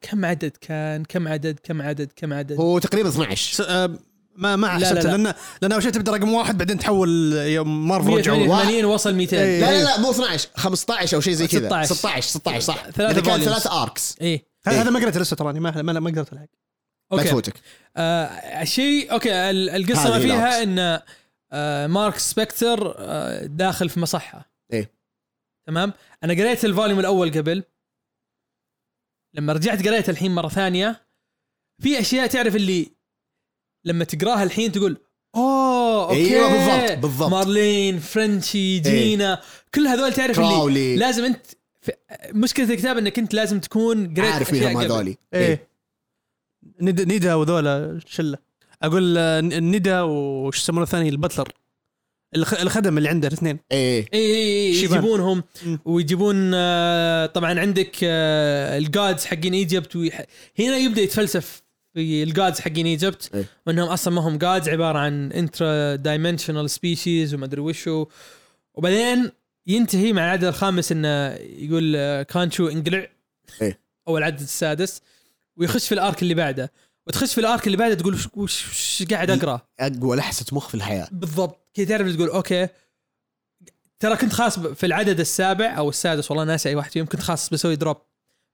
Speaker 3: كم عدد كان كم عدد كم عدد كم عدد
Speaker 1: هو تقريبا 12
Speaker 2: س- آه، ما ما
Speaker 3: لا، لا،
Speaker 2: حسبت
Speaker 3: لا.
Speaker 2: لان لان اول شيء تبدا رقم واحد بعدين تحول يوم مارفل رجعوا
Speaker 3: 188 وصل 200
Speaker 2: إيه.
Speaker 1: لا لا لا مو 12 15 او شيء زي كذا
Speaker 3: 16.
Speaker 1: 16 16 صح
Speaker 3: ثلاثة
Speaker 1: ثلاثة كان
Speaker 3: volumes.
Speaker 1: ثلاثة اركس
Speaker 3: ايه
Speaker 2: هذا هذا ما قريته لسه تراني ما ما ما قدرت الحق
Speaker 1: لا
Speaker 3: اوكي
Speaker 1: تفوتك
Speaker 3: آه شيء اوكي ال- القصه
Speaker 1: هذه
Speaker 3: ما فيها
Speaker 1: العكس.
Speaker 3: ان آه مارك سبكتر آه داخل في مصحه
Speaker 1: إيه.
Speaker 3: تمام انا قريت الفوليوم الاول قبل لما رجعت قريت الحين مره ثانيه في اشياء تعرف اللي لما تقراها الحين تقول اوه اوكي
Speaker 1: أيوة، بالضبط، بالضبط.
Speaker 3: مارلين فرنشي جينا إيه؟ كل هذول تعرف اللي
Speaker 1: كراولي.
Speaker 3: لازم انت في- مشكله الكتاب انك انت لازم تكون قريت
Speaker 1: عارف
Speaker 3: أشياء
Speaker 1: مين هم
Speaker 3: قبل.
Speaker 1: هذولي إيه.
Speaker 3: إيه.
Speaker 2: ايه ند- ندى وذولا شله اقول آه، ن- ندى وش يسمونه الثاني البتلر الخ- الخدم اللي عنده الاثنين
Speaker 1: ايه
Speaker 3: اي اي اي
Speaker 2: شيبان.
Speaker 3: يجيبونهم
Speaker 2: مم.
Speaker 3: ويجيبون آه، طبعا عندك آه، الجادز حقين ايجيبت ويح... هنا يبدا يتفلسف في الجادز حقين ايجيبت
Speaker 1: إيه.
Speaker 3: وانهم اصلا ما هم جادز عباره عن انترا دايمنشنال سبيشيز وما ادري وشو وبعدين ينتهي مع العدد الخامس انه يقول آه، كانشو انقلع
Speaker 1: إيه.
Speaker 3: او العدد السادس ويخش في الارك اللي بعده وتخش في الارك اللي بعده تقول وش, وش, وش قاعد اقرا
Speaker 1: اقوى لحسة مخ في الحياة
Speaker 3: بالضبط كذا تعرف تقول اوكي ترى كنت خاص ب- في العدد السابع او السادس والله ناسي اي واحد فيهم كنت خاص بسوي دروب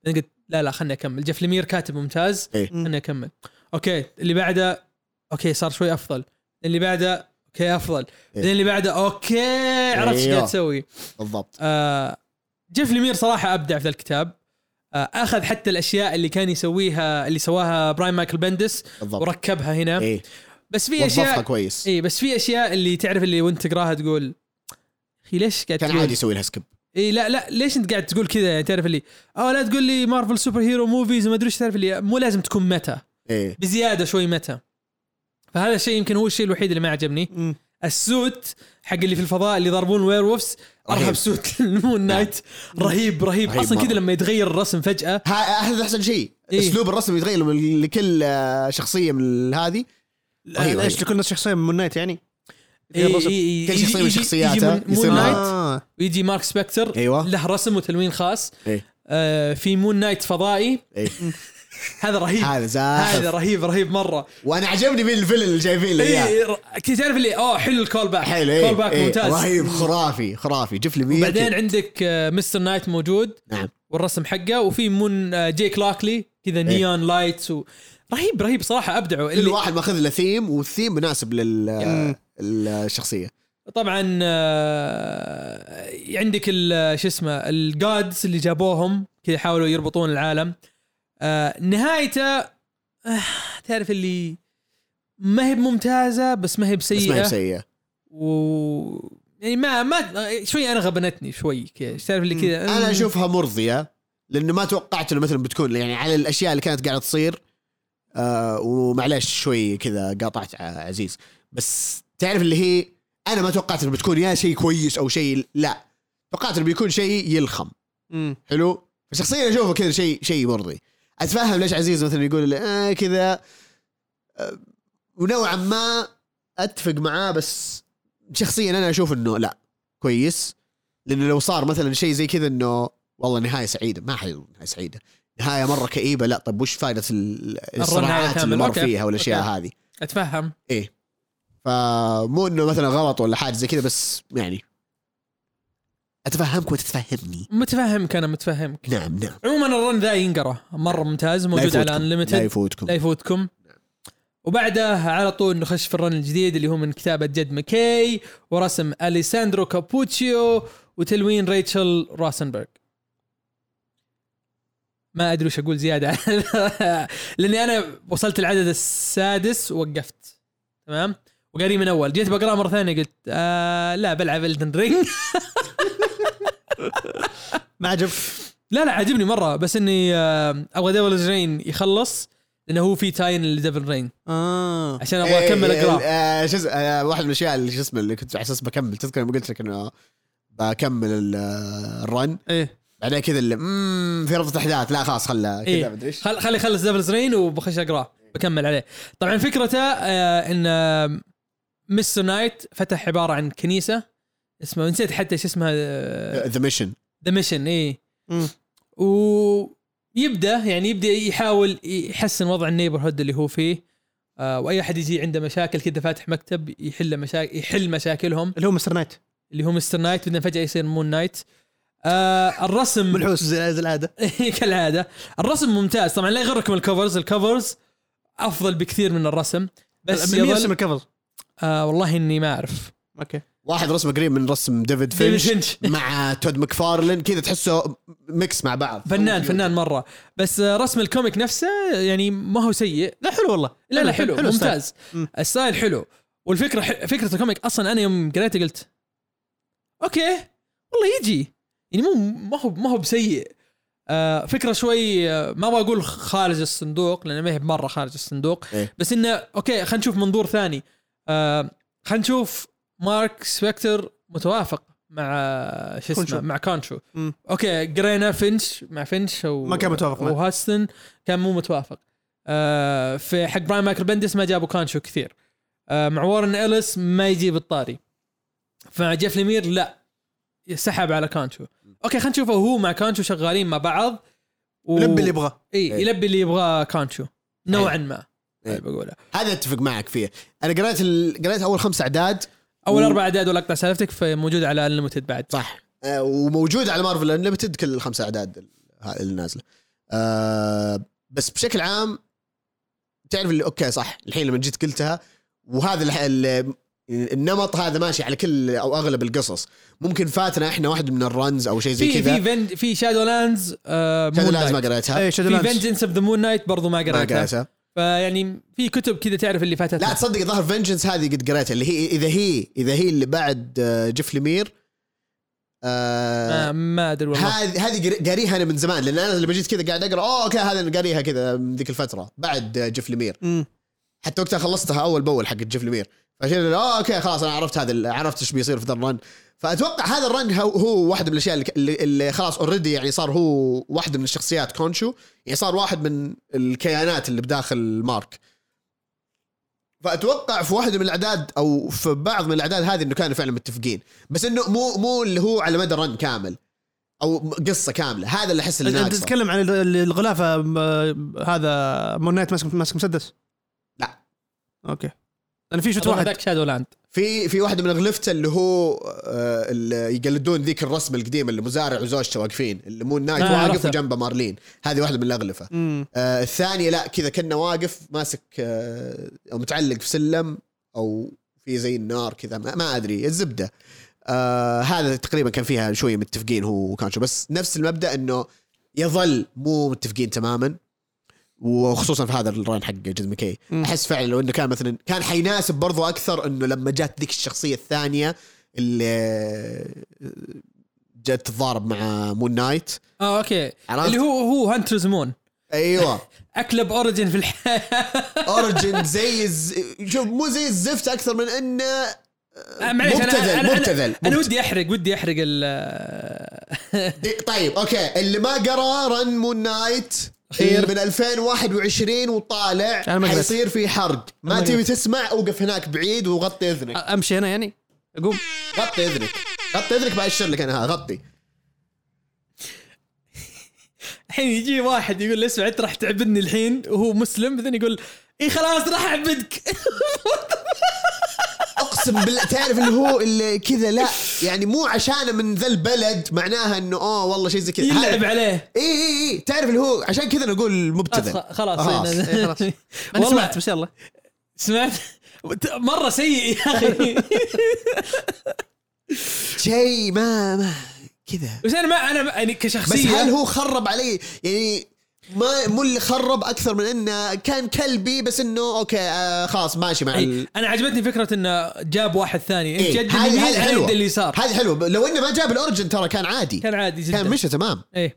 Speaker 3: بعدين قلت لا لا خلني اكمل جيف لمير كاتب ممتاز
Speaker 1: إيه.
Speaker 3: خلني اكمل اوكي اللي بعده اوكي صار شوي افضل اللي بعده اوكي افضل بعدين اللي بعده اوكي عرفت ايش قاعد
Speaker 1: إيه. أيوه.
Speaker 3: تسوي
Speaker 1: بالضبط
Speaker 3: آه جيف لمير صراحه ابدع في ذا الكتاب آه اخذ حتى الاشياء اللي كان يسويها اللي سواها براين مايكل بندس
Speaker 1: بالضبط
Speaker 3: وركبها هنا
Speaker 1: ايه
Speaker 3: بس في إيه. اشياء
Speaker 1: وظفها كويس
Speaker 3: اي بس في اشياء اللي تعرف اللي وانت تقراها تقول اخي ليش قاعد
Speaker 1: كان
Speaker 3: تقول-
Speaker 1: عادي يسوي لها سكيب
Speaker 3: اي لا لا ليش انت قاعد تقول كذا يعني تعرف اللي اه لا تقول لي مارفل سوبر هيرو موفيز وما ادري ايش تعرف اللي مو لازم تكون متى
Speaker 1: ايه
Speaker 3: بزياده شوي متى فهذا الشيء يمكن هو الشيء الوحيد اللي ما عجبني السوت حق اللي في الفضاء اللي ضربون وير وولفز ارهب
Speaker 1: رهيب. نعم.
Speaker 3: سوت المون نايت رهيب رهيب,
Speaker 1: رهيب
Speaker 3: اصلا
Speaker 1: مرة.
Speaker 3: كذا لما يتغير الرسم فجاه
Speaker 1: ها- هذا احسن شيء
Speaker 3: إيه.
Speaker 1: اسلوب الرسم يتغير من لكل آه، شخصيه من هذه أيوة،
Speaker 2: ايش
Speaker 1: أيوة.
Speaker 2: كل شخصيه من نايت يعني
Speaker 3: إي- إي- إي-
Speaker 1: كل
Speaker 3: يجي-
Speaker 1: شخصية
Speaker 3: يجي-
Speaker 1: وشخصياتها
Speaker 3: يجي من-
Speaker 1: يصير
Speaker 3: مون
Speaker 1: لها-
Speaker 3: نايت
Speaker 2: آه.
Speaker 3: ويجي مارك سبكتر
Speaker 1: أيوة.
Speaker 3: له رسم وتلوين خاص
Speaker 1: إيه.
Speaker 3: آه في مون نايت فضائي
Speaker 1: إيه.
Speaker 3: هذا رهيب
Speaker 1: هذا
Speaker 3: هذا إيه،
Speaker 1: زاهر
Speaker 3: رهيب رهيب مره
Speaker 1: وانا عجبني مين الفيلن اللي جايبين لي اياه
Speaker 3: اي ر- كنت تعرف اللي اوه حلو الكول باك
Speaker 1: حلو
Speaker 3: كول
Speaker 1: ايه
Speaker 3: باك
Speaker 1: إيه.
Speaker 3: ممتاز
Speaker 1: رهيب خرافي خرافي جف لي مين
Speaker 3: بعدين عندك آه، مستر نايت موجود
Speaker 1: نعم
Speaker 3: والرسم حقه وفي مون آه، جيك لاكلي كذا
Speaker 1: إيه.
Speaker 3: نيون لايتس و... رهيب رهيب صراحه ابدعوا
Speaker 1: كل
Speaker 3: اللي
Speaker 1: واحد ماخذ له ثيم والثيم مناسب لل
Speaker 2: مم.
Speaker 1: الشخصيه
Speaker 3: طبعا آه، عندك ال- شو اسمه الجادز اللي جابوهم كذا حاولوا يربطون العالم آه، نهايته آه، تعرف اللي ما هي بممتازه بس ما هي
Speaker 1: بس ما هي
Speaker 3: بسيئه
Speaker 1: سيئه
Speaker 3: و يعني ما ما شوي انا غبنتني شوي كذا تعرف اللي كذا
Speaker 1: انا اشوفها مرضيه لانه ما توقعت انه مثلا بتكون يعني على الاشياء اللي كانت قاعده تصير آه ومعلش شوي كذا قاطعت ع- عزيز بس تعرف اللي هي انا ما توقعت انه بتكون يا شيء كويس او شيء لا توقعت انه بيكون شيء يلخم
Speaker 2: مم.
Speaker 1: حلو فشخصيا اشوفه كذا شيء شيء مرضي اتفهم ليش عزيز مثلا يقول لي، آه كذا آه، ونوعا ما اتفق معاه بس شخصيا انا اشوف انه لا كويس لانه لو صار مثلا شيء زي كذا انه والله نهايه سعيده ما حيكون نهايه سعيده نهايه مره كئيبه لا طب وش فائده ال- الصراعات
Speaker 3: كامل.
Speaker 1: اللي مر
Speaker 3: أوكي.
Speaker 1: فيها والاشياء
Speaker 3: أوكي.
Speaker 1: هذه
Speaker 3: اتفهم
Speaker 1: فمو انه مثلا غلط ولا حاجه زي كذا بس يعني اتفهمك وتتفهمني
Speaker 3: متفهمك انا متفهمك
Speaker 1: نعم نعم
Speaker 3: عموما الرن ذا ينقره مره ممتاز
Speaker 1: لا
Speaker 3: موجود على
Speaker 1: يفوتكم. لا
Speaker 3: انليمتد
Speaker 1: يفوتكم
Speaker 3: لا يفوتكم وبعده على طول نخش في الرن الجديد اللي هو من كتابة جد مكي ورسم أليساندرو كابوتشيو وتلوين ريتشل راسنبرغ ما أدري وش أقول زيادة لأني أنا وصلت العدد السادس ووقفت تمام وقاري من أول جيت بقرأ مرة ثانية قلت آه لا بلعب الدن رينج
Speaker 2: ما عجب
Speaker 3: لا لا عاجبني مره بس اني آه، ابغى ديفل رين يخلص لانه هو في تاين لديفل رين
Speaker 2: اه
Speaker 3: عشان ابغى اكمل اقراه
Speaker 1: اقرا شو اسمه- إيه، آه، واحد من الاشياء اللي شو اسمه اللي كنت على اساس بكمل تذكر لما قلت لك انه بكمل ال- آه، الرن
Speaker 2: ايه
Speaker 1: بعدين كذا اللي اممم في ربطه احداث لا خلاص خله كذا
Speaker 3: إيه.
Speaker 1: مدري ايش
Speaker 3: خل خلي يخلص ديفلز رين وبخش اقراه بكمل عليه طبعا فكرته آه ان آه، مستر نايت فتح عباره عن كنيسه اسمها نسيت حتى ايش اسمها آه،
Speaker 1: ذا ميشن
Speaker 3: ذا ميشن اي
Speaker 2: مم.
Speaker 3: ويبدا إيه. يعني يبدا يحاول يحسن وضع النيبر هود اللي هو فيه آه واي احد يجي عنده مشاكل كذا فاتح مكتب يحل مشاكل يحل مشاكلهم
Speaker 2: اللي هو مستر نايت
Speaker 3: اللي هو مستر نايت بعدين فجاه يصير مون نايت آه الرسم
Speaker 2: ملحوس زي زي العاده
Speaker 3: كالعاده الرسم ممتاز طبعا لا يغركم الكفرز الكفرز افضل بكثير من الرسم بس
Speaker 2: بس مين يرسم
Speaker 3: يظل
Speaker 2: الكفر
Speaker 3: آه والله اني ما اعرف
Speaker 2: اوكي
Speaker 1: واحد رسمه قريب من رسم ديفيد
Speaker 3: ديفيد
Speaker 1: فينش
Speaker 3: فينش.
Speaker 1: مع تود مكفارلن كذا تحسه ميكس مع بعض
Speaker 3: فنان فنان مره بس آه، رسم الكوميك نفسه يعني ما هو سيء
Speaker 2: لا حلو والله
Speaker 3: لا لا حلو, حلو
Speaker 2: ستايل.
Speaker 3: ممتاز
Speaker 2: مم.
Speaker 3: الستايل حلو والفكره حل... فكره الكوميك اصلا انا يوم قريته قلت اوكي والله يجي يعني مو ما هو ما هو بسيء آه فكره شوي آه ما ابغى اقول خارج الصندوق لان ما هي مره خارج الصندوق
Speaker 1: إيه.
Speaker 3: بس انه اوكي خلينا نشوف منظور ثاني آه خلينا نشوف مارك سبكتر متوافق مع آه، شو اسمه
Speaker 2: كونشو.
Speaker 3: مع كونشو
Speaker 2: مم.
Speaker 3: اوكي قرينا فينش مع فينش و...
Speaker 2: ما كان متوافق معه.
Speaker 3: وهاستن كان مو متوافق آه في حق براين مايكل بندس ما جابوا كانشو كثير آه مع وارن اليس ما يجيب الطاري فجيف لمير لا سحب على كانشو اوكي خلينا نشوفه هو مع كانشو شغالين مع بعض و...
Speaker 2: لب اللي يبغاه
Speaker 3: إيه يلبي اللي يبغاه كانشو نوعا ما
Speaker 1: إيه.
Speaker 3: هذا بقوله
Speaker 1: هذا اتفق معك فيه انا قريت ال... قريت اول خمس اعداد
Speaker 3: اول
Speaker 1: و-
Speaker 3: اربع اعداد ولا اقطع سالفتك فموجود على انليمتد بعد
Speaker 1: صح آه، وموجود على مارفل انليمتد كل الخمس اعداد ال- ها- اللي نازله آه بس بشكل عام تعرف اللي اوكي صح الحين لما جيت قلتها وهذا الح- ال- النمط هذا ماشي على كل او اغلب القصص ممكن فاتنا احنا واحد من الرنز او شيء زي
Speaker 3: في في
Speaker 1: كذا
Speaker 3: فين في شادو لاندز آه
Speaker 1: شادو
Speaker 3: Moon
Speaker 1: لاندز ما
Speaker 3: Knight.
Speaker 1: قريتها
Speaker 2: اي إيه، شادو
Speaker 3: في
Speaker 2: لاندز
Speaker 3: فينجنس اوف ذا مون نايت برضو ما
Speaker 1: ما
Speaker 3: قرأتها
Speaker 1: قريتها
Speaker 3: فيعني في كتب كذا تعرف اللي فاتتها
Speaker 1: لا تصدق ظهر فينجنس هذه قد قريتها اللي هي اذا هي اذا هي اللي بعد آه، جيف لمير آه
Speaker 3: ما, آه، ما ادري والله
Speaker 1: هذه هذه قر- قاريها انا من زمان لان انا لما جيت كذا قاعد اقرا اوه اوكي هذا انا قاريها كذا من ذيك الفتره بعد آه، جيف لمير
Speaker 2: مم.
Speaker 1: حتى وقتها خلصتها اول باول حق جيف لمير فعشان أنا، اوه اوكي خلاص انا عرفت هذا ال- عرفت ايش بيصير في ذا الرن فاتوقع هذا الرن هو, هو واحد من الاشياء اللي, اللي, اللي خلاص اوريدي يعني صار هو واحد من الشخصيات كونشو يعني صار واحد من الكيانات اللي بداخل مارك فاتوقع في واحد من الاعداد او في بعض من الاعداد هذه انه كانوا فعلا متفقين بس انه مو مو اللي هو على مدى رن كامل او قصه كامله هذا اللي احس اللي
Speaker 2: انت
Speaker 1: ناقصه
Speaker 2: تتكلم عن ال- ال- الغلافه م- آه، هذا مون نايت ماسك ماسك مسدس
Speaker 1: لا.
Speaker 2: اوكي انا في شفت
Speaker 3: أظن
Speaker 2: واحد
Speaker 3: ذاك شادو لاند
Speaker 1: في في واحده من غلفته اللي هو آه، اللي يقلدون ذيك الرسمه القديمه اللي مزارع وزوجته واقفين اللي مون نايت
Speaker 3: آه،
Speaker 1: واقف
Speaker 3: عرفتها.
Speaker 1: وجنبه مارلين هذه واحده من الاغلفه
Speaker 2: مم.
Speaker 1: آه الثانيه لا كذا كنا واقف ماسك آه او متعلق في سلم او في زي النار كذا ما, ما ادري الزبده آه هذا تقريبا كان فيها شويه متفقين هو وكانشو بس نفس المبدا انه يظل مو متفقين تماما وخصوصا في هذا الران حق جد مكي
Speaker 2: مم.
Speaker 1: احس فعلا لو انه كان مثلا كان حيناسب برضو اكثر انه لما جات ذيك الشخصيه الثانيه اللي آه، جت تتضارب مع مون نايت
Speaker 3: اه اوكي
Speaker 1: عرفت؟
Speaker 3: اللي هو هو هانترز مون
Speaker 1: ايوه
Speaker 3: اكلب اوريجن في الحياه
Speaker 1: اوريجن زي الز... شوف مو زي الزفت اكثر من انه
Speaker 3: آه، معليش أنا-
Speaker 1: مبتذل،
Speaker 3: أنا- أنا-
Speaker 1: مبتذل،
Speaker 3: انا
Speaker 1: مبت-
Speaker 3: ودي احرق ودي احرق ال
Speaker 1: دي- طيب اوكي اللي ما قرا رن مون نايت
Speaker 3: خير.
Speaker 1: من 2021 وطالع
Speaker 2: أنا ما قريت.
Speaker 1: حيصير في حرق ما
Speaker 2: ما
Speaker 1: تبي تسمع اوقف هناك بعيد وغطي اذنك
Speaker 2: امشي انا يعني اقوم
Speaker 1: غطي اذنك غطي اذنك بأشر لك انا ها غطي
Speaker 3: الحين يجي واحد يقول لي اسمع انت راح تعبدني الحين وهو مسلم بعدين يقول اي خلاص راح اعبدك
Speaker 1: اقسم بالله تعرف اللي هو اللي كذا لا يعني مو عشان من ذا البلد معناها انه اه والله شيء زي كذا
Speaker 3: يلعب
Speaker 1: هذا-
Speaker 3: عليه
Speaker 1: اي اي اي تعرف اللي هو عشان كذا نقول مبتذل
Speaker 3: خلاص خلاص
Speaker 1: خلاص.
Speaker 2: إيه، خلاص. انا
Speaker 3: والله
Speaker 2: سمعت بس يلا
Speaker 3: سمعت مره سيء يا اخي
Speaker 1: شيء ما ما كذا
Speaker 3: بس انا ما انا ما- يعني
Speaker 1: بس
Speaker 3: كشخصيه
Speaker 1: هل هو خرب علي يعني ما مو اللي خرب اكثر من انه كان كلبي بس انه اوكي آه خلاص ماشي مع
Speaker 3: أي.
Speaker 1: ال...
Speaker 3: انا يعني عجبتني فكره انه جاب واحد ثاني
Speaker 1: إيه،
Speaker 3: جد
Speaker 1: هذه-
Speaker 3: اليمين
Speaker 1: هذه
Speaker 3: على
Speaker 1: حلوة.
Speaker 3: يد اليسار
Speaker 1: هذه حلوه لو انه ما جاب الاورجن ترى كان عادي
Speaker 3: كان عادي إيه. جدا
Speaker 1: كان مشى تمام
Speaker 3: ايه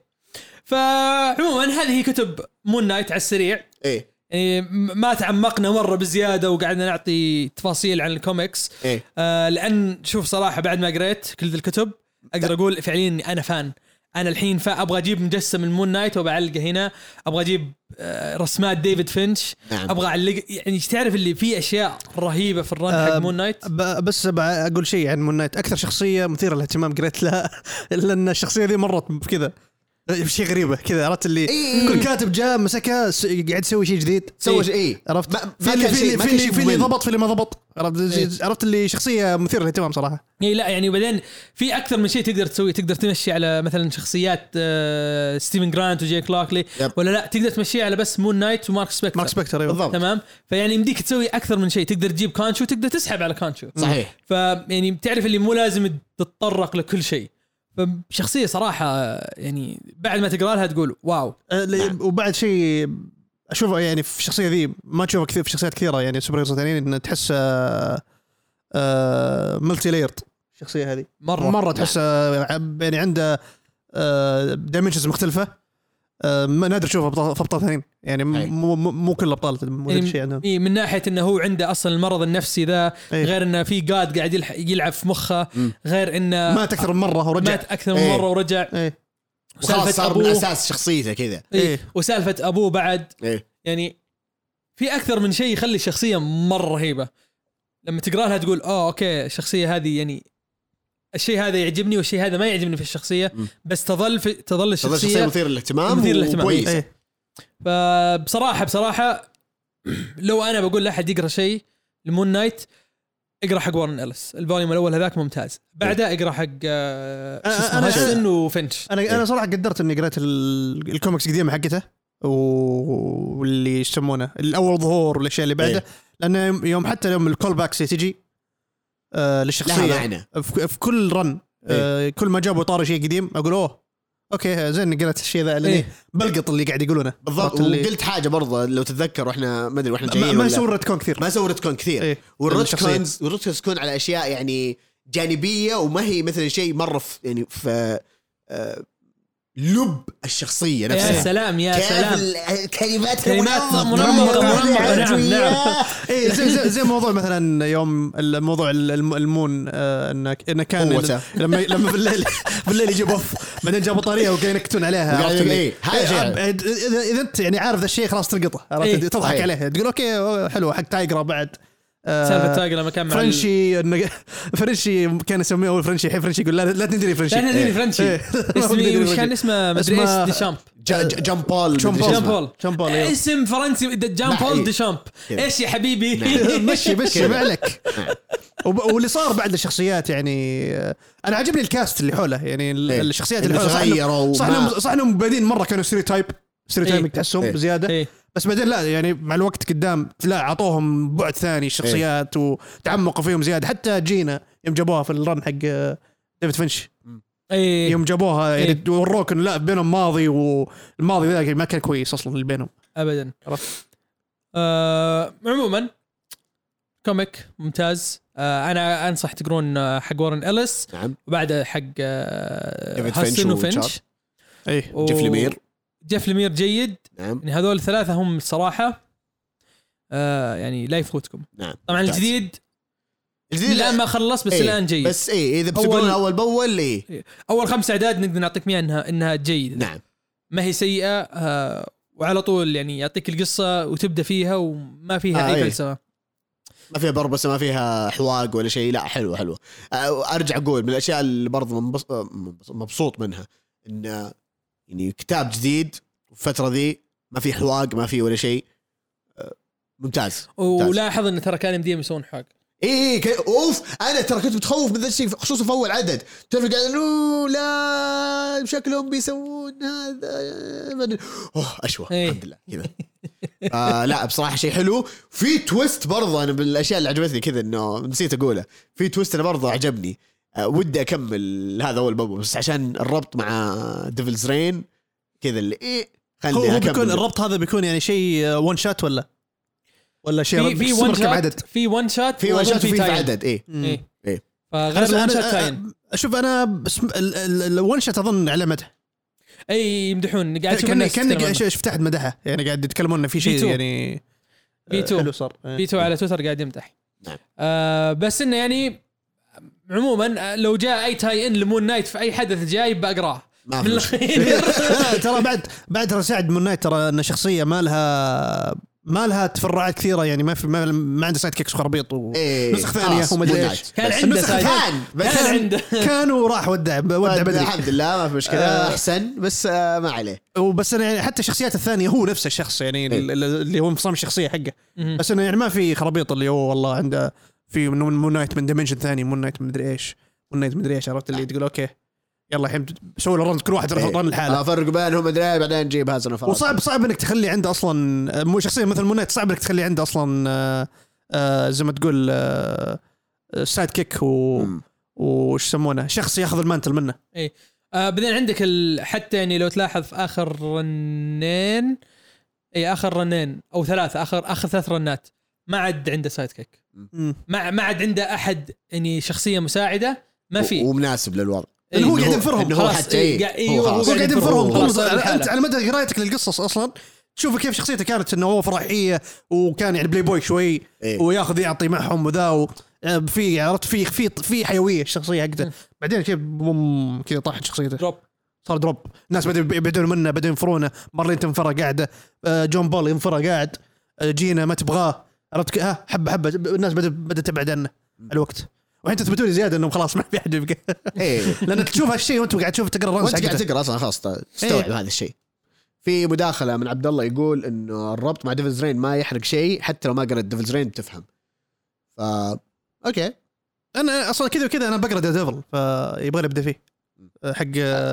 Speaker 3: فعموما هذه هي كتب مون نايت على السريع
Speaker 1: ايه
Speaker 3: يعني م- ما تعمقنا مره بزياده وقعدنا نعطي تفاصيل عن الكوميكس
Speaker 1: إيه.
Speaker 3: آه لان شوف صراحه بعد ما قريت كل ذي الكتب اقدر اقول فعليا اني انا فان انا الحين فا ابغى اجيب مجسم من مون نايت وبعلقه هنا ابغى اجيب آه، رسمات ديفيد فينش
Speaker 1: نعم.
Speaker 3: ابغى اعلق يعني تعرف اللي في اشياء رهيبه في الرن
Speaker 2: آه،
Speaker 3: حق مون نايت
Speaker 2: ب- بس ب- اقول شيء عن مون نايت اكثر شخصيه مثيره للاهتمام قريت لها لان الشخصيه ذي مرت بكذا شيء غريبه كذا عرفت اللي كل كاتب جاء مسكها س- قاعد يسوي شيء جديد
Speaker 1: إيه. سوى شيء- إيه.
Speaker 2: عرفت
Speaker 1: ما- ما
Speaker 2: في اللي
Speaker 1: كان
Speaker 2: في
Speaker 1: شيء-
Speaker 2: اللي
Speaker 1: ما
Speaker 2: في
Speaker 1: كان
Speaker 2: اللي
Speaker 1: شيء
Speaker 2: في اللي
Speaker 1: ممل. إيه.
Speaker 2: ضبط في اللي ما ضبط عرفت عرفت اللي شخصيه مثيره للاهتمام صراحه
Speaker 3: اي لا يعني وبعدين في اكثر من شيء تقدر تسويه تقدر تمشي على مثلا شخصيات آه، ستيفن جرانت وجيك لاكلي
Speaker 1: يب.
Speaker 3: ولا لا تقدر تمشي على بس مون نايت ومارك سبيكتر
Speaker 2: مارك سبكتر ايوه
Speaker 1: بالضبط.
Speaker 3: تمام فيعني يمديك تسوي اكثر من شيء تقدر تجيب كانشو تقدر تسحب على كانشو
Speaker 1: صحيح
Speaker 3: فيعني بتعرف اللي مو لازم تتطرق لكل شيء فشخصيه صراحه آه، يعني بعد ما تقرا لها تقول واو
Speaker 2: آه، ل- وبعد شيء اشوفه يعني في الشخصيه ذي ما تشوفه كثير في شخصيات كثيره يعني سوبر هيروز ثانيين ان تحس آه، ملتي لايرد الشخصيه هذه
Speaker 3: مره
Speaker 2: مره تحس آه، عب- يعني عنده دايمنشنز مختلفه آه، ما نادر تشوفها بطل- في ابطال ثانيين يعني
Speaker 1: أي.
Speaker 2: مو مو- مو كل الابطال مو نفس الشيء عندهم
Speaker 3: إيه من ناحيه انه هو عنده اصلا المرض النفسي ذا
Speaker 2: إيه.
Speaker 3: غير انه في جاد قاعد يلح- يلعب في مخه غير انه
Speaker 2: مات اكثر من مره ورجع
Speaker 3: مات اكثر من
Speaker 1: إيه.
Speaker 3: مره ورجع
Speaker 2: ايه
Speaker 1: وخلاص
Speaker 3: سالفة
Speaker 1: صار من
Speaker 3: أبوه.
Speaker 1: اساس شخصيته كذا
Speaker 3: إيه.
Speaker 2: إيه.
Speaker 3: وسالفه ابوه بعد
Speaker 1: إيه.
Speaker 3: يعني في اكثر من شيء يخلي الشخصيه مره رهيبه لما تقرا لها تقول اه اوكي الشخصيه هذه يعني الشيء هذا يعجبني والشيء هذا ما يعجبني في الشخصيه بس تظل في تظل
Speaker 1: تظل شخصيه
Speaker 3: الشخصيه
Speaker 1: مثير للاهتمام
Speaker 3: مثير للاهتمام. إيه.
Speaker 1: وكويس
Speaker 2: ايه
Speaker 3: فبصراحه بصراحه لو انا بقول لاحد يقرا شيء لمون نايت اقرا حق وارن اليس الفوليوم الاول هذاك ممتاز بعده اقرا حق إيه. آه،
Speaker 2: أنا-
Speaker 3: شو اسمه
Speaker 2: أنا-
Speaker 3: هاتسون وفينش
Speaker 2: انا انا صراحه قدرت اني قريت ال- الكوميكس القديمه حقته و- واللي يسمونه الاول ظهور والاشياء اللي بعده
Speaker 1: إيه.
Speaker 2: لان يوم- يوم حتى يوم الكول باكس اللي تجي آه
Speaker 1: لها
Speaker 2: للشخصيه
Speaker 1: معنى
Speaker 2: في, في كل رن
Speaker 1: إيه.
Speaker 2: آه كل ما جابوا طاري شيء قديم اقول اوه اوكي زين إني قريت الشيء ذا لاني
Speaker 3: إيه.
Speaker 2: بلقط اللي قاعد يقولونه
Speaker 1: بالضبط
Speaker 2: عرفت اللي-
Speaker 1: وقلت حاجه برضه لو تتذكر واحنا ما ادري واحنا
Speaker 2: ما,
Speaker 1: جايين
Speaker 2: ما
Speaker 1: ولا-
Speaker 2: يسوون ريتكون كثير
Speaker 1: ما سووا ريتكون كثير
Speaker 2: إيه.
Speaker 1: والريتكونز والريتكونز تكون على اشياء يعني جانبيه وما هي مثلا شيء مره في يعني في آه، لب الشخصيه
Speaker 3: يا
Speaker 1: نفسها
Speaker 3: سلام يا
Speaker 1: كيف
Speaker 3: سلام
Speaker 1: ال- كلمات
Speaker 3: كلمات منمقة، منمقة، نعم، نعم.
Speaker 2: اي زي زي, زي موضوع مثلا يوم الموضوع ال- الم- المون آه انه انه كان
Speaker 1: قوته.
Speaker 2: لما لما بالليل بالليل يجيب اوف بعدين جابوا طاريه وقاعدين ينكتون عليها
Speaker 1: وقاعد
Speaker 2: عرفت اللي-
Speaker 1: إيه، هذا
Speaker 2: إيه،
Speaker 1: شيء.
Speaker 2: عب- اذا اذا انت يعني عارف ذا الشيء خلاص تلقطه عرفت
Speaker 3: إيه.
Speaker 2: تضحك
Speaker 1: صحيح.
Speaker 2: عليه تقول اوكي أوه، حلو حق تايجرا بعد آه،
Speaker 3: سالفه تايجر لما كان مع ال-
Speaker 2: فرنشي إنه- فرنشي كان يسميه اول فرنشي الحين فرنشي يقول لا لا تندري فرنشي
Speaker 3: لا ندري فرنشي
Speaker 2: إيه. ما
Speaker 3: اسمي
Speaker 2: بدري
Speaker 3: وش كان
Speaker 2: فرنشي.
Speaker 3: اسمه مدري ايش
Speaker 2: اسمه-
Speaker 3: ديشامب
Speaker 1: جان بول
Speaker 2: جون بول.
Speaker 3: جان بول
Speaker 2: جان بول، أيوه.
Speaker 3: اسم فرنسي د- جان
Speaker 1: نعم.
Speaker 3: بول
Speaker 1: إيه.
Speaker 3: ديشامب
Speaker 1: كذا.
Speaker 3: ايش يا حبيبي
Speaker 2: مشي مشي ما عليك
Speaker 3: إيه.
Speaker 2: وب- واللي صار بعد الشخصيات يعني آه، انا عجبني الكاست اللي حوله يعني ال-
Speaker 1: إيه.
Speaker 2: الشخصيات
Speaker 1: إنه
Speaker 2: اللي حوله صح
Speaker 1: تغيروا
Speaker 2: إنهم- صح
Speaker 1: وما-
Speaker 2: انهم
Speaker 3: نعم.
Speaker 2: صح انهم بادين مره كانوا ستيريو تايب ستيريو
Speaker 3: إيه.
Speaker 2: تايب تحسهم
Speaker 1: إيه.
Speaker 2: بزياده
Speaker 3: إيه.
Speaker 2: بس بعدين لا يعني مع الوقت قدام لا اعطوهم بعد
Speaker 1: إيه.
Speaker 2: ثاني الشخصيات وتعمقوا فيهم زياده حتى جينا يوم جابوها في الرن حق آه، ديفيد فينش
Speaker 3: إيه.
Speaker 2: يوم جابوها يعني
Speaker 3: إيه.
Speaker 2: وروك إنه لا بينهم ماضي والماضي ذاك ما كان كويس اصلا اللي بينهم
Speaker 3: ابدا آه عموما كوميك ممتاز آه انا انصح تقرون آه، حق وارن اليس
Speaker 1: نعم
Speaker 3: وبعده حق آه
Speaker 1: ديفيد
Speaker 3: هاسن
Speaker 1: فينش
Speaker 3: وفينش
Speaker 1: وتشارلز.
Speaker 2: اي
Speaker 3: و-
Speaker 1: جيف ليمير.
Speaker 3: جيف لمير جيد
Speaker 1: نعم
Speaker 3: يعني هذول الثلاثه هم الصراحه آه يعني لا يفوتكم
Speaker 1: نعم
Speaker 3: طبعا
Speaker 1: ممتاز.
Speaker 3: الجديد
Speaker 1: الجديد
Speaker 3: الان ما خلص بس
Speaker 1: إيه،
Speaker 3: الان جيد
Speaker 1: بس اي اذا
Speaker 3: أول-
Speaker 1: بتقولون اول باول اي
Speaker 3: اول خمس اعداد نقدر نعطيك اياها انها انها جيده
Speaker 1: نعم
Speaker 3: ما هي سيئه آه وعلى طول يعني يعطيك القصه وتبدا فيها وما فيها
Speaker 1: آه،
Speaker 3: اي
Speaker 1: إيه.
Speaker 3: فلسفه
Speaker 1: ما فيها بربسه ما فيها حواق ولا شيء لا حلوه حلوه أه، ارجع اقول من الاشياء اللي برضه منبس- أه، منبس- مبسوط منها ان يعني كتاب جديد الفتره ذي ما في حواق ما في ولا شيء أه، ممتاز ممتاز.
Speaker 3: ولاحظ ان ترى كان يمديهم يسوون حق
Speaker 1: اي اي ك- اوف انا ترى كنت متخوف من ذا الشيء خصوصا في اول عدد تعرف قاعد أقول، لا شكلهم بيسوون هذا ما أدري. اوه اشوى
Speaker 3: إيه.
Speaker 1: الحمد لله كذا آه لا بصراحه شيء حلو في تويست برضه انا بالاشياء اللي عجبتني كذا انه نسيت اقوله في تويست انا برضه عجبني آه ودي اكمل هذا اول بابا بس عشان الربط مع ديفلز رين كذا اللي ايه
Speaker 2: هو
Speaker 1: خلني
Speaker 2: هو بيكون
Speaker 1: اكمل
Speaker 2: الربط هذا بيكون يعني شيء ون شات ولا ولا
Speaker 3: في
Speaker 2: شيء
Speaker 3: في
Speaker 2: سوبر
Speaker 3: ون
Speaker 2: كم عدد
Speaker 3: شات في ون شات
Speaker 1: في
Speaker 3: وأظن
Speaker 1: وشات وفي في
Speaker 3: تايم.
Speaker 1: عدد ايه
Speaker 3: إيه.
Speaker 1: إيه.
Speaker 3: فغير
Speaker 2: أنا-
Speaker 3: الون شات
Speaker 2: أنا-
Speaker 3: تاين
Speaker 2: شوف انا بس الون شات اظن على مدى
Speaker 3: اي يمدحون قاعد اشوف
Speaker 2: كاني
Speaker 3: الناس
Speaker 2: كاني قاعد- شفت احد مدحه يعني قاعد يتكلمون انه في شيء
Speaker 3: V2.
Speaker 2: يعني آه،
Speaker 3: V2.
Speaker 2: حلو صار إيه.
Speaker 3: بيتو على تويتر قاعد يمدح
Speaker 1: نعم.
Speaker 3: آه بس انه يعني عموما آه، لو جاء اي تاي ان لمون نايت في اي حدث جاي بقراه
Speaker 1: ما
Speaker 3: من
Speaker 1: في مشكلة.
Speaker 3: الخير
Speaker 2: لا، ترى بعد بعد ترى سعد مون نايت ترى انه شخصيه ما لها ما لها تفرعات كثيره يعني ما في ما, ما عنده سايد كيكس خرابيط و...
Speaker 1: إيه،
Speaker 2: نسخ ثانيه
Speaker 1: خلاص،
Speaker 2: وما ادري
Speaker 1: Moon
Speaker 2: ايش
Speaker 1: Knight.
Speaker 3: كان
Speaker 1: بس
Speaker 3: عنده
Speaker 1: النسخة
Speaker 3: سايد-
Speaker 1: كان بس
Speaker 3: كان عنده
Speaker 2: كان وراح ودع ودع بدري
Speaker 1: الحمد لله ما في مشكله احسن بس آه، ما عليه
Speaker 2: وبس انا يعني حتى الشخصيات الثانيه هو نفس الشخص يعني
Speaker 1: إيه.
Speaker 2: ال- ال- اللي هو انفصام الشخصيه حقه
Speaker 3: مهم.
Speaker 2: بس انه يعني ما في خرابيط اللي هو والله عنده في من مون نايت من ديمنشن ثاني مون نايت من مدري ايش مون نايت مدري ايش عرفت اللي تقول اوكي يلا الحين سوي له رن كل واحد
Speaker 1: إيه.
Speaker 2: رن لحاله
Speaker 1: آه، فرق بينهم ادري إيه، بعدين نجيب هذا النفر
Speaker 2: وصعب صعب انك تخلي عنده اصلا مو شخصيه مثل مونيت صعب انك تخلي عنده اصلا آه، آه، زي ما تقول آه، آه، سايد كيك و
Speaker 1: مم.
Speaker 2: وش يسمونه شخص ياخذ المانتل منه
Speaker 3: آه بعدين عندك ال... حتى يعني لو تلاحظ في اخر رنين اي اخر رنين او ثلاثه اخر اخر ثلاث رنات ما عاد عنده سايد كيك ما ما عاد عنده احد يعني شخصيه مساعده ما في
Speaker 1: و- ومناسب للوضع
Speaker 3: إيه،
Speaker 2: هو
Speaker 3: إنه
Speaker 2: قاعد ينفرهم.
Speaker 1: إنه هو
Speaker 3: خلاص،
Speaker 1: حتى
Speaker 3: إيه،
Speaker 1: إيه،
Speaker 3: قاعد- إيه،
Speaker 1: هو
Speaker 3: هو
Speaker 1: خلاص.
Speaker 2: هو قاعد ينفرهم
Speaker 3: خلاص،
Speaker 2: طز-
Speaker 3: على
Speaker 2: انت
Speaker 3: الحالة.
Speaker 2: على مدى قرايتك للقصص اصلا شوف كيف شخصيته كانت انه هو فرحيه وكان يعني بلاي بوي شوي
Speaker 1: إيه.
Speaker 2: وياخذ يعطي معهم وذا و- آه، في عرفت في في في حيويه الشخصيه حقته بعدين كيف بوم كذا طاحت شخصيته
Speaker 3: دروب
Speaker 2: صار دروب الناس بدأوا يبعدون منه بدأوا ينفرونه مارلين تنفره قاعده آه، جون بول ينفره قاعد آه، جينا ما تبغاه عرفت ك- ها حبه حبه الناس بدأت بدأت تبعد عنه الوقت والحين تثبتوا لي زياده انهم خلاص ما في احد يبقى
Speaker 1: ايه
Speaker 2: لان تشوف هالشيء وانت قاعد تشوف تقرا الرمز
Speaker 1: وانت قاعد
Speaker 2: حقته
Speaker 1: تقرا اصلا خلاص
Speaker 2: إيه.
Speaker 1: تستوعب هذا الشيء في مداخله من عبد الله يقول انه الربط مع ديفلز رين ما يحرق شيء حتى لو ما قرأت ديفلز رين بتفهم ف اوكي
Speaker 2: انا اصلا كذا وكذا انا بقرا ذا ديفل فيبغى ابدا فيه آه، حق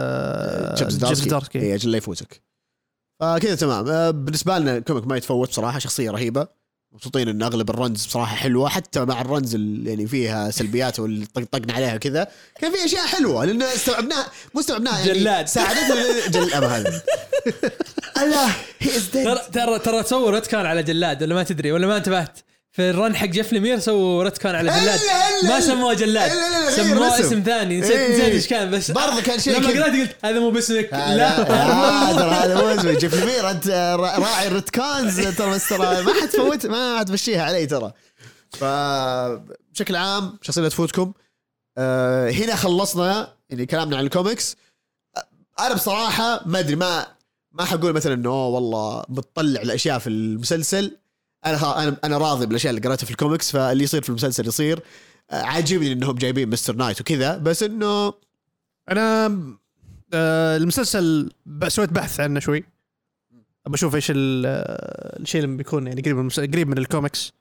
Speaker 2: آه،
Speaker 1: جيمس إيه. داركي, اي اجل لا يفوتك فكذا تمام آه، بالنسبه لنا كوميك ما يتفوت بصراحه شخصيه رهيبه مبسوطين ان اغلب الرنز بصراحه حلوه حتى مع الرنز اللي يعني فيها سلبيات واللي طق- طقنا عليها كذا كان في اشياء حلوه لان استوعبناها مو استوعبناها يعني
Speaker 3: جلاد.
Speaker 1: ساعدتنا جل أبا هذا الله هي از
Speaker 3: ترى ترى ترى سووا رتكان على جلاد ولا ما تدري ولا ما انتبهت في الرن حق جيف لمير سووا رتكان على
Speaker 1: إلا-
Speaker 3: جلاد
Speaker 1: إلا-
Speaker 3: ما
Speaker 1: إلا-
Speaker 3: سموه جلاد
Speaker 1: إلا- إلا- إلا، غير
Speaker 3: سموه
Speaker 1: اسم.
Speaker 3: اسم ثاني نسيت
Speaker 1: إيه.
Speaker 3: نسيت ايش كان بس
Speaker 1: برضه كان شيء
Speaker 3: لما
Speaker 1: كذا.
Speaker 3: قرأت قلت هذا مو باسمك
Speaker 1: لا
Speaker 3: لا
Speaker 1: ترى هذا مو اسمه جيف لمير انت را- راعي الرتكانز ترى بس ترى ما حد فوت ما حد مشيها علي ترى فبشكل عام شخصيه لا تفوتكم آه، هنا خلصنا يعني كلامنا عن الكوميكس آه، انا بصراحه ما ادري ما ما حقول مثلا انه أوه والله بتطلع الاشياء في المسلسل انا خ- انا انا راضي بالاشياء اللي قريتها في الكوميكس فاللي يصير في المسلسل يصير آه، عاجبني انهم جايبين مستر نايت وكذا بس انه
Speaker 2: انا آه، المسلسل ب- سويت بحث عنه شوي بشوف ايش ال- آه، الشيء اللي بيكون يعني قريب من المس- قريب من الكوميكس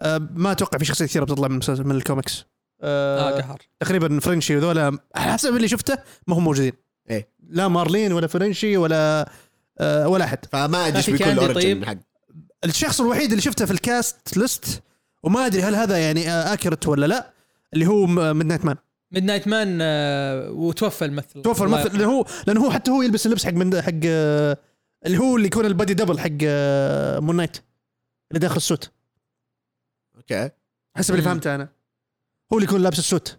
Speaker 2: آه، ما اتوقع في شخصيه كثيره بتطلع من المسلسل من الكوميكس آه،
Speaker 3: آه، قهر
Speaker 2: تقريبا فرنشي وذولا حسب اللي شفته ما هم موجودين
Speaker 1: إيه.
Speaker 2: لا مارلين ولا فرنشي ولا آه، ولا احد
Speaker 1: فما ادري ايش
Speaker 3: في
Speaker 1: بيكون
Speaker 3: كاندي
Speaker 1: الاوريجن
Speaker 3: طيب؟
Speaker 1: حق
Speaker 2: الشخص الوحيد اللي شفته في الكاست ليست وما ادري هل هذا يعني آه، اكرت ولا لا اللي هو ميد نايت مان
Speaker 3: ميد نايت مان آه، وتوفى الممثل
Speaker 2: توفى
Speaker 3: الله
Speaker 2: الممثل لانه هو لانه هو حتى هو يلبس اللبس حق من حق آه، اللي هو اللي يكون البادي دبل حق مون نايت اللي داخل السوت
Speaker 1: اوكي
Speaker 2: حسب اللي
Speaker 3: مم.
Speaker 2: فهمته انا هو اللي يكون لابس السوت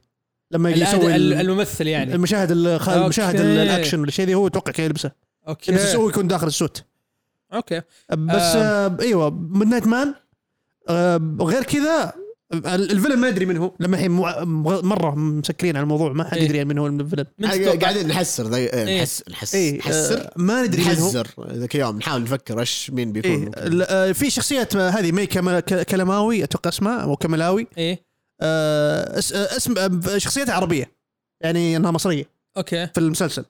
Speaker 2: لما يجي
Speaker 3: الآن
Speaker 2: يسوي
Speaker 3: ال-
Speaker 2: ال-
Speaker 3: الممثل يعني
Speaker 2: المشاهد الخ- المشاهد
Speaker 3: أوكي.
Speaker 2: الاكشن ولا شيء ذي هو اتوقع كان يلبسه بس
Speaker 3: اوكي
Speaker 2: هو يكون داخل السوت
Speaker 3: اوكي
Speaker 2: بس آه ايوه ميد نايت مان آه غير كذا ال- الفيلم ما ادري من هو لما الحين مع- مغ- مره مسكرين على الموضوع ما حد
Speaker 3: إيه.
Speaker 2: يدري يعني من هو الفيلم
Speaker 3: من
Speaker 1: قاعد-
Speaker 3: تتوقع؟
Speaker 1: قاعدين نحسر ذي إيه، نحس نحس
Speaker 2: اي
Speaker 1: نحسر
Speaker 2: آه ما ندري من هو
Speaker 1: نحزر ذاك اليوم نحاول نفكر ايش مين بيكون
Speaker 2: إيه
Speaker 1: ممكن.
Speaker 2: ال- آه، في شخصية آه، هذه مي كما- ك- كلماوي اتوقع اسمها او كملاوي
Speaker 3: ايه
Speaker 2: آه، اس- آه، اسم آه، شخصيتها عربية يعني انها مصرية
Speaker 3: اوكي
Speaker 2: في المسلسل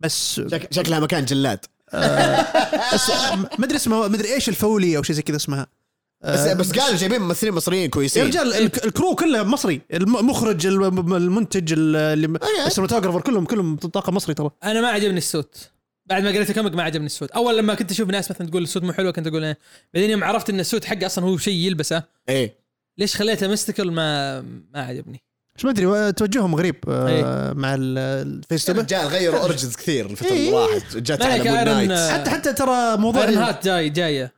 Speaker 2: بس آه،
Speaker 1: شك- شكلها مكان جلاد
Speaker 2: اس- آه، ما ادري اسمها ما ادري ايش الفولي او شيء زي كذا اسمها
Speaker 1: بس بس قالوا جايبين ممثلين مصريين
Speaker 2: آه، يا
Speaker 3: إيه.
Speaker 1: كويسين
Speaker 2: رجال ال- الكرو كله مصري المخرج الم- المنتج ال- اللي
Speaker 1: إيه.
Speaker 2: السينماتوجرافر كلهم كلهم طاقم مصري ترى
Speaker 3: انا ما عجبني السوت بعد ما قريت الكوميك ما عجبني السوت اول لما كنت اشوف ناس مثلا تقول السوت مو حلو كنت اقول ايه بعدين يوم عرفت ان السوت حقه اصلا هو شيء يلبسه
Speaker 1: ايه
Speaker 3: ليش خليته ميستيكل ما ما عجبني
Speaker 2: بس ما ادري و- توجههم غريب آه، مع ال- الفيس
Speaker 1: يا
Speaker 2: تبع
Speaker 1: رجال غيروا اورجنز كثير الفتره
Speaker 2: إيه.
Speaker 1: اللي راحت جت على
Speaker 3: مالك
Speaker 1: مون
Speaker 3: آيرون-
Speaker 1: نايت
Speaker 2: حتى حتى ترى موضوع
Speaker 3: ايرون
Speaker 2: ال-
Speaker 3: هات جاي جايه
Speaker 2: أه؟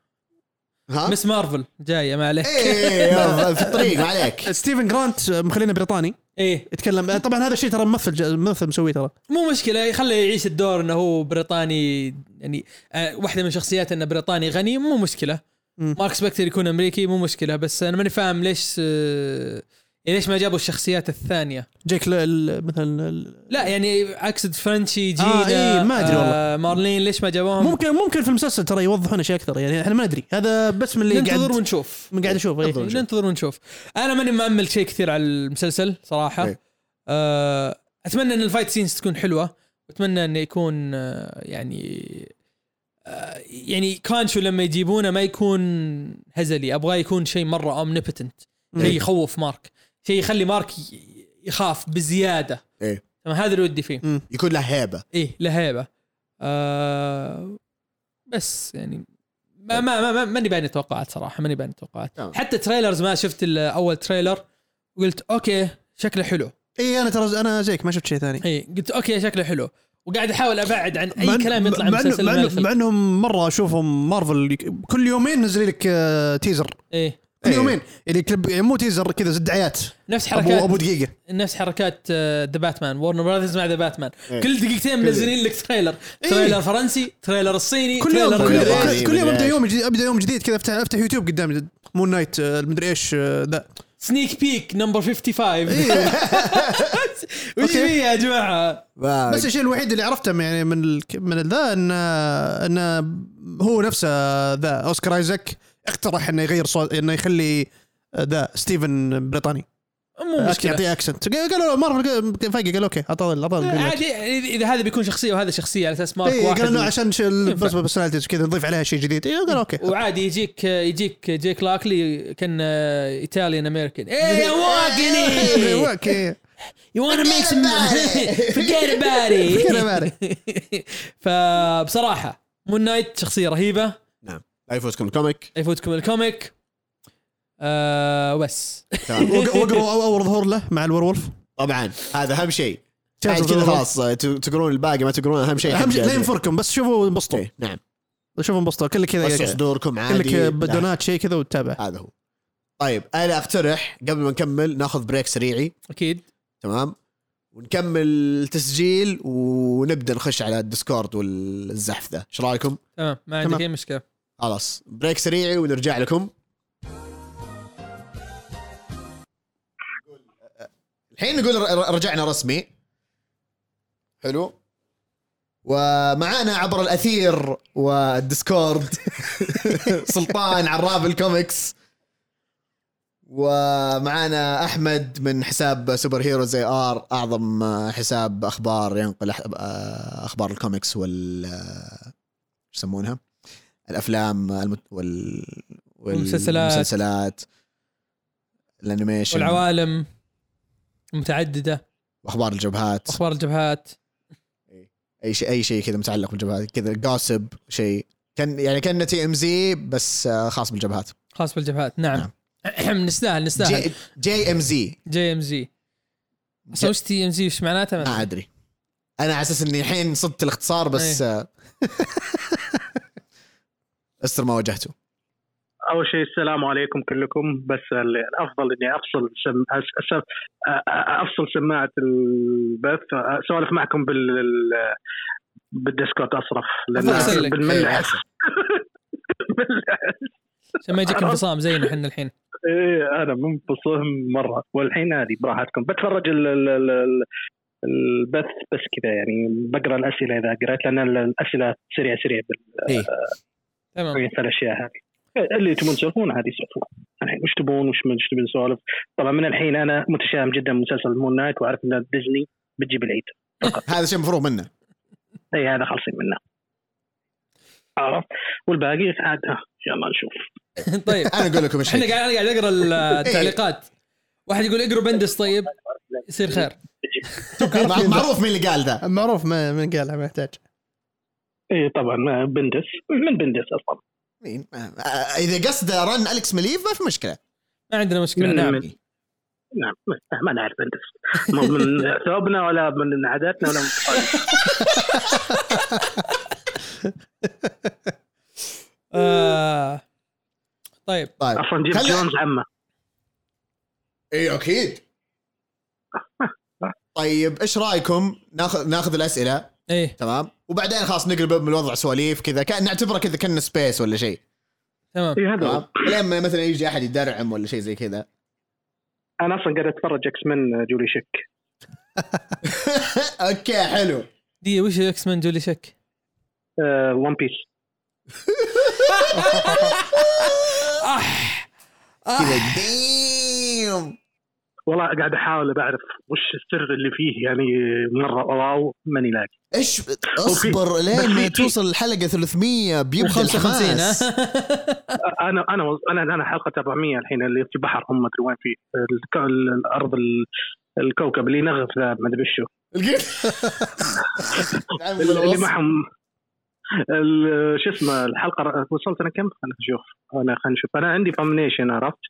Speaker 1: ها
Speaker 2: إيه.
Speaker 3: مس مارفل جايه ما عليك
Speaker 1: ايه يا رب، في الطريق ما عليك
Speaker 2: ستيفن جرانت آه، مخلينا بريطاني
Speaker 3: ايه
Speaker 2: يتكلم طبعا هذا الشيء ترى ممثل ممثل مسويه ترى
Speaker 3: مو مشكله خله يعيش الدور انه هو بريطاني يعني آه واحده من شخصياته انه بريطاني غني مو مشكله
Speaker 2: مم.
Speaker 3: مارك سبكتر يكون امريكي مو مشكله بس انا ماني فاهم ليش آه يعني ليش ما جابوا الشخصيات الثانيه
Speaker 2: جيك ل- ال- مثلا ال-
Speaker 3: لا يعني اقصد فرنشي جينا
Speaker 2: آه، إيه، ما أدري
Speaker 3: آه مارلين ليش ما جابوهم
Speaker 2: ممكن ممكن في المسلسل ترى يوضحون اشياء اكثر يعني احنا ما ندري هذا بس من اللي
Speaker 3: ننتظر
Speaker 2: قاعد
Speaker 3: ونشوف
Speaker 2: من قاعد اشوف إيه.
Speaker 3: ننتظر ونشوف انا ماني مأمل شيء كثير على المسلسل صراحه
Speaker 1: إيه.
Speaker 3: آه، اتمنى ان الفايت سينز تكون حلوه واتمنى انه يكون آه، يعني آه، يعني كانشو لما يجيبونه ما يكون هزلي ابغاه يكون شيء مره اومنيبتنت شيء
Speaker 2: إيه.
Speaker 3: يخوف مارك شيء يخلي مارك ي- يخاف بزياده
Speaker 1: إيه.
Speaker 3: تمام هذا اللي ودي فيه
Speaker 1: يكون له هيبه
Speaker 3: ايه لهيبه آه بس يعني ما ما ما- ما ماني باني توقعات صراحه ماني باني توقعات
Speaker 1: تمام.
Speaker 3: حتى تريلرز ما شفت ال- اول تريلر قلت اوكي شكله حلو
Speaker 2: اي انا إيه، ترى انا زيك ما شفت شيء ثاني
Speaker 3: اي قلت اوكي شكله حلو وقاعد احاول ابعد عن اي
Speaker 2: مع إن-
Speaker 3: كلام يطلع من
Speaker 2: مع إنه-
Speaker 3: مسلسل
Speaker 2: مع
Speaker 3: ما له
Speaker 2: إنه-
Speaker 3: خلق.
Speaker 2: مع انهم مره اشوفهم مارفل يك- كل يومين نزل لك آه، تيزر
Speaker 3: ايه
Speaker 2: كل
Speaker 1: إيه.
Speaker 2: يومين يعني كليب يعني مو تيزر كذا زي دعايات
Speaker 3: نفس
Speaker 2: ابو
Speaker 3: حركات
Speaker 2: ابو دقيقه
Speaker 3: نفس حركات آه، ذا باتمان ورنر براذرز مع ذا باتمان
Speaker 1: إيه.
Speaker 3: كل دقيقتين منزلين لك تريلر تريلر فرنسي تريلر الصيني
Speaker 2: كل يوم
Speaker 3: تريلر
Speaker 2: كل,
Speaker 3: الياباني.
Speaker 2: كل- كل يوم
Speaker 1: مدري إيش.
Speaker 2: ابدا يوم جديد ابدا يوم جديد كذا افتح افتح يوتيوب قدامي مون نايت آه، مدري ايش آه، ذا
Speaker 3: سنيك بيك نمبر 55 وش
Speaker 2: إيه. أوكي.
Speaker 3: فيه يا جماعه
Speaker 2: بس الشيء الوحيد اللي عرفته من- يعني من ال- من ذا ان ان هو نفسه ذا اوسكار ايزاك اقترح انه يغير صوت انه يخلي ذا ستيفن بريطاني
Speaker 3: مو مشكله
Speaker 2: يعطيه اكسنت قالوا مارفل فايق قال اوكي اعطاه اعطاه الgreen light.
Speaker 3: عادي يعني إذا- اذا هذا بيكون شخصيه وهذا شخصيه على اساس مارك
Speaker 2: اي
Speaker 3: واحد
Speaker 2: إيه، قالوا انه
Speaker 3: و- إيه،
Speaker 2: عشان بس بس كذا نضيف عليها شيء جديد إيه، اي قالوا اوكي
Speaker 3: وعادي يجيك يجيك جيك لاكلي آه، كان ايطاليان امريكان اي يا واقني
Speaker 2: اوكي
Speaker 3: إيه. يو إيه، wanna ميك سم فورجيت
Speaker 2: Forget
Speaker 3: about
Speaker 2: about
Speaker 3: it فبصراحه مون نايت شخصيه رهيبه
Speaker 1: نعم لا يفوتكم الكوميك
Speaker 3: لا يفوتكم الكوميك آه بس
Speaker 1: تمام.
Speaker 2: وق- وقروا أو- اول ظهور له مع الورولف
Speaker 1: طبعا هذا اهم شيء
Speaker 2: شاهد
Speaker 1: بعد إيه، كذا
Speaker 2: الظهور.
Speaker 1: خلاص آه، ت- تقرون الباقي ما تقرون اهم شيء
Speaker 2: اهم شيء لا
Speaker 1: حق-
Speaker 2: ينفركم بس شوفوا انبسطوا
Speaker 1: إيه، نعم
Speaker 2: شوفوا انبسطوا كله
Speaker 1: وسعوا
Speaker 2: كذا
Speaker 1: صدوركم عادي نعم.
Speaker 2: كلك
Speaker 1: لا،
Speaker 2: بدونات شيء كذا وتتابع
Speaker 1: هذا هو طيب انا اقترح قبل ما نكمل ناخذ بريك سريعي
Speaker 3: اكيد
Speaker 1: تمام ونكمل تسجيل ونبدا نخش على الديسكورد والزحف ذا ايش رايكم
Speaker 3: تمام ما عندك
Speaker 2: تمام.
Speaker 3: اي مشكله
Speaker 1: خلاص بريك سريعي ونرجع لكم الحين نقول ر- ر- رجعنا رسمي حلو ومعانا عبر الاثير والديسكورد سلطان عراب الكوميكس ومعانا احمد من حساب سوبر هيرو زي ار اعظم حساب اخبار ينقل أح- اخبار الكوميكس وال شو يسمونها الافلام المت... وال... وال-
Speaker 3: والمسلسلات.
Speaker 1: المسلسلات الانيميشن
Speaker 3: والعوالم متعدده
Speaker 1: واخبار الجبهات
Speaker 3: واخبار الجبهات
Speaker 1: اي شيء اي شيء كذا متعلق بالجبهات كذا جاسب شيء كان يعني كان تي ام زي بس آه، خاص بالجبهات
Speaker 3: خاص بالجبهات نعم نستاهل نستاهل
Speaker 1: جي, جي ام زي
Speaker 3: جي ام زي
Speaker 1: ج-
Speaker 3: سوش تي ام زي وش معناتها؟
Speaker 6: آه.
Speaker 1: ما ادري انا على اساس اني الحين صدت الاختصار بس
Speaker 3: إيه.
Speaker 1: آه، استر ما واجهته
Speaker 6: اول شيء السلام عليكم كلكم بس ال- الافضل اني افصل سم... أس- أس- أ- افصل سماعه البث اسولف معكم بال ال- بالديسكوت اصرف
Speaker 3: أحسن لك.
Speaker 6: لان
Speaker 1: إيه،
Speaker 6: بنملع
Speaker 1: أحسن.
Speaker 3: عشان ما يجيك انفصام زينا احنا الحين
Speaker 6: ايه انا منفصل مره والحين عادي براحتكم بتفرج ال... ال... ال... ال- البث بس كذا يعني بقرا الاسئله اذا قريت لان ال- الاسئله سريع سريع
Speaker 1: إيه.
Speaker 3: تمام
Speaker 6: بقيت الاشياء هذه اللي تبون تسولفون عادي سولفون الحين وش تبون وش ما- وش تبون نسولف طبعا من الحين انا متشائم جدا بمسلسل مون نايت واعرف ان ديزني بتجيب العيد
Speaker 1: هذا شيء مفروغ منه
Speaker 6: اي هذا خالصين منه عرفت والباقي عاد ها، ان شاء الله نشوف
Speaker 3: طيب
Speaker 1: انا اقول لكم ايش
Speaker 3: احنا
Speaker 1: هي.
Speaker 3: قاعد انا قاعد اقرا التعليقات واحد يقول اقروا بندس طيب يصير خير
Speaker 1: مع- معروف مين اللي قال ذا
Speaker 2: معروف ما من قالها ما يحتاج
Speaker 6: اي طبعا إيه، آه، بندس من بندس اصلا
Speaker 1: مين آه، آه، اذا قصده رن الكس مليف ما في مشكله
Speaker 3: ما عندنا مشكله
Speaker 6: من
Speaker 3: نعم
Speaker 6: من نعم ما نعرف بندس مو من ثوبنا ولا من عاداتنا ولا من
Speaker 3: آه، طيب
Speaker 1: طيب إيه،
Speaker 6: اصلا جيم
Speaker 1: خلي-
Speaker 6: جونز عمه
Speaker 1: اي اكيد طيب ايش رايكم ناخذ ناخذ الاسئله
Speaker 3: ايه
Speaker 1: تمام وبعدين خلاص نقلب من الوضع سواليف كذا كان نعتبره كذا كان سبيس ولا شيء
Speaker 3: تمام
Speaker 6: اي إيه، هذا هو.
Speaker 1: تمام لين ما مثلا يجي احد يدرعم ولا شيء زي كذا
Speaker 6: انا اصلا قاعد اتفرج اكس من آه، جولي شك
Speaker 1: اوكي حلو
Speaker 3: دي وش اكس مان جولي شك
Speaker 6: ون بيس
Speaker 3: اح
Speaker 1: كذا ديم
Speaker 6: والله قاعد احاول بعرف وش السر اللي فيه يعني مره واو ماني لاقي
Speaker 1: ايش اصبر لين ما توصل الحلقه 300 بيبقى
Speaker 3: 55
Speaker 1: الحماس
Speaker 3: ها؟
Speaker 6: انا انا انا انا حلقه 400 الحين اللي في البحر هم ما ادري وين في آه، الك- الارض ال- الكوكب اللي ينغف ذا ما ادري وشو
Speaker 1: لقيت
Speaker 6: اللي معهم ال- شو اسمه الحلقه ر- وصلت انا كم؟ خلنا نشوف انا خلينا نشوف انا عندي فامنيشن عرفت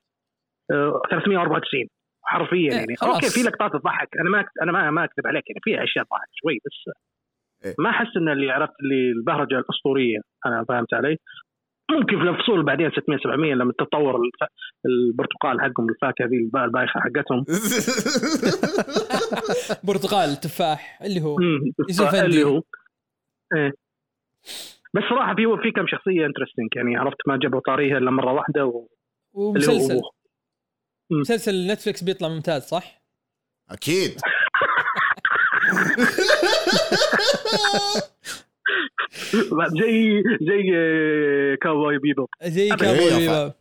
Speaker 6: آه، 394 حرفيا
Speaker 3: إيه،
Speaker 6: يعني
Speaker 3: خلاص.
Speaker 6: اوكي في لقطات تضحك انا ما أكت- انا ما ما اكذب عليك يعني في اشياء تضحك شوي بس
Speaker 1: إيه.
Speaker 6: ما احس ان اللي عرفت اللي البهرجه الاسطوريه انا فهمت علي؟ ممكن في الفصول بعدين 600 700 لما تتطور الف- البرتقال حقهم الفاكهه ذي الب- البايخه حقتهم
Speaker 3: برتقال تفاح اللي هو
Speaker 6: مم.
Speaker 3: يوسف
Speaker 6: فاللي
Speaker 3: أندي.
Speaker 6: هو ايه بس صراحه في في كم شخصيه انترستنج يعني عرفت ما جابوا طاريها الا مره واحده و... اللي هو
Speaker 3: ومسلسل
Speaker 6: أبوه.
Speaker 3: مسلسل نتفلكس بيطلع ممتاز صح؟
Speaker 1: اكيد
Speaker 6: زي زي آه، كاواي بيبو
Speaker 3: زي
Speaker 6: أبدا.
Speaker 3: كابوي
Speaker 1: إيه،
Speaker 3: بيبا.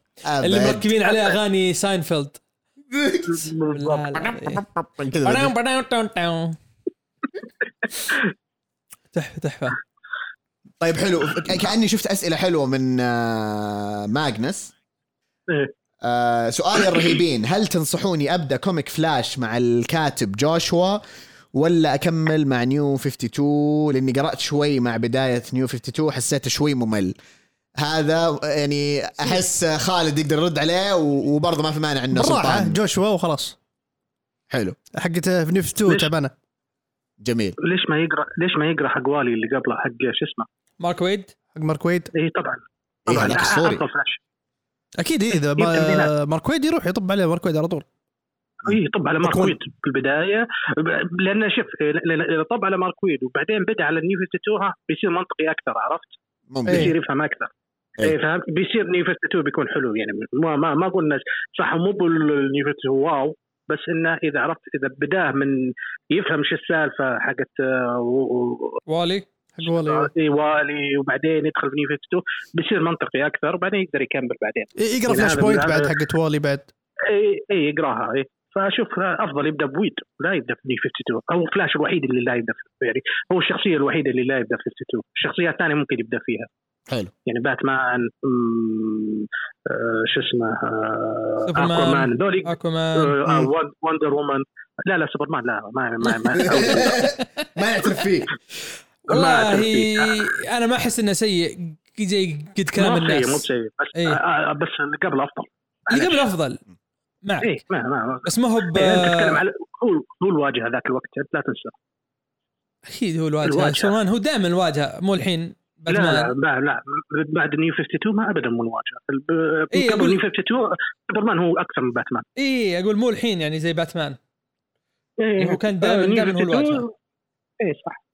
Speaker 3: اللي مركبين عليه اغاني ساينفيلد لا، لا، إيه.
Speaker 1: كذا
Speaker 3: بداو، بداو، تاو، تاو. تحفه تحفه
Speaker 1: طيب حلو كاني شفت اسئله حلوه من آه، ماجنس
Speaker 6: إيه.
Speaker 1: آه، سؤالي الرهيبين هل تنصحوني ابدا كوميك فلاش مع الكاتب جوشوا ولا اكمل مع نيو 52 لاني قرات شوي مع بدايه نيو 52 حسيته شوي ممل هذا يعني احس خالد يقدر يرد عليه و- وبرضه ما في مانع انه
Speaker 2: بالراحه
Speaker 1: سلطان
Speaker 2: جوشوا وخلاص
Speaker 1: حلو
Speaker 2: حقته في نيف 2
Speaker 6: ليش؟
Speaker 2: تعبانه
Speaker 1: جميل
Speaker 6: ليش ما يقرا ليش ما يقرا حق والي اللي قبله حق شو اسمه
Speaker 3: مارك ويد
Speaker 2: حق مارك ويد
Speaker 6: اي طبعا
Speaker 1: إيه،
Speaker 6: طبعا
Speaker 1: هذا أسطوري.
Speaker 6: افضل فلاش
Speaker 2: اكيد إيه، اذا
Speaker 6: يمكن
Speaker 2: ما
Speaker 6: بينات.
Speaker 2: مارك ويد يروح يطب عليه مارك ويد على طول
Speaker 6: اي إيه، طب على مارك
Speaker 2: أكون.
Speaker 6: ويد في البدايه ب- لان شوف إيه، ل- ل- إذا طب على مارك ويد وبعدين بدا على النيو 52 ها، بيصير منطقي اكثر عرفت
Speaker 1: ممكن
Speaker 6: بيصير يفهم اكثر
Speaker 1: إيه.
Speaker 6: اي فهمت بيصير نيفرت 2 بيكون حلو يعني ما ما ما قلنا صح مو بالنيفرت واو بس انه اذا عرفت اذا بداه من يفهم شو السالفه حقت آه، و- و-
Speaker 3: والي
Speaker 2: حق
Speaker 1: إيه.
Speaker 2: والله
Speaker 6: إي والي وبعدين يدخل في نيفرت 2 بيصير منطقي اكثر وبعدين يقدر يكمل بعدين
Speaker 2: يقرا
Speaker 6: هذا-
Speaker 2: إيه، فلاش بوينت
Speaker 6: هذا-
Speaker 2: بعد حقت والي بعد
Speaker 6: اي اي إيه، يقراها اي فاشوف افضل يبدا بويد لا يبدا في نيفرت 2 هو فلاش الوحيد اللي لا يبدا فيه يعني هو الشخصيه الوحيده اللي لا يبدا في 52 الشخصيات الثانيه ممكن يبدا فيها
Speaker 1: حلو
Speaker 6: يعني باتمان أمم، آه، شو اسمه آه،
Speaker 3: سوبرمان.
Speaker 6: اكوامان ذولي
Speaker 3: اكوامان
Speaker 6: آه، آه، وند- وندر وومن لا لا سوبرمان لا ما ما ما
Speaker 1: ما يعترف فيه
Speaker 6: ما
Speaker 3: والله
Speaker 6: أعترف فيه.
Speaker 3: انا ما احس انه سيء زي قد كلام
Speaker 6: مو سيء مو
Speaker 3: الناس
Speaker 6: سيء بس
Speaker 3: إيه.
Speaker 6: آه، آه، بس اللي قبل افضل
Speaker 3: اللي قبل افضل
Speaker 6: اي
Speaker 3: معك
Speaker 6: ما ما
Speaker 3: بس ما هو ب
Speaker 6: إيه، أنت
Speaker 3: آه،
Speaker 6: تتكلم على هو هو الواجهه ذاك الوقت أنت لا تنسى
Speaker 3: اكيد هو الواجهه
Speaker 6: الواجهة.
Speaker 3: سومان هو دائما الواجهه مو الحين
Speaker 6: لا لا
Speaker 3: باتمان
Speaker 6: لا, لا بعد نيو 52 ما ابدا مو الواجهه الب-
Speaker 3: إيه،
Speaker 6: قبل
Speaker 3: أقول-
Speaker 6: نيو 52 سوبرمان هو اكثر من باتمان
Speaker 3: اي اقول مو الحين يعني زي باتمان
Speaker 6: إيه.
Speaker 3: هو كان دائما
Speaker 6: آه، نيو
Speaker 3: دائما هو
Speaker 6: 52
Speaker 3: الواجهه
Speaker 6: اي صح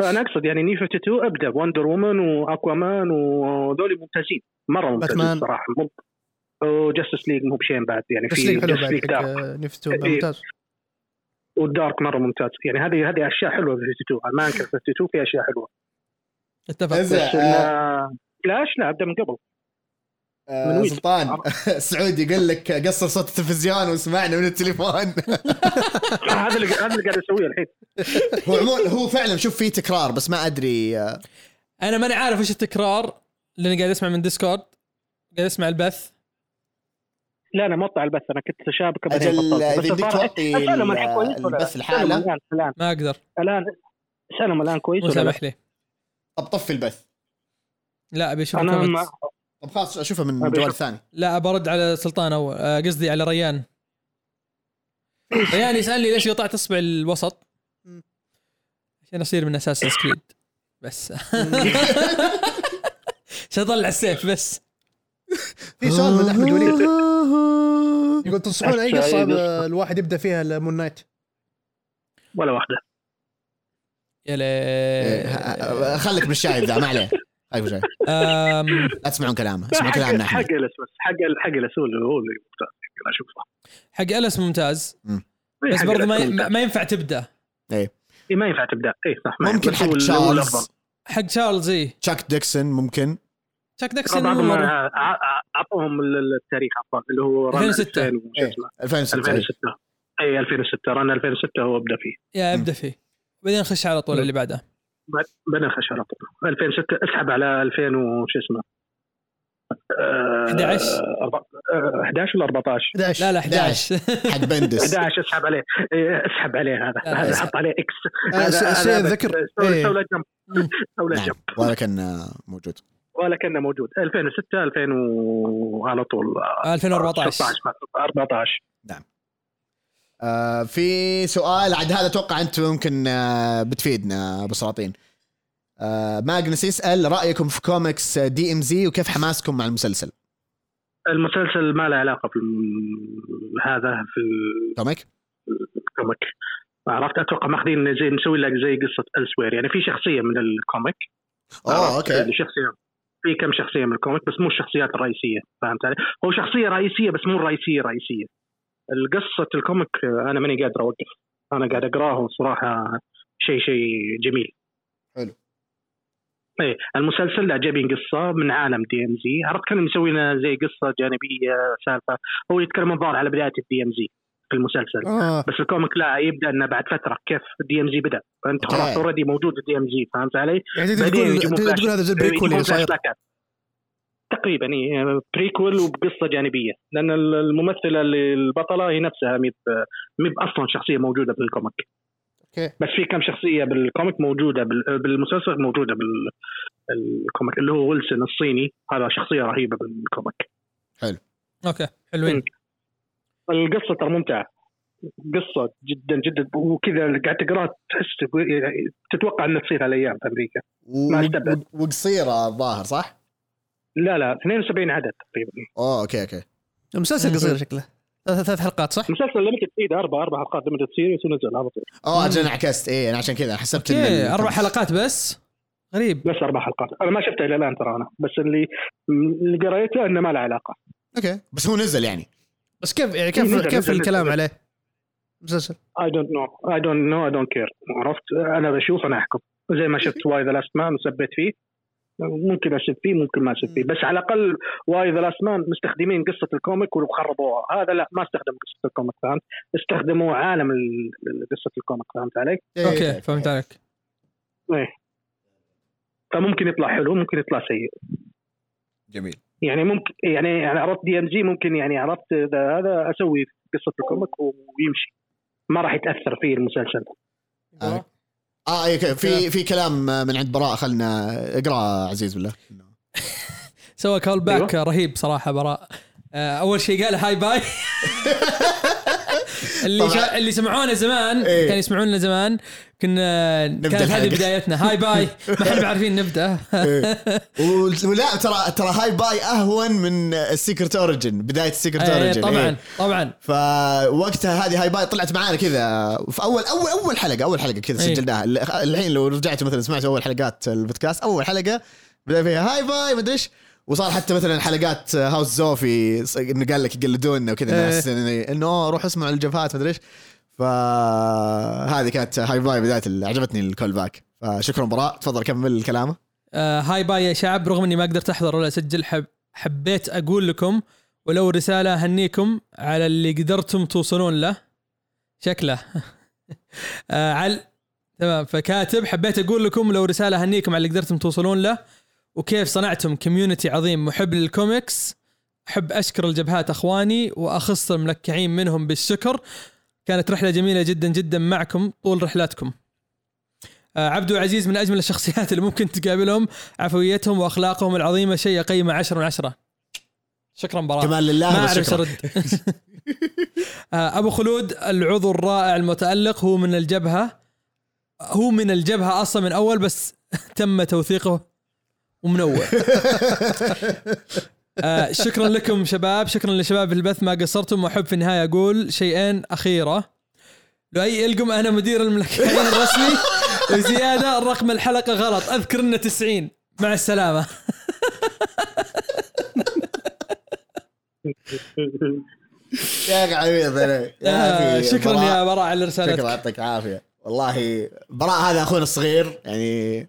Speaker 6: فانا اقصد يعني نيو 52 ابدا وندر وومن واكوامان وذولي ممتازين مره
Speaker 2: باتمان.
Speaker 6: ممتازين صراحه مو- وجاستس ليج مو بشين بعد يعني
Speaker 2: بس
Speaker 6: في
Speaker 2: ليك حلو
Speaker 6: جاستس
Speaker 2: بعد
Speaker 6: ليج
Speaker 2: حق
Speaker 6: دارك
Speaker 2: آه، نيف 2
Speaker 6: إيه.
Speaker 2: ممتاز
Speaker 6: والدارك مره ممتاز يعني هذه هذه اشياء حلوه في 52 أنا ما انكر 52 في اشياء حلوه
Speaker 3: اتفق
Speaker 1: ازرع
Speaker 6: بس إنه فلاش لا ابدا من قبل من
Speaker 1: آه
Speaker 6: وين؟
Speaker 1: سلطان سعود يقول لك قصر صوت التلفزيون واسمعنا من التليفون
Speaker 6: هذا اللي هذا اللي قاعد اسويه الحين
Speaker 1: هو عموما هو فعلا شوف فيه تكرار بس ما ادري آه،
Speaker 3: انا ماني عارف ايش التكرار لاني قاعد اسمع من ديسكورد قاعد اسمع البث
Speaker 6: لا انا مقطع البث انا كنت شابكه بعدين
Speaker 1: اجل
Speaker 6: بطلت.
Speaker 1: آه،
Speaker 6: بس
Speaker 1: اذا يمديك
Speaker 6: الظاهر-
Speaker 1: توطي
Speaker 6: اسالهم الحين
Speaker 1: ال-
Speaker 6: كويس ولا لا؟
Speaker 1: البث
Speaker 6: اسالهم
Speaker 1: لحاله
Speaker 6: الان الان
Speaker 3: ما اقدر
Speaker 6: الان اسالهم الان كويس
Speaker 3: مو
Speaker 6: ولا لا؟
Speaker 3: سامح لي
Speaker 1: طب طفي البث
Speaker 3: لا ابي اشوف
Speaker 6: انا
Speaker 3: الكومنتس.
Speaker 6: ما-
Speaker 1: طب خلاص اشوفها من
Speaker 6: أبي
Speaker 1: جوال
Speaker 6: أشوف.
Speaker 1: ثاني
Speaker 3: لا برد على سلطان اول آه، قصدي على ريان ريان يسالني ليش قطعت اصبع الوسط عشان اصير من اساس سكريد بس عشان اطلع السيف بس
Speaker 2: في
Speaker 1: سؤال من أحمد وليد.
Speaker 2: يقول تنصحون اي قصه الواحد يبدا فيها المون نايت
Speaker 6: ولا واحده
Speaker 3: يا
Speaker 1: إيه،
Speaker 3: ليه
Speaker 1: ه- ه- خليك بالشايب ذا ما عليه خليك بالشايب
Speaker 3: أم،
Speaker 1: لا تسمعون كلامه
Speaker 6: لا،
Speaker 1: اسمعوا
Speaker 6: حق
Speaker 1: كلامنا
Speaker 6: حق
Speaker 1: احنا
Speaker 6: الس بس حق ال- حق الس هو اللي هو اللي ممتاز يمكن اشوفه
Speaker 3: حق الس ممتاز
Speaker 6: إيه،
Speaker 3: بس
Speaker 6: حق
Speaker 3: برضو ما,
Speaker 6: الأس
Speaker 3: ي-
Speaker 6: ممتاز.
Speaker 3: ما ينفع تبدا
Speaker 6: إيه، ما ينفع تبدا اي صح ما
Speaker 1: ممكن
Speaker 6: ينفع. بس هو
Speaker 1: حق
Speaker 6: ال- هو الافضل
Speaker 1: تشارلز
Speaker 3: حق تشارلز اي
Speaker 1: تشاك ديكسون ممكن
Speaker 3: تشاك داكسون مو
Speaker 6: بعضهم
Speaker 3: مرة.
Speaker 6: ع- ع- اعطوهم ال- التاريخ عفوا اللي هو رن
Speaker 3: 2006.
Speaker 6: 2000 وش
Speaker 1: إيه.
Speaker 6: اسمه
Speaker 1: 2006 إيه.
Speaker 6: 2006 اي 2006 رن 2006 هو بدا فيه
Speaker 3: يا ابدا فيه بعدين خش على طول اللي بعده
Speaker 6: بنخش على طول 2006 اسحب على 2000 وش اسمه آه،
Speaker 3: 11.
Speaker 6: أربعة- آه، 11 ولا 14
Speaker 2: 11
Speaker 3: لا لا 11
Speaker 1: حق بندس
Speaker 6: 11 اسحب عليه إيه، اسحب عليه هذا
Speaker 3: لا، لا،
Speaker 6: هذا
Speaker 3: اسحب.
Speaker 6: حط عليه اكس
Speaker 2: آه، س-
Speaker 6: هذا-
Speaker 2: سيد
Speaker 6: هذا-
Speaker 2: ذكر.
Speaker 6: سوي
Speaker 2: إيه.
Speaker 6: سوي له جنب
Speaker 3: مم.
Speaker 6: سوي له
Speaker 1: نعم
Speaker 6: جنب
Speaker 1: ولا كان آه، موجود
Speaker 6: ولا كان موجود 2006 2000 وعلى طول آه،
Speaker 3: 2014
Speaker 6: 14
Speaker 1: آه، في سؤال عاد هذا اتوقع انت ممكن آه، بتفيدنا ابو سلاطين آه، ماجنس يسال رايكم في كوميكس دي ام زي وكيف حماسكم مع المسلسل
Speaker 6: المسلسل ما له علاقه في الم- هذا في ال-
Speaker 1: كوميك
Speaker 6: الكوميك عرفت اتوقع ماخذين زي نسوي لك زي قصه السوير يعني في شخصيه من الكوميك
Speaker 1: اوه
Speaker 6: عرفت؟
Speaker 1: اوكي
Speaker 6: شخصيه في كم شخصيه من الكوميك بس مو الشخصيات الرئيسيه فهمت علي؟ هو شخصيه رئيسيه بس مو الرئيسيه رئيسيه القصه الكوميك آه، انا ماني قادر اوقف انا قاعد اقراه صراحه شيء شيء جميل
Speaker 1: حلو.
Speaker 6: ايه المسلسل لا جايبين قصه من عالم دي ام زي عرفت كانوا مسوين زي قصه جانبيه سالفه هو يتكلم الظاهر على بدايه الدي ام زي في المسلسل
Speaker 2: آه.
Speaker 6: بس الكوميك لا يبدا انه بعد فتره كيف دي ام زي بدا فانت
Speaker 1: أوكي.
Speaker 6: خلاص اوريدي موجود الدي ام زي فهمت علي؟
Speaker 2: يعني تقدر
Speaker 6: بعدين
Speaker 2: تقول
Speaker 6: يجيبون
Speaker 2: تقدر
Speaker 6: فلاش.
Speaker 2: تقول هذا زي البريكول اللي صاير
Speaker 6: فلاش باكات. تقريبا إيه، بريكول وبقصه جانبيه لان ال- الممثله اللي البطله هي نفسها مي ب- مي ب- اصلا شخصيه موجوده بالكوميك
Speaker 2: أوكي.
Speaker 6: بس في كم شخصيه بالكوميك موجوده بال- بالمسلسل موجوده بالكوميك اللي هو ويلسون الصيني هذا شخصيه رهيبه بالكوميك
Speaker 3: اوكي حلوين
Speaker 6: القصه ترى ممتعه قصه جدا جدا وكذا قاعد تقراها تحس يعني تتوقع انها تصير هالايام في امريكا
Speaker 1: و-
Speaker 6: ما استبعد.
Speaker 1: و- وقصيره الظاهر صح؟
Speaker 6: لا لا 72 عدد تقريبا
Speaker 1: اوه اوكي اوكي
Speaker 3: إيه،
Speaker 2: مسلسل قصير شكله ثلاث ثلاث حلقات صح؟
Speaker 6: مسلسل ليمتد سيد اربع اربع حلقات ليمتد سيريس ونزل على طول
Speaker 1: اوه اجل انا عكست اي انا عشان كذا حسبت إن
Speaker 3: اوكي
Speaker 1: ال-
Speaker 3: اربع إيه، حلقات بس غريب
Speaker 6: بس اربع حلقات انا ما شفته الى الان ترى انا بس اللي اللي قريته انه ما له علاقه
Speaker 1: اوكي بس هو نزل يعني
Speaker 2: بس كيف يعني
Speaker 6: إيه،
Speaker 2: كيف
Speaker 6: نزل-
Speaker 2: كيف
Speaker 6: نزل-
Speaker 2: الكلام
Speaker 6: نزل.
Speaker 2: عليه؟ مسلسل
Speaker 6: اي دونت نو اي دونت نو اي دونت كير عرفت انا بشوف انا احكم زي ما شفت واي ذا لاست مان وسبيت فيه ممكن اسب فيه ممكن ما اسب فيه بس على الاقل واي ذا لاست مان مستخدمين قصه الكوميك وخربوها هذا لا ما استخدموا قصه الكوميك فهمت استخدموا عالم ال- ال- قصه الكوميك فهمت علي؟
Speaker 1: إيه،
Speaker 3: اوكي فهمت عليك
Speaker 6: إيه. فممكن يطلع حلو ممكن يطلع سيء
Speaker 1: جميل
Speaker 6: يعني ممكن يعني يعني عرفت دي ام جي ممكن يعني عرفت إذا هذا اسوي قصه الكوميك ويمشي ما راح يتاثر فيه المسلسل
Speaker 1: آه. اه اي أوكي. في في كلام من عند براء خلنا اقرا عزيز بالله
Speaker 3: سوى كول باك
Speaker 1: أيوه.
Speaker 3: رهيب صراحه براء آه، اول شيء قال هاي باي اللي
Speaker 1: طبعاً.
Speaker 3: شا... اللي سمعونا زمان
Speaker 1: إيه.
Speaker 3: كانوا يسمعونا زمان كنا كانت هذه
Speaker 1: الحلقة. إيه،
Speaker 3: بدايتنا هاي باي ما احنا عارفين نبدا
Speaker 1: و- ولا ترى ترى هاي باي اهون من السيكرت اوريجن بدايه السيكرت
Speaker 3: إيه،
Speaker 1: اوريجن
Speaker 3: طبعا طبعا
Speaker 1: فوقتها هذه هاي باي طلعت معانا كذا في اول اول اول حلقه اول حلقه كذا
Speaker 3: إيه.
Speaker 1: سجلناها ال- الحين لو رجعتوا مثلا سمعتوا اول حلقات البودكاست اول حلقه بدا فيها هاي باي مدري ايش وصار حتى مثلا حلقات هاوس زوفي ص- انه قال لك يقلدونا وكذا
Speaker 2: إيه.
Speaker 1: ناس إنه- انه أوه، روح اسمع الجبهات مدري ايش فهذه كانت هاي باي بدايه ال- عجبتني الكول باك فشكرا براء تفضل كمل كلامه
Speaker 3: آه، هاي باي يا شعب رغم اني ما قدرت احضر ولا اسجل حب حبيت اقول لكم ولو رساله اهنيكم على اللي قدرتم توصلون له شكله آه، عل تمام فكاتب حبيت اقول لكم لو رساله اهنيكم على اللي قدرتم توصلون له وكيف صنعتم كوميونتي عظيم محب للكوميكس احب اشكر الجبهات اخواني واخص الملكعين منهم بالشكر كانت رحله جميله جدا جدا معكم طول رحلاتكم آه، عبدو عزيز من اجمل الشخصيات اللي ممكن تقابلهم عفويتهم واخلاقهم العظيمه شيء يقيمه 10 من 10 شكرا براء
Speaker 1: كمان لله
Speaker 3: ما
Speaker 1: بس
Speaker 3: اعرف ايش
Speaker 1: شكراً.
Speaker 3: ارد آه، ابو خلود العضو الرائع المتالق هو من الجبهه هو من الجبهه اصلا من اول بس تم توثيقه ومنوع آه، شكرا لكم شباب شكرا لشباب البث ما قصرتم واحب في النهايه اقول شيئين اخيره لؤي القم انا مدير الملكعين الرسمي وزياده رقم الحلقه غلط اذكر انه 90 مع السلامه
Speaker 1: يا اخي عميد انا يا
Speaker 3: آه
Speaker 1: أخي
Speaker 3: شكرا
Speaker 1: براء.
Speaker 3: آه، يا براء على
Speaker 1: شكرا
Speaker 3: رسالتك
Speaker 1: يعطيك العافيه والله براء هذا اخونا الصغير يعني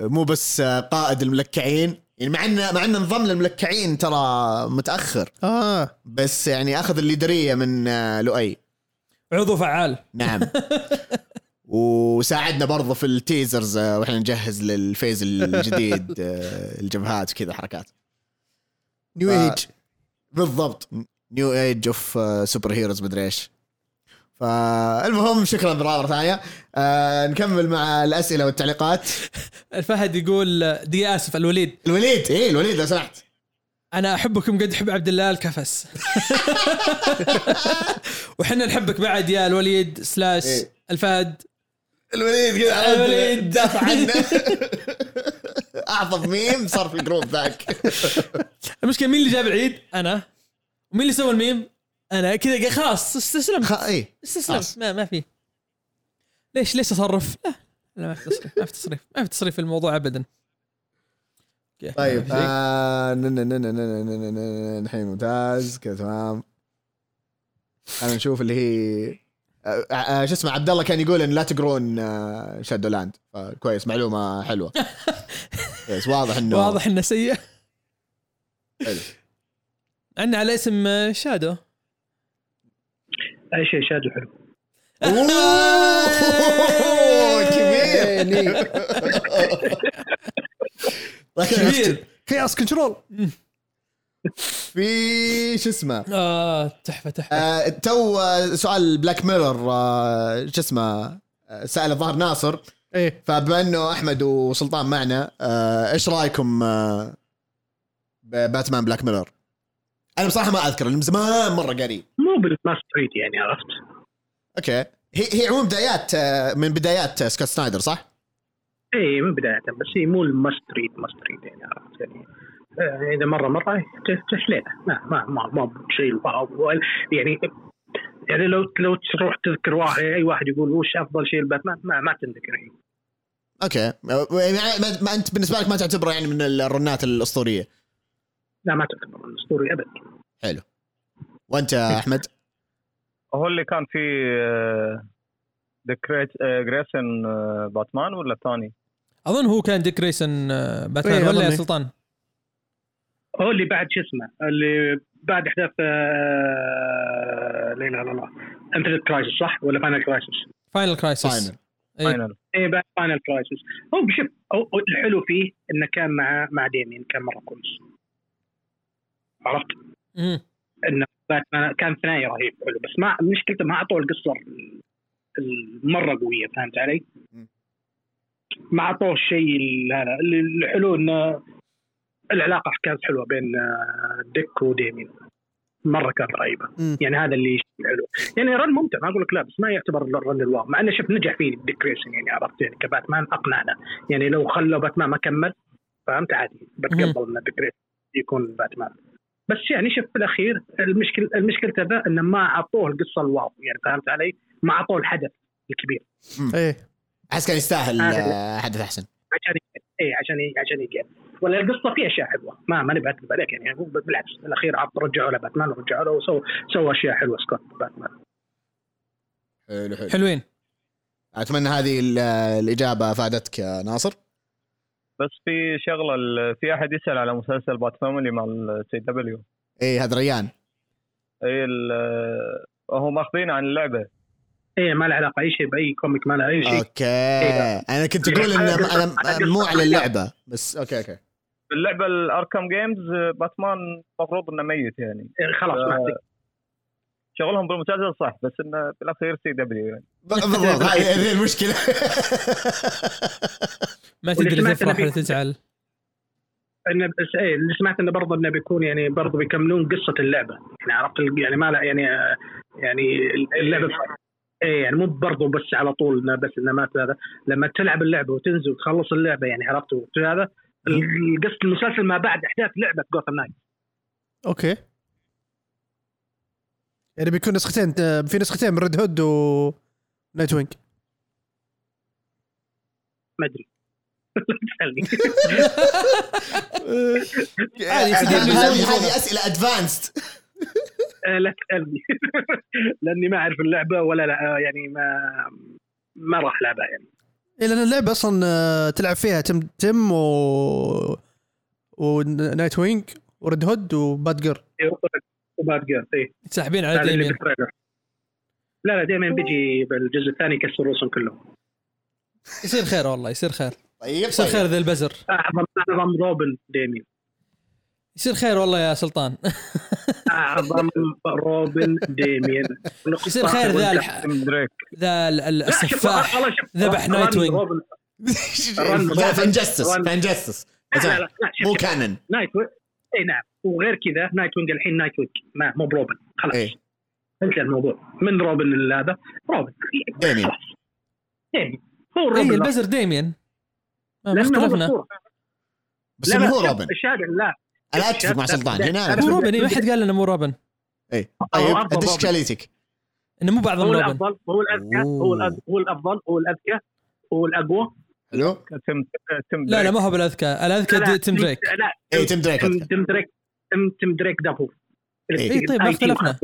Speaker 1: مو بس قائد الملكعين يعني مع انه مع انه انضم للملكعين ترى متاخر
Speaker 2: اه
Speaker 1: بس يعني اخذ الليدريه من آه، لؤي
Speaker 3: عضو فعال
Speaker 1: نعم وساعدنا برضه في التيزرز آه، واحنا نجهز للفيز الجديد آه، الجبهات وكذا حركات
Speaker 2: نيو
Speaker 1: آه.
Speaker 2: ايج
Speaker 1: بالضبط نيو ايج اوف سوبر هيروز uh, مدري ايش فالمهم شكرا براء مره ثانيه آه، نكمل مع الاسئله والتعليقات
Speaker 3: الفهد يقول دي اسف الوليد
Speaker 1: الوليد ايه الوليد لو سمحت
Speaker 3: انا احبكم قد حب عبد الله الكفس وحنا نحبك بعد يا الوليد سلاش
Speaker 1: إيه.
Speaker 3: الفهد
Speaker 1: الوليد كذا
Speaker 3: الوليد.
Speaker 1: دافع عنه اعظم ميم صار في الجروب ذاك
Speaker 3: المشكله مين اللي جاب العيد انا ومين اللي سوى الميم انا كذا خلاص استسلمت
Speaker 1: خ- ايه
Speaker 3: استسلمت
Speaker 1: خلاص.
Speaker 3: ما ما في ليش ليش اصرف لا لا ما في تصريف ما في تصريف ما في تصريف في الموضوع ابدا أوكي.
Speaker 1: طيب
Speaker 3: ما في شيء.
Speaker 1: آه، ن- ن- ن- ن- ن- ن- ن- ن- الحين ممتاز كذا تمام خلينا نشوف اللي هي آه، آه، شو اسمه عبد الله كان يقول ان لا تقرون آه، شادو لاند فكويس معلومه حلوه كويس واضح انه
Speaker 3: واضح انه سيء
Speaker 1: حلو.
Speaker 3: عندنا على اسم آه، شادو
Speaker 6: اي شيء شادو حلو
Speaker 3: إيه.
Speaker 1: أوه، كبير طيب،
Speaker 3: كبير
Speaker 2: خياس كنترول
Speaker 1: في شو اسمه
Speaker 3: اه تحفه تحفه
Speaker 1: آه، تو آه، سؤال بلاك ميرور آه، شو اسمه آه، سال الظاهر ناصر
Speaker 2: ايه
Speaker 1: فبما انه احمد وسلطان معنا آه، ايش رايكم آه، بباتمان بلاك ميرور؟ انا بصراحه ما اذكر لأن من زمان مره قاري
Speaker 6: مو بالماس ريد يعني عرفت
Speaker 1: اوكي هي هي عموما بدايات آه، من بدايات آه، سكوت سنايدر صح؟
Speaker 6: اي إيه، من بدايه بس هي مو الماست ريد ماست ريد يعني عرفت يعني آه، اذا مره مره ت- تحلينا ما ما ما, ما بشيء واو ولا- يعني يعني لو لو تروح تذكر واحد اي واحد يقول وش افضل شيء لباتمان ما ما تنذكر هي
Speaker 1: اوكي آه، يعني ما ما انت بالنسبه لك ما تعتبره يعني من الرنات الاسطوريه
Speaker 6: لا ما تعتبر من اسطوري ابدا
Speaker 1: وانت يا احمد
Speaker 7: هو اللي كان في آه، ذا آه، جريسن باتمان آه، ولا الثاني؟
Speaker 3: اظن هو كان ديك ريسن آه، باتمان
Speaker 2: إيه،
Speaker 3: ولا يا
Speaker 2: أظني.
Speaker 3: سلطان
Speaker 6: هو اللي بعد شو اسمه اللي بعد احداث آه، لا اله الا الله انفنت كرايسس صح ولا فاينل كرايسس؟
Speaker 3: فاينل كرايسيس
Speaker 1: Final.
Speaker 3: اي
Speaker 7: فاينل
Speaker 6: اي بعد فاينل كرايسس هو شوف هو- هو الحلو فيه انه كان مع مع ديمين كان مره كويس عرفت؟ انه باتمان كان ثنائي رهيب حلو بس ما مشكلته ما اعطوه القصه المره قويه فهمت علي؟ ما اعطوه الشيء ال- هذا اللي- الحلو انه العلاقه كانت حلوه بين آه، ديك وديمين مره كانت رهيبه
Speaker 2: مم.
Speaker 6: يعني هذا اللي شيء حلو يعني رن ممتع ما اقول لك لا بس ما يعتبر الرن الواو مع انه شوف نجح فيه ديك ريسن يعني عرفت يعني كباتمان اقنعنا يعني لو خلوا باتمان ما كمل فهمت عادي بتقبل ان ديك ريسن يكون باتمان بس يعني شوف في الاخير المشكل المشكله ذا انه ما اعطوه القصه الواو يعني فهمت علي؟ ما اعطوه الحدث الكبير
Speaker 2: ايه
Speaker 1: احس كان يستاهل
Speaker 6: هذا
Speaker 1: آه، حدث احسن
Speaker 6: عشان اي عشان ي- عشان يقعد ولا القصه فيها اشياء حلوه ما ما نبي اكذب عليك يعني هو بالعكس الاخير عط رجعوا له باتمان ورجعوا له وسووا سوى اشياء حلوه سكوت باتمان
Speaker 1: حلو حلو
Speaker 3: حلوين
Speaker 1: اتمنى هذه ال- الاجابه فادتك يا ناصر
Speaker 7: بس في شغله ال- في احد يسال على مسلسل بات فاميلي مع السي دبليو
Speaker 1: اي إيه، هذا ريان
Speaker 7: اي إيه ال- هو ماخذين عن اللعبه
Speaker 6: اي إيه، ما له علاقه اي شيء باي كوميك ما له اي شيء إيه.
Speaker 1: اوكي انا كنت اقول ان انا مو على اللعبه بس اوكي اوكي
Speaker 7: في اللعبه الاركام جيمز باتمان المفروض انه ميت يعني
Speaker 6: إيه، خلاص ما
Speaker 7: آه.
Speaker 6: أعطيك.
Speaker 7: شغلهم بالمسلسل صح بس انه بالاخير سي دبليو يعني
Speaker 1: بالضبط هذه هذه المشكله
Speaker 3: ما
Speaker 6: واللي
Speaker 3: تدري
Speaker 6: سمعت
Speaker 3: تفرح
Speaker 6: أنا
Speaker 3: ولا
Speaker 6: فيه.
Speaker 3: تزعل
Speaker 6: انه بس اي اللي سمعت انه برضه انه بيكون يعني برضه بيكملون قصه اللعبه يعني عرفت ال- يعني ما له يعني آه، يعني اللعبه اي يعني مو برضه بس على طول إنه بس انه مات هذا لما تلعب اللعبه وتنزل وتخلص اللعبه يعني عرفت وت- هذا ال- قصه المسلسل ما بعد احداث لعبه جوثام نايت
Speaker 2: اوكي يعني بيكون نسختين آه، في نسختين من ريد هود و نايت وينج
Speaker 6: ما ادري لا تسالني
Speaker 1: هذه هذه- هذه اسئله ادفانسد
Speaker 6: آه، لا تسالني لاني ما اعرف اللعبه ولا لا آه، يعني ما ما راح العبها يعني
Speaker 2: إيه لان اللعبه اصلا آه، تلعب فيها تم تم و ونايت وينج وريد هود وباد جير
Speaker 6: إيه، وباد جيرز اي
Speaker 3: ساحبين على
Speaker 6: هذا إيه، اللي
Speaker 3: ديمين
Speaker 6: بالتريلر لا لا دائما بيجي بالجزء الثاني يكسر رؤوسهم كلهم
Speaker 3: يصير خير والله يصير خير
Speaker 1: طيب
Speaker 3: يصير
Speaker 1: طيب.
Speaker 3: خير ذا البزر
Speaker 6: اعظم اعظم روبن ديمين
Speaker 3: يصير خير والله يا سلطان
Speaker 6: اعظم روبن ديمين
Speaker 3: يصير خير ذا الح-
Speaker 7: دريك
Speaker 3: ذا ال- ال-
Speaker 6: لا، شوف، آه،
Speaker 3: السفاح
Speaker 6: والله شوف،
Speaker 3: ذبح
Speaker 6: والله
Speaker 3: نايت وينج.
Speaker 6: روبن-
Speaker 1: لا فانجستس فانجستس
Speaker 6: لا لا لا لا، شوف،
Speaker 1: مو كانن
Speaker 6: نايت وينج اي نعم وغير كذا نايت وينج الحين نايت وينج ما مو بروبن خلاص
Speaker 1: إيه.
Speaker 6: انتهى الموضوع من روبن اللي هذا روبن
Speaker 1: ديمين.
Speaker 6: خلاص. ديمين. هو
Speaker 3: اي
Speaker 6: الروبن
Speaker 3: إيه، البزر آه، ديمين ما ما
Speaker 6: لأنه هو
Speaker 3: اختلفنا
Speaker 6: الأسطورة.
Speaker 1: بس
Speaker 6: لا،
Speaker 1: إنه
Speaker 6: لا،
Speaker 1: هو
Speaker 6: شوف،
Speaker 1: روبن
Speaker 6: الشارع لا
Speaker 1: انا اتفق مع
Speaker 6: لا،
Speaker 1: سلطان
Speaker 6: لا،
Speaker 1: هنا
Speaker 6: لا،
Speaker 1: انا
Speaker 6: لا.
Speaker 3: مو روبن إيه، ما حد قال لنا مو روبن
Speaker 1: طيب
Speaker 6: هو أفضل
Speaker 1: قديش
Speaker 6: روبن.
Speaker 1: اشكاليتك؟
Speaker 3: انه مو بعضهم
Speaker 6: هو
Speaker 3: روبن
Speaker 6: الافضل هو الاذكى هو الأذ- هو الافضل هو الاذكى هو الاقوى
Speaker 1: حلو؟
Speaker 7: تم تم
Speaker 3: لا لا
Speaker 7: دريك.
Speaker 3: ما هو بالاذكى الاذكى
Speaker 6: لا، لا،
Speaker 3: دي- تيم دريك
Speaker 6: لا
Speaker 1: اي إيه، تيم دريك
Speaker 6: تم
Speaker 1: أذكر.
Speaker 6: تم دريك تم تم دريك ده هو
Speaker 3: إيه، طيب، ما اختلفنا.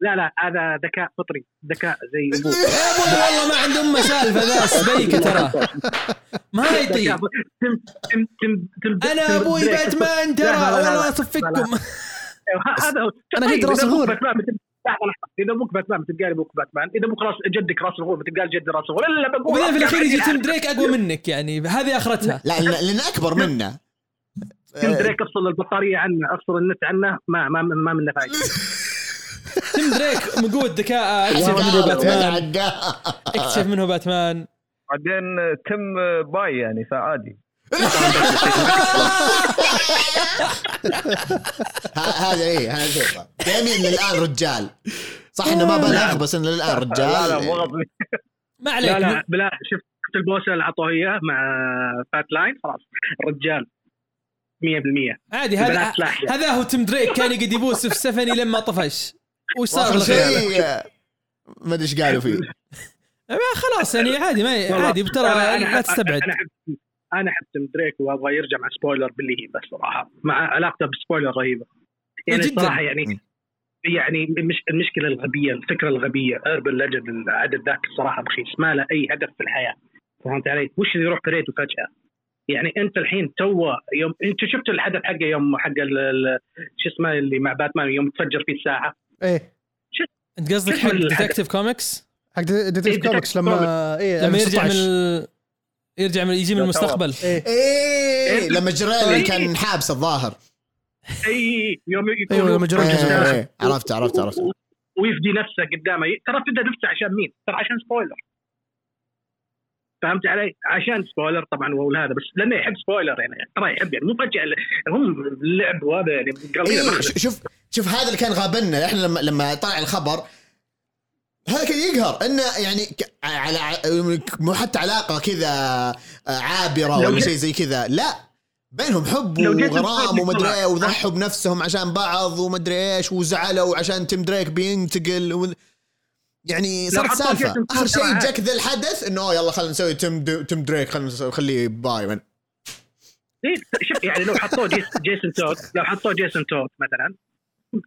Speaker 6: لا لا هذا ذكاء فطري ذكاء
Speaker 3: إيه،
Speaker 6: زي أبوه.
Speaker 3: يا ابوي والله ما عند امه سالفه ذا سبيكه ترى ما يطيق
Speaker 6: ذكاء فطري. تم تم تم تم
Speaker 3: انا
Speaker 6: تم
Speaker 3: ابوي
Speaker 6: دريك.
Speaker 3: إيه. باتمان ترى
Speaker 6: لا، لا، لا، لا،
Speaker 3: والله
Speaker 6: لا.
Speaker 3: اصفكم
Speaker 6: أيوه، ه- هذا هو
Speaker 2: أنا
Speaker 6: طيب،
Speaker 2: كنت راس
Speaker 6: إذا أبوك
Speaker 2: الغول.
Speaker 6: باتمان بتبقى- لحظة، لحظة. اذا ابوك باتمان بتلقى لي ابوك باتمان اذا ابوك راس جدك راس الغول بتلقى لي جدي راس الغول الا بقول يعني
Speaker 3: وبعدين في الاخير يجي تيم دريك اقوى منك يعني هذه اخرتها
Speaker 1: لا لأن- لان اكبر منا
Speaker 6: تم دريك افصل البطاريه عنه افصل النت عنه ما ما ما منه فايده
Speaker 3: تيم دريك من قوه ذكاء اكتشف منه باتمان
Speaker 1: عقاب.
Speaker 3: اكتشف منه باتمان
Speaker 7: بعدين تم باي يعني فعادي
Speaker 1: ه- هذا ايه هذا شوفه ديمين للان رجال صح انه ما بلغ بس انه للان
Speaker 7: لا لا مو
Speaker 1: رجال
Speaker 7: غبي.
Speaker 3: ما
Speaker 6: لا
Speaker 3: عليك
Speaker 6: لا بلا شفت البوسه اللي اعطوه اياه مع فات لاين خلاص رجال 100%
Speaker 3: عادي هذا
Speaker 6: بنات لاحية
Speaker 3: هذا هو تيم دريك كان يقعد يبوس في سفني لما طفش وش صار
Speaker 1: واخر
Speaker 3: بالخير؟
Speaker 1: شيء ما ادري ايش قالوا فيه
Speaker 3: ما خلاص يعني عادي ما
Speaker 6: والله،
Speaker 3: عادي ترى
Speaker 6: أنا- أنا-
Speaker 3: لا تستبعد
Speaker 6: انا احب انا احب تيم دريك وابغى يرجع مع سبويلر باللي هي بس صراحه مع علاقته بسبويلر رهيبه يعني
Speaker 3: جداً.
Speaker 6: صراحه يعني يعني مش المشكله الغبيه الفكره الغبيه اربن ليجند العدد ذاك الصراحه بخيس ما له اي هدف في الحياه فهمت علي؟ وش اللي يروح بريد وفجاه؟ يعني انت الحين تو يوم انت شفت الحدث حقه يوم حق ال- ال- شو اسمه اللي مع باتمان يوم تفجر فيه الساعه
Speaker 2: ايه
Speaker 3: انت قصدك
Speaker 6: كيف
Speaker 3: حق
Speaker 6: من الحدث؟
Speaker 3: ديتكتيف كوميكس
Speaker 2: حق ديتكتيف
Speaker 6: إيه،
Speaker 2: كوميكس
Speaker 6: Detective
Speaker 2: لما ايه
Speaker 3: لما يرجع من
Speaker 2: 2016.
Speaker 3: ال... يرجع من يجي من
Speaker 7: لا،
Speaker 3: المستقبل
Speaker 2: ايه
Speaker 1: ايه لما جريل كان حابس الظاهر
Speaker 6: اي يوم يكون
Speaker 3: أيوة،
Speaker 2: ايوه لما جرى
Speaker 1: إيه،
Speaker 2: الجزء.
Speaker 1: إيه، عرفت عرفت عرفت
Speaker 6: ويفدي نفسه قدامه ترى فدى نفسه عشان مين؟ ترى عشان سبويلر فهمت علي؟ عشان سبويلر طبعا هو هذا بس لانه يحب سبويلر يعني ترى يحب يعني مو فجاه هم اللعب وهذا يعني قلبي
Speaker 1: إيه
Speaker 6: مخرج
Speaker 1: ش- شوف شوف هذا اللي كان غابنا احنا لما لما طلع الخبر هذا كان يقهر انه يعني ك- على مو حتى علاقه كذا عابره
Speaker 6: لو
Speaker 1: ولا
Speaker 6: جيت-
Speaker 1: شيء زي كذا لا بينهم حب
Speaker 6: لو جيت
Speaker 1: وغرام
Speaker 6: تقول-
Speaker 1: ومدري ايه وضحوا بنفسهم عشان بعض ومدري ايش وزعلوا عشان تيم دريك بينتقل و... يعني
Speaker 6: لو
Speaker 1: صارت
Speaker 6: حطوا
Speaker 1: سالفه
Speaker 6: جيسون
Speaker 1: اخر شيء
Speaker 6: ستاثام
Speaker 1: جاك ذا الحدث انه أوه يلا خلينا نسوي تيم د- تيم دريك خلينا نسوي- نخليه بايمن
Speaker 6: إيه، شوف يعني لو حطوه جيس- جيسون توت لو حطوه جيسون توت مثلا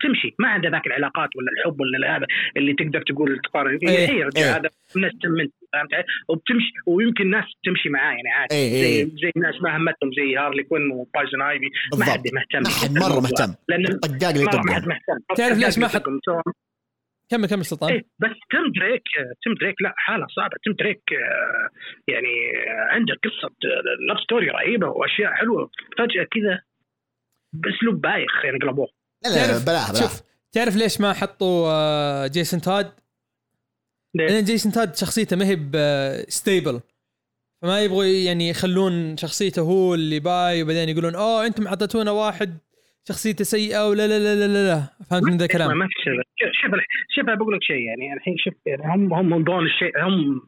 Speaker 6: تمشي ما عنده ذاك العلاقات ولا الحب ولا هذا اللي تقدر تقول تقارن
Speaker 3: إيه.
Speaker 6: إيه إيه رجع
Speaker 1: إيه.
Speaker 6: هذا ناس تمنت فهمت علي؟ وبتمشي ويمكن ناس تمشي معاه يعني عادي
Speaker 1: إيه، إيه.
Speaker 6: زي زي ناس ما همتهم زي هارلي كوين وبايزون ايفي ما حد
Speaker 1: بالضبط
Speaker 6: مهتم
Speaker 1: ما حد مره مهتم يعني.
Speaker 6: لان
Speaker 1: طقاق لي
Speaker 6: ما
Speaker 1: طقاق
Speaker 6: حد مهتم
Speaker 3: تعرف ليش ما حد-
Speaker 6: حد
Speaker 3: كمل كمل سلطان
Speaker 6: إيه بس تيم دريك تيم دريك لا حاله صعبه تيم دريك آه، يعني آه، عنده آه، قصه لاف ستوري رهيبه واشياء حلوه فجاه كذا باسلوب بايخ يعني قلبوه
Speaker 1: لا لا
Speaker 3: تعرف-
Speaker 1: بلاها بلاها
Speaker 3: شوف تعرف ليش ما حطوا آه، جيسون تاد؟
Speaker 6: ليه؟
Speaker 3: لان جيسون تاد شخصيته ما هي ستيبل فما يبغوا يعني يخلون شخصيته هو اللي باي وبعدين يقولون اوه انتم اعطيتونا واحد شخصيته سيئه ولا لا لا لا لا, لا. فهمت من ذا
Speaker 6: ما-
Speaker 3: الكلام
Speaker 6: ما في شغل شوف شوف بقول لك شيء يعني الحين شوف يعني هم هم من ذول الشيء هم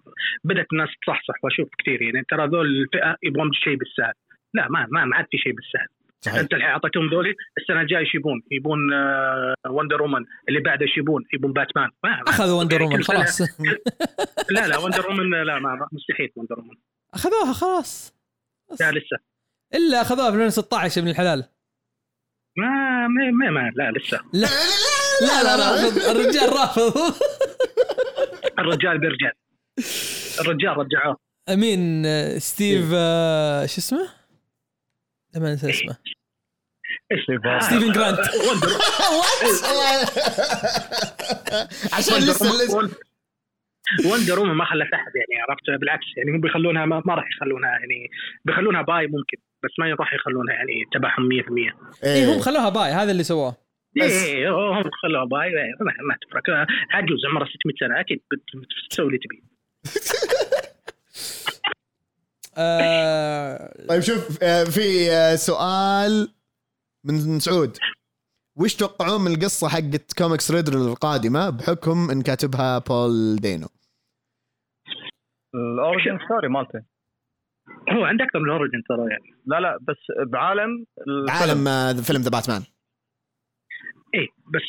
Speaker 6: بدات الناس تصحصح واشوف كثير يعني ترى ذول الفئه يبغون شيء بالسهل لا ما ما ما عاد في شيء بالسهل
Speaker 1: صحيح
Speaker 6: انت الحين اعطيتهم ذولي السنه الجايه يشيبون يبون آه، وندر وومن اللي بعده يشيبون يبون باتمان ما ما-
Speaker 3: اخذوا وندر
Speaker 6: يعني
Speaker 3: وومن
Speaker 6: كل سنة-
Speaker 3: خلاص
Speaker 6: لا لا وندر وومن لا ما ما- مستحيل وندر وومن
Speaker 3: اخذوها خلاص
Speaker 6: لا لسه
Speaker 3: الا اخذوها في 2016 ابن الحلال
Speaker 6: ما ما, ما, ما لا لسه
Speaker 3: لا لا لا رافض الرجال رافض
Speaker 6: الرجال بيرجع الرجال رجعوه
Speaker 3: امين آه، ستيف آه، شو اسمه؟ لما انسى اسمه
Speaker 6: آه، إيه.
Speaker 3: ستيفن جرانت
Speaker 1: عشان لسه لسه
Speaker 6: وندر وومن ما خلت احد يعني عرفت بالعكس يعني هم بيخلونها ما, ما راح يخلونها يعني بيخلونها باي ممكن بس ما راح يخلونها يعني تبعهم 100%
Speaker 3: إيه، هم
Speaker 1: إيه.
Speaker 3: خلوها باي هذا اللي سووه
Speaker 6: ايه هم خلوها باي إيه، ما, ما تفرق عجوز عمرها 600 سنه اكيد بت- بتسوي اللي تبيه
Speaker 3: آه،
Speaker 1: طيب شوف آه، في آه، سؤال من من سعود وش تتوقعون من القصه حقت كوميكس ريدر القادمه بحكم ان كاتبها بول دينو
Speaker 7: الاوريجن ستوري مالته
Speaker 6: هو عند اكثر من اوريجن ترى يعني
Speaker 7: لا لا بس بعالم الفيلم.
Speaker 1: عالم آه، فيلم ذا باتمان
Speaker 6: ايه بس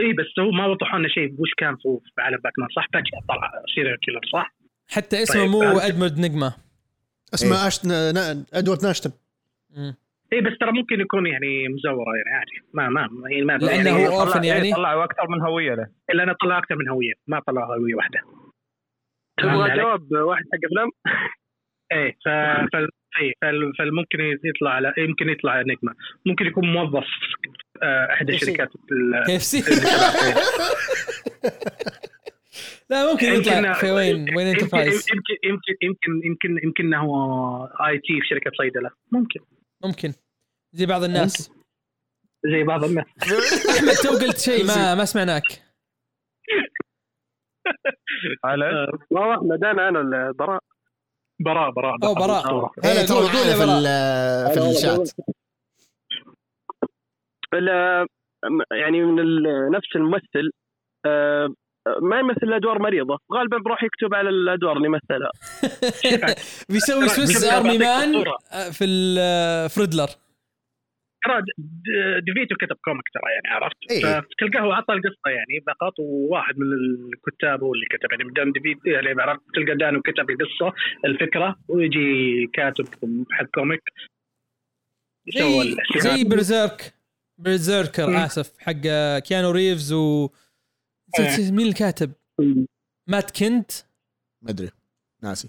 Speaker 6: ايه بس هو ما وضحوا لنا شيء وش كان في في عالم باتمان صح فجاه طلع سيريال كيلر صح؟
Speaker 3: حتى اسمه
Speaker 6: طيب،
Speaker 3: مو
Speaker 6: أنت-
Speaker 3: ادمرد نجمه
Speaker 2: اسمه
Speaker 1: إيه.
Speaker 2: اشتن نا- ادوارد ناشتن
Speaker 3: مم.
Speaker 6: ايه بس ترى ممكن يكون يعني مزوره يعني عادي ما ما يعني ما
Speaker 3: لأنه
Speaker 6: يعني
Speaker 3: هو أورفن يعني؟
Speaker 7: طلعوا اكثر إيه، من هويه له
Speaker 6: لانه طلع اكثر من هويه ما طلع هويه واحده
Speaker 8: تبغى
Speaker 6: عليك؟
Speaker 8: جواب واحد حق افلام
Speaker 6: ايه ف... فال... إيه فال... فالممكن يطلع على يمكن يطلع نجمه ممكن يكون موظف في آه، احدى
Speaker 2: يصير.
Speaker 6: الشركات ال-
Speaker 3: كيف سي
Speaker 6: إيه.
Speaker 3: لا ممكن يطلع في وين طيب، وين
Speaker 6: يمكن
Speaker 3: انتربرايز
Speaker 6: يمكن يمكن يمكن يمكن يمكن انه اي تي في شركه صيدله ممكن
Speaker 3: ممكن زي بعض الناس
Speaker 6: زي بعض الناس
Speaker 3: احمد تو قلت شيء ما ما سمعناك
Speaker 7: على
Speaker 8: ما هو احمد انا انا اللي براء
Speaker 6: براء براء
Speaker 3: أو براء.
Speaker 1: إيه،
Speaker 3: هلا
Speaker 1: ترى
Speaker 3: قول-
Speaker 1: معانا
Speaker 3: قول يا
Speaker 1: في
Speaker 3: براء.
Speaker 1: ال- آه، في الشات
Speaker 8: ال- يعني من ال- نفس الممثل آه، ما يمثل ادوار مريضه غالبا بروح يكتب على الادوار اللي مثلها
Speaker 3: بيسوي سويس
Speaker 6: بس-
Speaker 3: ارمي
Speaker 6: بعطيك
Speaker 3: مان آه،
Speaker 6: صورة.
Speaker 3: في ال- فريدلر
Speaker 6: ترى د- د- ديفيتو كتب كوميك ترى يعني عرفت
Speaker 1: إيه.
Speaker 6: فتلقاه هو عطى القصه يعني فقط وواحد من الكتاب هو اللي كتب يعني دام ديفيتو يعني عرفت تلقى دانو كتب القصه الفكره ويجي كاتب حق كوميك يسوي
Speaker 3: زي
Speaker 6: الاشياء.
Speaker 3: زي برزيرك
Speaker 6: مم.
Speaker 3: برزيركر اسف حق كيانو ريفز و نسيت مين الكاتب؟ مات كنت
Speaker 1: ما ادري ناسي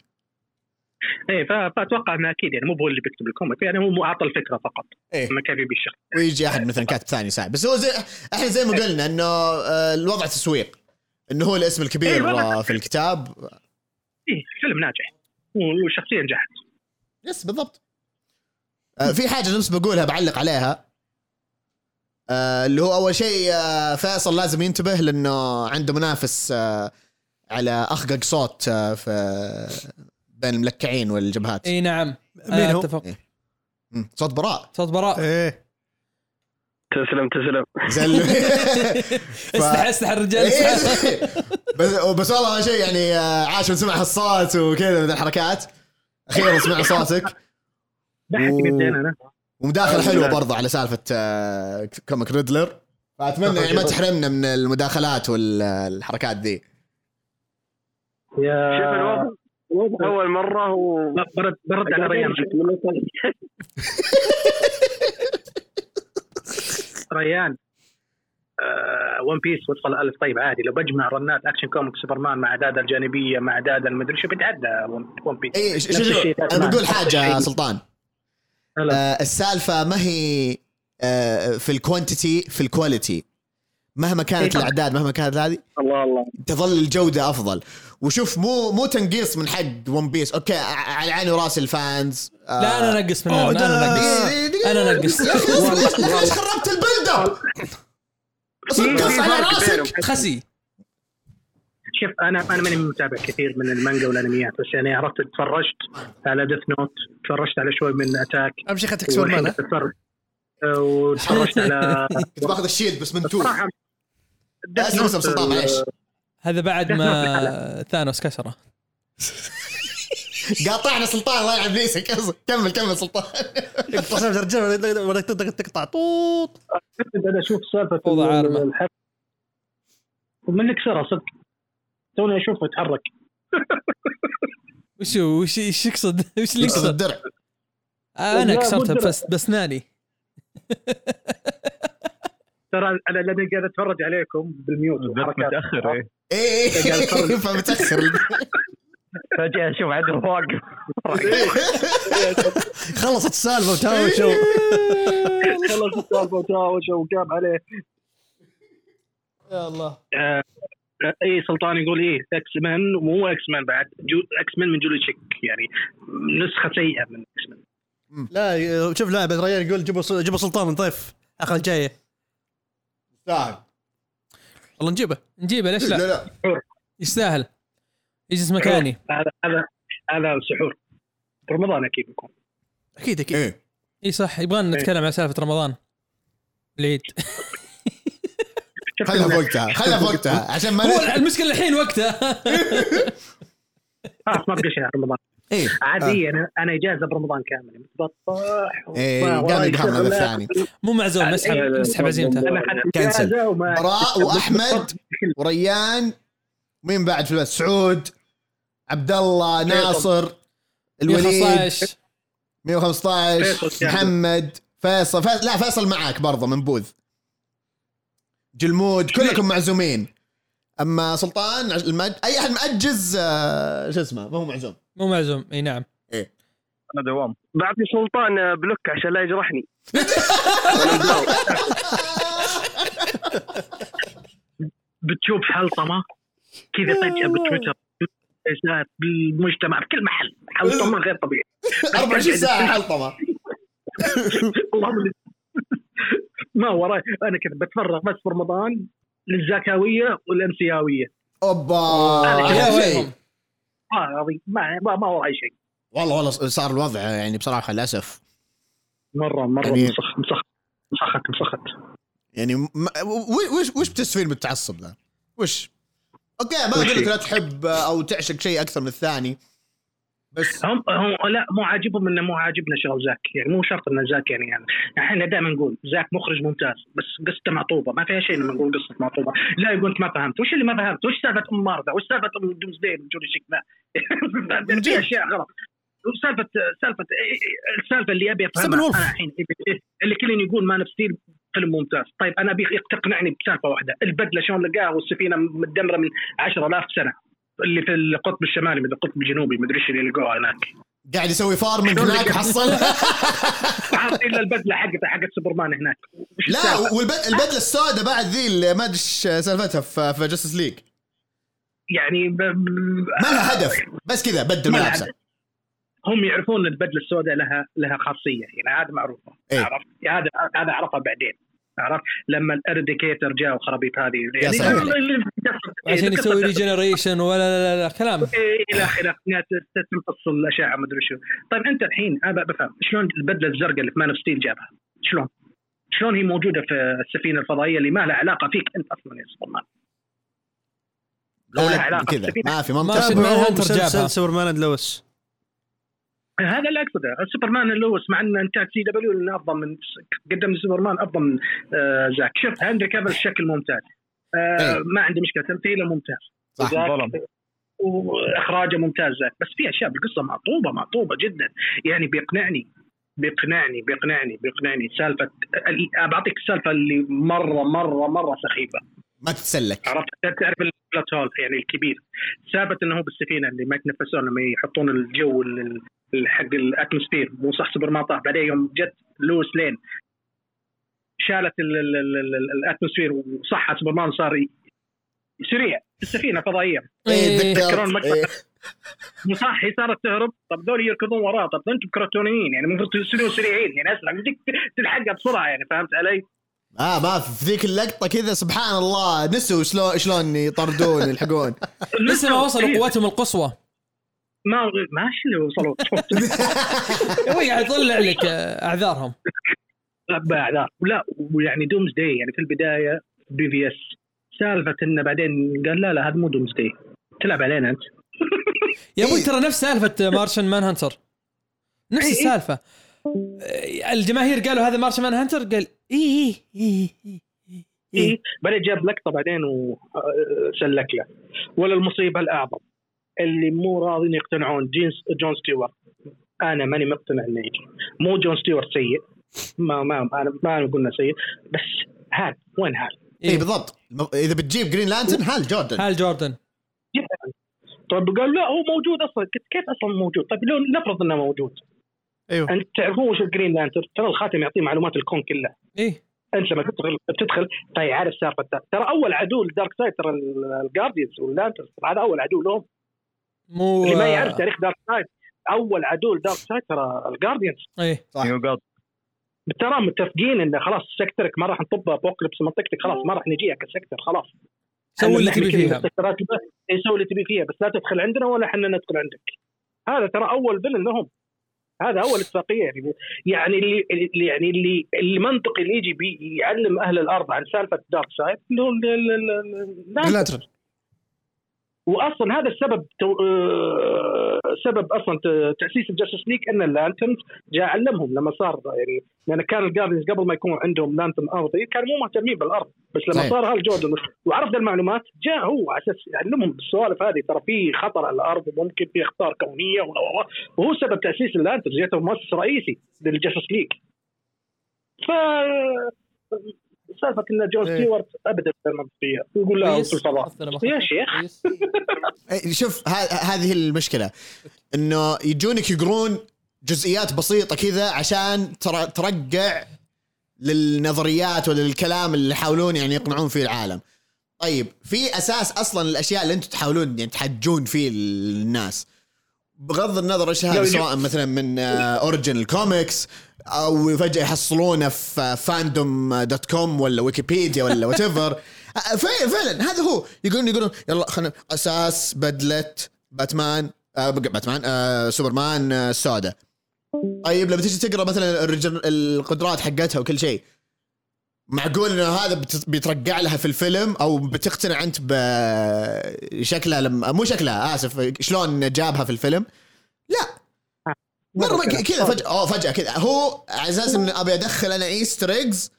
Speaker 6: ايه ف- فاتوقع انه اكيد يعني مو هو اللي بيكتب الكوميك يعني هو مو اعطى الفكره فقط
Speaker 1: إيه.
Speaker 6: ما كان يبي الشخص
Speaker 1: ويجي احد مثلا كاتب ثاني يساعد بس هو زي احنا زي ما قلنا انه آه، الوضع تسويق انه هو الاسم الكبير
Speaker 6: إيه، الوضع
Speaker 1: آه، في الكتاب
Speaker 6: إيه فيلم ناجح و- وشخصيه نجحت
Speaker 1: يس بالضبط آه، في حاجه نفس بقولها بعلق عليها آه، اللي هو اول شيء آه، فيصل لازم ينتبه لانه عنده منافس آه، على اخقق صوت آه، في بين الملكعين والجبهات
Speaker 3: اي نعم
Speaker 2: مين هو؟
Speaker 3: اتفق
Speaker 1: مم، صوت براء
Speaker 3: صوت براء
Speaker 2: ايه
Speaker 8: تسلم تسلم
Speaker 1: زي ال-
Speaker 3: استح استح الرجال استح.
Speaker 1: إيه. بس بس والله ما شيء يعني آه، عاش من سمع الصوت وكذا من الحركات اخيرا سمع صوتك
Speaker 6: ضحك
Speaker 1: أوه.
Speaker 6: جدا انا
Speaker 1: ومداخله حلوه برضه على سالفه آه، كوميك ريدلر فاتمنى يعني ما تحرمنا من المداخلات والحركات ذي
Speaker 8: شوف الوضع الوضع اول مره و
Speaker 6: ب- برد برد على ريان ريان آه، ون بيس وصل الف طيب عادي لو بجمع رنات اكشن كوميك سوبرمان مع دادا الجانبيه مع دادا المدري شو بتعدى ون بيس
Speaker 1: اي شو
Speaker 6: نفس
Speaker 1: شو
Speaker 6: الشيء
Speaker 1: انا
Speaker 6: باتمان.
Speaker 1: بقول
Speaker 6: نفس
Speaker 1: حاجه
Speaker 6: الشيء.
Speaker 1: يا سلطان
Speaker 6: هلا.
Speaker 1: آه، السالفه ما هي آه، في الكوانتيتي في الكواليتي مهما كانت الاعداد مهما كانت هذه
Speaker 8: الله الله
Speaker 1: تظل الجوده افضل وشوف مو مو تنقيص من حد ون بيس اوكي ع- على عيني وراسي الفانز آه،
Speaker 3: لا انا نقص من
Speaker 2: أوه،
Speaker 3: هنا،
Speaker 2: ده-
Speaker 3: انا نقص انا نقص
Speaker 1: يا اخي ليش- ليش- ليش خربت البيلد اب؟ صدق على راسك
Speaker 3: خسي
Speaker 6: شوف انا انا ماني متابع كثير من المانجا والانميات بس يعني عرفت تفرجت على ديث نوت تفرجت على شوي من اتاك
Speaker 2: اهم شيء اخذت اكسور
Speaker 6: والحين
Speaker 2: مان
Speaker 6: بتفرج. آه، وتفرجت على
Speaker 1: كنت باخذ الشيلد بس من تو
Speaker 6: الصراحه Death
Speaker 1: اسلم اسلم
Speaker 6: Note،
Speaker 1: سلطان معليش
Speaker 3: هذا بعد ما ثانوس كسره
Speaker 1: قاطعنا سلطان الله يلعب ليسك كمل كمل سلطان
Speaker 2: اقتصاد الرجال ولا تقدر تقطع طوط
Speaker 6: انا اشوف سالفه
Speaker 3: وضع
Speaker 6: ال-
Speaker 3: عارمة.
Speaker 6: الحرب من اللي كسرها صدق توني اشوفه يتحرك
Speaker 3: وش هو؟ وش ايش يقصد؟ وش اللي
Speaker 1: يقصد
Speaker 3: يقصد؟
Speaker 1: الدرع
Speaker 3: انا
Speaker 6: لا، مو
Speaker 3: كسرتها
Speaker 6: الدرع.
Speaker 3: بس بسناني
Speaker 6: ترى انا لاني قاعد اتفرج عليكم بالميوت
Speaker 7: بالذات
Speaker 6: والحركات.
Speaker 7: متاخر إيه.
Speaker 1: اي
Speaker 6: قاعد
Speaker 1: اي
Speaker 6: أتفرج.
Speaker 1: فمتاخر
Speaker 7: فجاه اشوف عدل واقف
Speaker 2: خلصت السالفه وتهاوشوا
Speaker 6: خلص السالفه وتهاوش وقام عليه
Speaker 3: يا الله
Speaker 6: اي آه، سلطان يقول ايه اكس مان ومو اكس مان بعد جو اكس مان من جولي تشيك يعني نسخه سيئه من اكس مان
Speaker 2: لا شوف لاعب الرجال يقول جيبوا جيبوا سلطان ضيف اخر الجايه
Speaker 1: لا
Speaker 2: والله نجيبه
Speaker 3: نجيبه ليش لا؟
Speaker 1: لا
Speaker 3: يستاهل يجلس مكاني
Speaker 6: هذا هذا هذا سحور رمضان اكيد يكون
Speaker 2: اكيد اكيد
Speaker 1: ايه
Speaker 3: اي صح يبغانا
Speaker 6: إيه.
Speaker 3: نتكلم عن سالفه رمضان العيد
Speaker 6: شفت
Speaker 1: خلها
Speaker 6: إنه-
Speaker 1: في وقتها خلها في وقتها عشان ما
Speaker 3: هو
Speaker 1: ن-
Speaker 3: المشكله الحين وقتها
Speaker 6: خلاص ما بقى شيء عن رمضان
Speaker 1: ايه
Speaker 6: عادي انا انا اجازه برمضان كامل بطاح
Speaker 1: ايه قام يقهرنا هذا الثاني
Speaker 3: مو معزوم نسحب نسحب عزيمته
Speaker 6: انا اخذت
Speaker 1: كنسل.
Speaker 6: اجازه وما
Speaker 1: براء واحمد وريان مين بعد في البث سعود عبد الله ناصر الوليد
Speaker 3: 115
Speaker 1: 115
Speaker 6: فيصل.
Speaker 1: محمد فيصل فيصل لا فيصل معاك برضه من بوذ جلمود كلكم معزومين اما سلطان عج- المد... اي احد مأجز آه، شو اسمه ما هو معزوم
Speaker 3: مو معزوم اي نعم
Speaker 7: انا دوام
Speaker 8: بعطي سلطان آه، بلوك عشان لا يجرحني
Speaker 6: بتشوف حلطمه كذا فجاه بتويتر إساءات بالمجتمع بكل محل حلطمه غير طبيعي
Speaker 1: 24 ساعه حلطمه
Speaker 6: والله من- ما وراي انا كنت بتفرغ بس في رمضان للزكاويه والامسياويه
Speaker 1: اوبا
Speaker 6: آه،
Speaker 3: يا
Speaker 1: أحلى شيء.
Speaker 3: ويلهم
Speaker 6: ما راضي آه، ما ما, ما وراي شيء
Speaker 1: والله والله صار الوضع يعني بصراحه للاسف
Speaker 6: مره مره
Speaker 1: يعني-
Speaker 6: مسخ مسخ مسخت مسخت
Speaker 1: يعني ما و- وش وش بتسفين بالتعصب ذا؟ وش؟ اوكي ما اقول لك لا تحب او تعشق شيء اكثر من الثاني بس
Speaker 6: هم هم لا مو عاجبهم انه مو عاجبنا شغل زاك يعني مو شرط انه زاك يعني يعني احنا دائما نقول زاك مخرج ممتاز بس قصته معطوبه ما فيها شيء لما نقول قصه معطوبه لا يقول انت ما فهمت وش اللي ما فهمت وش سالفه ام مارثا وش سالفه ام دومزدي جوري شيك لا في اشياء غلط وسالفه سالفه السالفه إيه، اللي ابي
Speaker 2: سب
Speaker 6: افهمها
Speaker 2: الولف.
Speaker 6: انا الحين إيه، اللي كلين يقول مان اوف ستيل فيلم ممتاز طيب انا ابيك تقنعني بسالفه واحده البدله شلون لقاها والسفينه مدمره من 10000 سنه اللي في القطب الشمالي مدري القطب الجنوبي مدري ايش اللي لقوها هناك
Speaker 1: قاعد يسوي فارمنج
Speaker 6: شلون
Speaker 1: هناك
Speaker 6: لقيت؟
Speaker 1: حصل
Speaker 6: عارف الا البدله حقته حقت سوبرمان هناك وش
Speaker 1: لا
Speaker 6: السالفة؟
Speaker 1: والبدله السوداء بعد ذي اللي ما ادري ايش سالفتها في, في جاستس ليج
Speaker 6: يعني ب... ب-
Speaker 1: ما لها هدف بس كذا بدل
Speaker 6: ما لها
Speaker 1: ملابسه
Speaker 6: هم يعرفون ان البدله السوداء لها لها خاصيه يعني هذا معروفه
Speaker 1: إيه.
Speaker 6: عرفت هذا هذا عرفها بعدين عرفت لما الارديكيتر جاء وخرابيط هذه يعني
Speaker 1: سلام عليك.
Speaker 3: عشان يسوي
Speaker 6: إيه،
Speaker 3: ريجنريشن ولا لا لا, لا كلام
Speaker 6: الى اخره إنها ت- تمتص الاشعه ما ادري شو طيب انت الحين انا بفهم شلون البدله الزرقاء اللي في مان اوف ستيل جابها شلون؟ شلون هي موجوده في السفينه الفضائيه اللي ما لها علاقه فيك انت اصلا يا سوبرمان
Speaker 1: لا
Speaker 6: لها
Speaker 1: لا،
Speaker 6: علاقة
Speaker 1: آه، كذا
Speaker 6: بالسفينة.
Speaker 1: ما في
Speaker 3: ما
Speaker 1: منطق
Speaker 3: في- جابها.
Speaker 2: سوبرمان اند لويس
Speaker 6: هذا اللي اقصده سوبرمان لويس مع ان انتاج سي دبليو انه افضل من قدم سوبرمان افضل من آه زاك شوف هنري كافل بشكل ممتاز آه
Speaker 1: إيه.
Speaker 6: ما عندي مشكله تمثيله ممتاز
Speaker 1: صح،
Speaker 6: زاك-
Speaker 7: ظلم.
Speaker 6: واخراجه ممتاز زاك بس في اشياء بالقصه معطوبه معطوبه جدا يعني بيقنعني بيقنعني بيقنعني بيقنعني سالفه ال- بعطيك السالفه اللي مره مره مره سخيفه
Speaker 1: ما تتسلك
Speaker 6: عرفت تعرف البلوت هول يعني الكبير ثابت انه هو بالسفينه اللي ما يتنفسون لما يحطون الجو ال- ال- حق الاتموسفير مو صح سوبر ما طاح بعدين يوم جت لويس لين شالت ال- ال- ال- ال- ال- الاتموسفير وصحت سوبرمان صار ي- سريع في السفينه فضائيه
Speaker 1: إيه،
Speaker 6: يذكرون
Speaker 1: تذكرت
Speaker 6: مقطع.
Speaker 1: إيه.
Speaker 6: مصاحي صارت تهرب طب ذول يركضون وراه طب انتم كرتونيين يعني المفروض تسيرون سريعين يعني اسرع بدك تلحقها بسرعه يعني فهمت علي؟
Speaker 1: اه ما في في ذيك اللقطه كذا سبحان الله نسوا شلون شلون يطردون يلحقون
Speaker 3: لسه ما وصلوا
Speaker 6: إيه،
Speaker 3: قوتهم القصوى
Speaker 6: ما ماشي اللي وصلوا
Speaker 3: هو قاعد يطلع لك آه، اعذارهم
Speaker 6: بعد لا ويعني دومز داي يعني في البدايه بي في اس سالفه انه بعدين قال لا لا هذا مو دومز داي تلعب علينا انت
Speaker 3: يا ابوي
Speaker 9: إيه.
Speaker 3: ترى نفس سالفه مارشن مان هانتر نفس
Speaker 9: إيه.
Speaker 3: السالفه آه، الجماهير قالوا هذا مارشن مان هانتر قال إيه، اي اي اي
Speaker 6: إيه. بعدين جاب لقطه بعدين وسلك له ولا المصيبه الاعظم اللي مو راضين يقتنعون جينز جون ستيوارت انا ماني مقتنع انه يجي مو جون ستيوارت سيء ما ما انا ما قلنا سيء بس هال وين هال؟
Speaker 1: اي إيه، بالضبط الم- اذا بتجيب جرين لانترن هال جوردن
Speaker 3: هال جوردن
Speaker 6: جيب هال. طيب قال لا هو موجود اصلا قلت كيف اصلا موجود؟ طيب لو نفرض انه موجود
Speaker 2: ايوه
Speaker 6: انت تعرفون وش الجرين لانتر ترى الخاتم يعطيه معلومات الكون كله
Speaker 3: ايه
Speaker 6: انت لما تدخل بتدخل طيب عارف سالفه ترى اول عدو لدارك سايد ترى الجارديانز واللانترز ترى هذا اول عدو لهم
Speaker 3: مو
Speaker 6: اللي ما
Speaker 3: آه،
Speaker 6: يعرف تاريخ دارك سايد اول عدو لدارك سايد ترى الجارديانز
Speaker 3: ايه
Speaker 7: يقط
Speaker 6: ترى متفقين انه خلاص سكترك ما راح نطب ابوكليبس منطقتك خلاص ما راح نجيها كسكتر خلاص
Speaker 3: سوي اللي
Speaker 6: إحنا
Speaker 3: تبي
Speaker 6: كل
Speaker 3: فيها
Speaker 6: السكترات اللي- سوي اللي تبي فيها بس لا تدخل عندنا ولا احنا ندخل عندك هذا ترى اول فيلن لهم هذا اول اتفاقيه يعني يعني اللي اللي- يعني اللي المنطقي اللي يجي بيعلم اهل الارض عن سالفه دارك سايد اللي هو ال- ال- ال- ال-
Speaker 2: جرين
Speaker 6: لا.
Speaker 2: لانترن
Speaker 6: واصلا هذا السبب تو... آه، سبب اصلا ت- تاسيس الجاستس ليج ان اللانترنز جاء علمهم لما صار يعني لان كان الجاردنز قبل ما يكون عندهم لانترن ارضي كانوا مو مهتمين بالارض بس لما
Speaker 1: صحيح.
Speaker 6: صار هال جوردن وعرف ذا المعلومات جاء هو على اساس يعلمهم السوالف هذه ترى في خطر على الارض وممكن في اخطار كونيه و- و- و- وهو سبب تاسيس اللانترنز جاته مؤسس رئيسي للجاستس ليج ف سالفه ان جون
Speaker 2: إيه.
Speaker 6: ستيوارت ابدا غير منطقيه يقول لا
Speaker 3: كويس.
Speaker 6: في الفضاء
Speaker 3: أفضل أبو
Speaker 6: يا
Speaker 3: خالد.
Speaker 6: شيخ
Speaker 3: كويس.
Speaker 1: إيه، شوف ه- هذه المشكله انه يجونك يقرون جزئيات بسيطه كذا عشان تر- ترقع للنظريات ولا للكلام اللي يحاولون يعني يقنعون فيه العالم طيب في اساس اصلا الاشياء اللي انتم تحاولون يعني تحجون فيه الناس بغض النظر ايش هذا
Speaker 6: لو-
Speaker 1: سواء مثلا من آه، اوريجن الكوميكس او فجاه يحصلونه في فاندوم دوت كوم ولا ويكيبيديا ولا وات ايفر فعلا هذا هو يقولون يقولون يلا خلينا اساس بدله باتمان آه باتمان آه سوبرمان آه السوداء طيب لما تيجي تقرا مثلا الرجل- القدرات حقتها وكل شيء معقول انه هذا بت- بيترقع لها في الفيلم او بتقتنع انت بشكلها لما مو شكلها اسف شلون جابها في الفيلم لا مره ك- كذا فجاه اوه فجاه كذا هو على اساس انه ابي ادخل انا ايستر ايجز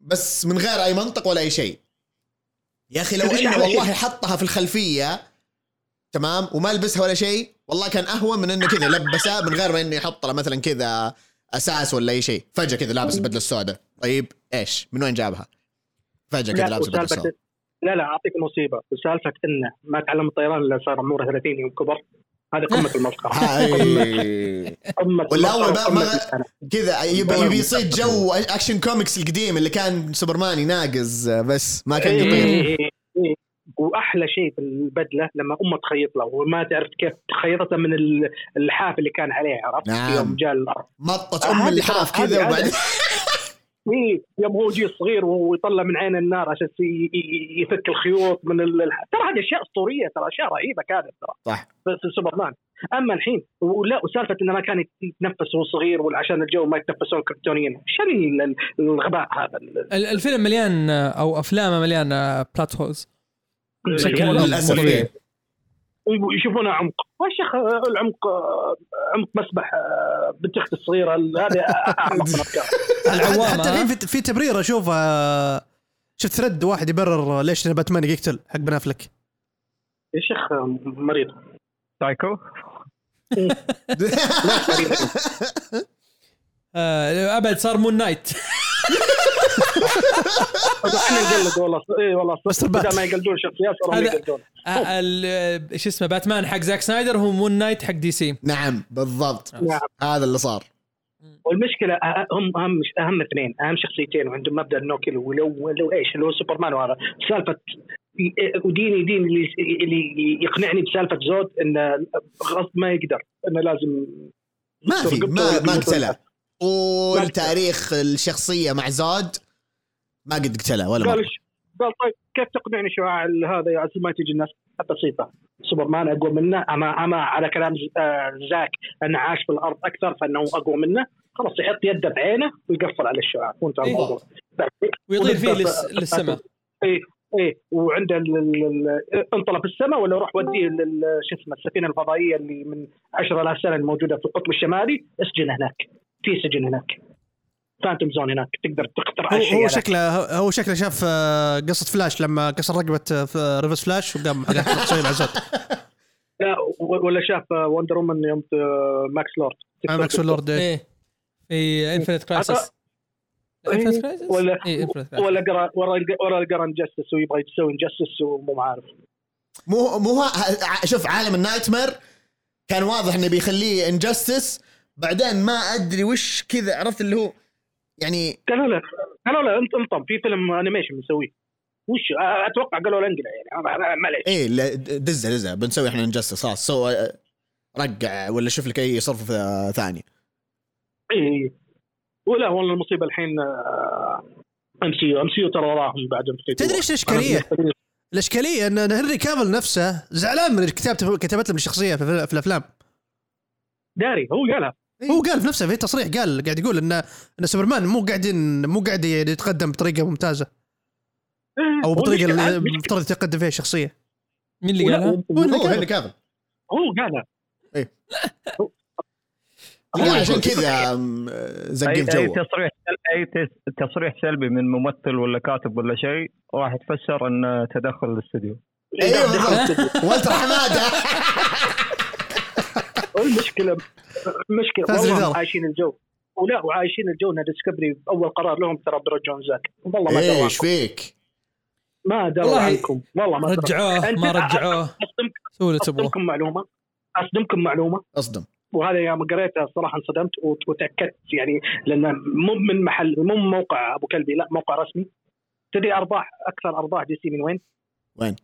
Speaker 1: بس من غير اي منطق ولا اي شيء يا اخي لو
Speaker 6: تدري إيش
Speaker 1: انه
Speaker 6: أحلى شيء؟
Speaker 1: والله حطها في الخلفيه تمام وما لبسها ولا شيء والله كان اهون من انه كذا لبسها من غير ما انه يحط له مثلا كذا اساس ولا اي شيء فجاه كذا لابس البدله السوداء طيب ايش من وين جابها فجاه كذا
Speaker 6: لا
Speaker 1: لابس البدله
Speaker 6: وسالفة-
Speaker 1: السوداء
Speaker 6: لا لا اعطيك مصيبه سالفه انه ما تعلم الطيران الا صار عمره 30 يوم كبر هذا قمه المسخره
Speaker 1: هاي.
Speaker 6: قمه
Speaker 1: ولا أول
Speaker 6: المسخرة
Speaker 1: ما- ما-
Speaker 6: وقمة الإهانة.
Speaker 1: كذا يبي يبي يصيد جو اكشن كوميكس القديم اللي كان سوبرمان يناقز بس ما كان
Speaker 6: إيه،
Speaker 1: يطير
Speaker 6: إيه، إيه، إيه. واحلى شيء في البدله لما امه تخيط له وما تعرف كيف تخيطته من ال- الحاف اللي كان عليه عرفت
Speaker 1: نعم.
Speaker 6: يوم جاء الارض
Speaker 1: مطت
Speaker 6: هذه
Speaker 1: ام الحاف
Speaker 6: هذه-
Speaker 1: كذا
Speaker 6: هذه-
Speaker 1: وبعدين
Speaker 6: إيه، يوم هو يجي صغير وهو يطلع من عين النار عشان ي- ي- يفك الخيوط من ال... الح- ترى هذه اشياء اسطوريه ترى اشياء رهيبه كانت ترى
Speaker 1: صح.
Speaker 6: في في سوبرمان اما الحين ولا وسالفه انه ما كان يتنفس وهو صغير ولا عشان الجو ما يتنفسون كرتونيا شنو ال- الغباء هذا
Speaker 3: ال- الفيلم مليان آه، او افلامه مليان آه، بلات هولز
Speaker 6: يعني
Speaker 3: مو
Speaker 1: للأسف،
Speaker 3: طبيعي.
Speaker 1: إيه.
Speaker 6: يشوفونه عمق يا شيخ آه، العمق آه، عمق مسبح آه، بنت اختي الصغيره ال- هذه اعمق من الأفكار.
Speaker 3: العوامة،
Speaker 2: حتى
Speaker 3: ها؟
Speaker 2: الحين في- في تبرير اشوفها شفت ثريد واحد يبرر ليش باتمان يقتل حق بن افلك
Speaker 6: يا شيخ آه، مريض
Speaker 7: سايكو
Speaker 3: آه، ابد صار مون نايت
Speaker 6: احنا نقلد والله اي والله
Speaker 2: مستر بات.
Speaker 6: بدل ما يقلدون شخصيات صاروا
Speaker 3: هذا-
Speaker 6: يقلدون
Speaker 3: آه، ال- آه، شو اسمه باتمان حق زاك سنايدر هو مون نايت حق دي سي
Speaker 1: نعم بالضبط
Speaker 6: نعم.
Speaker 1: هذا اللي صار
Speaker 6: والمشكله أه- هم اهم اهم اثنين اهم شخصيتين وعندهم مبدا النو كيل ولو ولو ايش اللي هو سوبرمان وهذا سالفه وديني دين اللي اللي يقنعني بسالفه زود انه غصب ما يقدر انه لازم
Speaker 1: ما في ما ما قتله
Speaker 6: ما
Speaker 1: طول
Speaker 6: قتله.
Speaker 1: تاريخ الشخصيه مع زود ما قد قتله ولا
Speaker 6: قال
Speaker 1: مرة.
Speaker 6: إيش- قال طيب كيف تقنعني شعاع ال- هذا يا عزيز ما تجي الناس بسيطه سوبرمان اقوى منه اما اما على كلام ز- آه، زاك انه عاش في الارض اكثر فانه اقوى منه خلاص يحط يده بعينه ويقفل على الشعاع وانتهى
Speaker 3: إيه.
Speaker 6: الموضوع
Speaker 3: ويطير فيه للس- للسماء
Speaker 6: اي ايه وعنده ال- ال- ال- انطلب السماء ولا روح وديه لل- شو اسمه السفينه الفضائيه اللي من 10000 سنه الموجوده في القطب الشمالي اسجن هناك في سجن هناك فانتوم زون هناك تقدر تخترع
Speaker 2: هو,
Speaker 6: هالشيء
Speaker 2: هو
Speaker 6: هذا.
Speaker 2: شكله هو شكله شاف آه، قصه فلاش لما كسر رقبه آه، ف- ريفرس فلاش وقام حقق تسوي العزات
Speaker 6: لا و- ولا شاف وندر وومن يوم آه، ماكس لورد
Speaker 2: مع ماكس لورد إيه.
Speaker 3: ايه في انفنت كرايسس انفنت كرايسس
Speaker 6: إيه، ولا-
Speaker 3: ايه انفنت كرايسس
Speaker 6: ولا قرا ورا الق- ورا القرن جسس ويبغى يسوي جسس ومو عارف
Speaker 1: مو مو ها- ع- شوف عالم النايت مير كان واضح انه بيخليه انجستس بعدين ما ادري وش كذا عرفت اللي هو يعني
Speaker 6: قالوا له قالوا له انت انطم في فيلم انيميشن بنسويه وش أ- اتوقع قالوا له انقلع يعني ما- ما- معليش
Speaker 1: ايه لا، د- دزه دزه بنسوي احنا انجستس خلاص سو رقع ولا شوف لك اي صرف آه، ثاني
Speaker 6: إيه. ولا والله المصيبه الحين آه، ام سي يو ام سي يو ترى وراهم بعدهم في
Speaker 2: تدري ايش الاشكاليه؟ الاشكاليه ان إن هنري كافل نفسه زعلان من كتابته كتابت لهم الشخصيه في, الف- في الافلام
Speaker 6: داري هو قالها
Speaker 2: هو قال في نفسه في تصريح قال قاعد يقول ان ان سوبرمان مو قاعد ين- مو قاعد يتقدم بطريقه ممتازه
Speaker 6: إيه.
Speaker 2: او
Speaker 6: هو
Speaker 2: بالطريقه
Speaker 6: مشكلة-
Speaker 2: اللي
Speaker 6: مشكلة-
Speaker 2: المفترض يتقدم فيها الشخصيه
Speaker 3: مين اللي قالها؟
Speaker 1: هو
Speaker 6: هو-
Speaker 1: هنري كافل
Speaker 6: هو قالها
Speaker 1: إيه.
Speaker 6: هو-
Speaker 1: هو
Speaker 6: هو
Speaker 1: عشان
Speaker 6: يقول-
Speaker 1: كذا آم، آه،
Speaker 7: اي
Speaker 1: زقف
Speaker 7: اي
Speaker 1: جوه
Speaker 7: تصريح اي تس- تصريح سلبي من ممثل ولا كاتب ولا شيء واحد فسر انه تدخل الاستوديو
Speaker 1: ايوه بالضبط والتر حماده
Speaker 6: المشكله المشكله
Speaker 2: فاز
Speaker 6: والله
Speaker 2: الإدارة.
Speaker 6: هم عايشين الجو ولا وعايشين الجو ان ديسكفري اول قرار لهم ترى بيرجعون زاك والله ما دروا
Speaker 1: ايش إيه، فيك؟
Speaker 6: ما دروا
Speaker 3: والله
Speaker 6: عنكم والله ما دروا
Speaker 3: رجعوه ما
Speaker 6: أنت-
Speaker 3: رجعوه
Speaker 6: أصدمك-
Speaker 3: سووا اللي تبغوه
Speaker 6: اصدمكم معلومه اصدمكم معلومه
Speaker 1: اصدم
Speaker 6: وهذا يوم قريتها الصراحه انصدمت وت- وتاكدت يعني لان مو من محل مو من موقع ابو كلبي لا موقع رسمي تدري ارباح اكثر ارباح دي سي من وين؟
Speaker 1: وين؟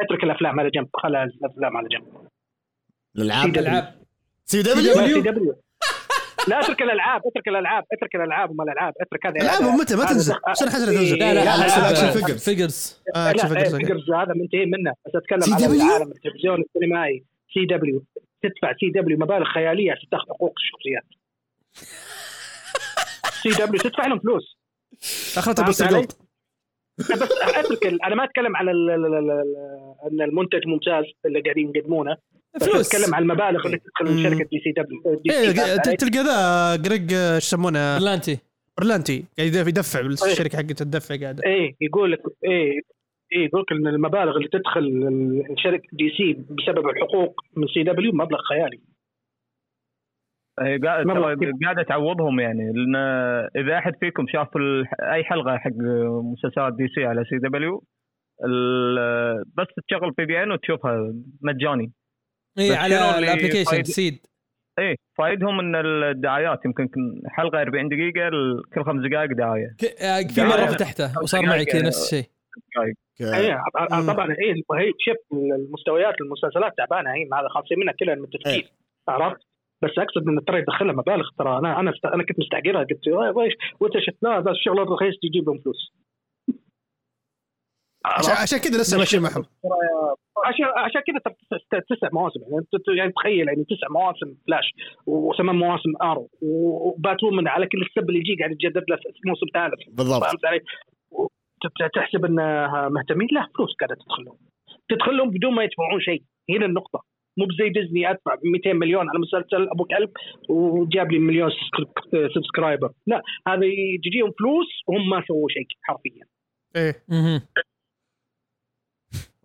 Speaker 6: اترك الافلام على جنب خلها الافلام على جنب
Speaker 1: الالعاب
Speaker 3: العاب
Speaker 1: سي
Speaker 6: ما
Speaker 1: دبليو
Speaker 6: في دبليو لا اترك الالعاب اترك الالعاب اترك الالعاب وما الالعاب اترك هذا
Speaker 2: العابهم متى ما تنزل سنه حسنه تنزل
Speaker 3: لا لا
Speaker 1: لا، لا،
Speaker 3: العاب
Speaker 1: أكشن
Speaker 3: آه،
Speaker 1: فيجرز.
Speaker 3: فيجرز
Speaker 2: آه، أكشن
Speaker 6: لا،
Speaker 2: فيجرز،
Speaker 6: إيه،
Speaker 2: أوكي.
Speaker 6: فيجرز هذا منتهي منه بس
Speaker 1: سي
Speaker 6: اتكلم على
Speaker 1: دبليو؟
Speaker 6: العالم التلفزيون السينمائي سي دبليو تدفع سي دبليو مبالغ خياليه عشان تاخذ حقوق الشخصيات سي دبليو تدفع لهم فلوس
Speaker 2: اخرتها بس
Speaker 6: فهمت علي؟
Speaker 2: الجولد
Speaker 6: بس اترك ال- انا ما اتكلم على ال- ال- ال- ال- ان المنتج ممتاز اللي قاعدين يقدمونه بس
Speaker 3: فلوس.
Speaker 6: اتكلم على المبالغ اللي تدخل من
Speaker 2: مم.
Speaker 6: شركه دي سي دبليو دي سي
Speaker 2: إيه،
Speaker 6: فهمت علي؟
Speaker 2: ت- تلقى ذا جريج آه، شو يسمونه
Speaker 3: برلانتي
Speaker 2: برلانتي قاعد يدف- يدفع الشركه حقته تدفع قاعده
Speaker 6: ايه يقول لك ايه ايه يقول لك ان المبالغ اللي تدخل الشركه دي سي بسبب الحقوق من سي دبليو مبلغ خيالي
Speaker 7: هي قاعد-
Speaker 6: مرة
Speaker 7: ترى
Speaker 6: كده.
Speaker 7: قاعده تعوضهم يعني لان اذا احد فيكم شاف ال- اي حلقه حق مسلسلات دي سي على سي دبليو بس تشغل بي بي ان وتشوفها مجاني
Speaker 3: اي
Speaker 7: بس كانوا
Speaker 3: إيه، على
Speaker 7: اللي
Speaker 3: الابلكيشن
Speaker 7: فايد-
Speaker 3: سيد
Speaker 7: ايه فائدهم ان الدعايات يمكن كن- حلقه 40 دقيقه ال- كل خمس دقائق دعايه
Speaker 3: ك- آه، في
Speaker 7: لا،
Speaker 3: مره
Speaker 7: لا.
Speaker 3: فتحته وصار معي كذا نفس الشيء
Speaker 1: إيه.
Speaker 6: ايه ع- ع- طبعا ايه هي شف المستويات المسلسلات تعبانه هي هذا خاصين منها كلها متفقين عرفت بس اقصد ان ترى يدخلها مبالغ ترى انا انا است- انا كنت مستعجلها قلت "آه، ويش وانت شفت لا هذا الشغل الرخيص يجيب لهم فلوس
Speaker 2: عشان- عشان كذا لسه ماشيين معهم
Speaker 6: عشان عشان كذا ترى تسع- تسع- تسع مواسم يعني أنت- يعني تخيل يعني تسع مواسم فلاش وثمان مواسم ارو وباتومن على كل السب اللي يجي قاعد يتجدد له موسم ثالث
Speaker 1: بالضبط
Speaker 6: فهمت علي؟ و- تت- تحسب انها مهتمين لا فلوس قاعده تدخل لهم تدخل لهم بدون ما يدفعون شيء هنا النقطه مو بزي ديزني ادفع 200 مليون على مسلسل ابو كلب وجاب لي مليون سبسكر- سبسكرايبر لا هذا يجيهم فلوس وهم ما سووا شيء حرفيا
Speaker 2: ايه
Speaker 3: مهم.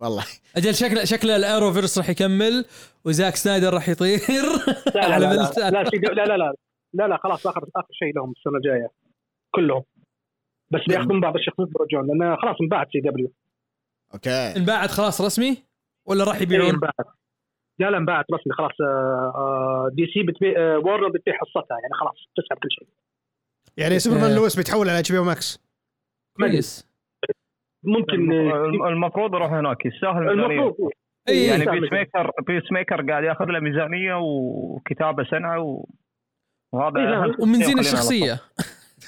Speaker 1: والله
Speaker 3: اجل شكله شكله الايرو فيرس راح يكمل وزاك سنايدر راح يطير
Speaker 6: لا لا
Speaker 3: على
Speaker 6: لا
Speaker 3: بنت-
Speaker 6: لا لا, سيدي- لا لا لا لا لا خلاص اخر اخر شيء لهم السنه الجايه كلهم بس بياخذون بعض الشخصيات برجعون لان خلاص انباعت سي دبليو
Speaker 1: اوكي
Speaker 3: انباعت خلاص رسمي ولا راح يبيعون؟
Speaker 6: إيه، انباعت لا لا انباعت رسمي خلاص آه، آه، دي سي بتبيع آه، وارنر بتبيع حصتها يعني خلاص تسحب كل شيء إيه.
Speaker 2: يعني سوبرمان لويس بيتحول على اتش بي ماكس
Speaker 3: كويس
Speaker 6: ممكن آه،
Speaker 7: الم- المفروض يروح هناك يستاهل ميزانيه
Speaker 6: المفروض إيه،
Speaker 3: اي
Speaker 7: يعني
Speaker 6: يستاهل
Speaker 7: بيس ميكر بيس ميكر قاعد ياخذ له ميزانيه وكتابه سنه و... وهذا
Speaker 6: إيه، لا،
Speaker 7: أهم
Speaker 3: ومن
Speaker 7: شيء
Speaker 3: زين
Speaker 7: خلينا
Speaker 3: الشخصيه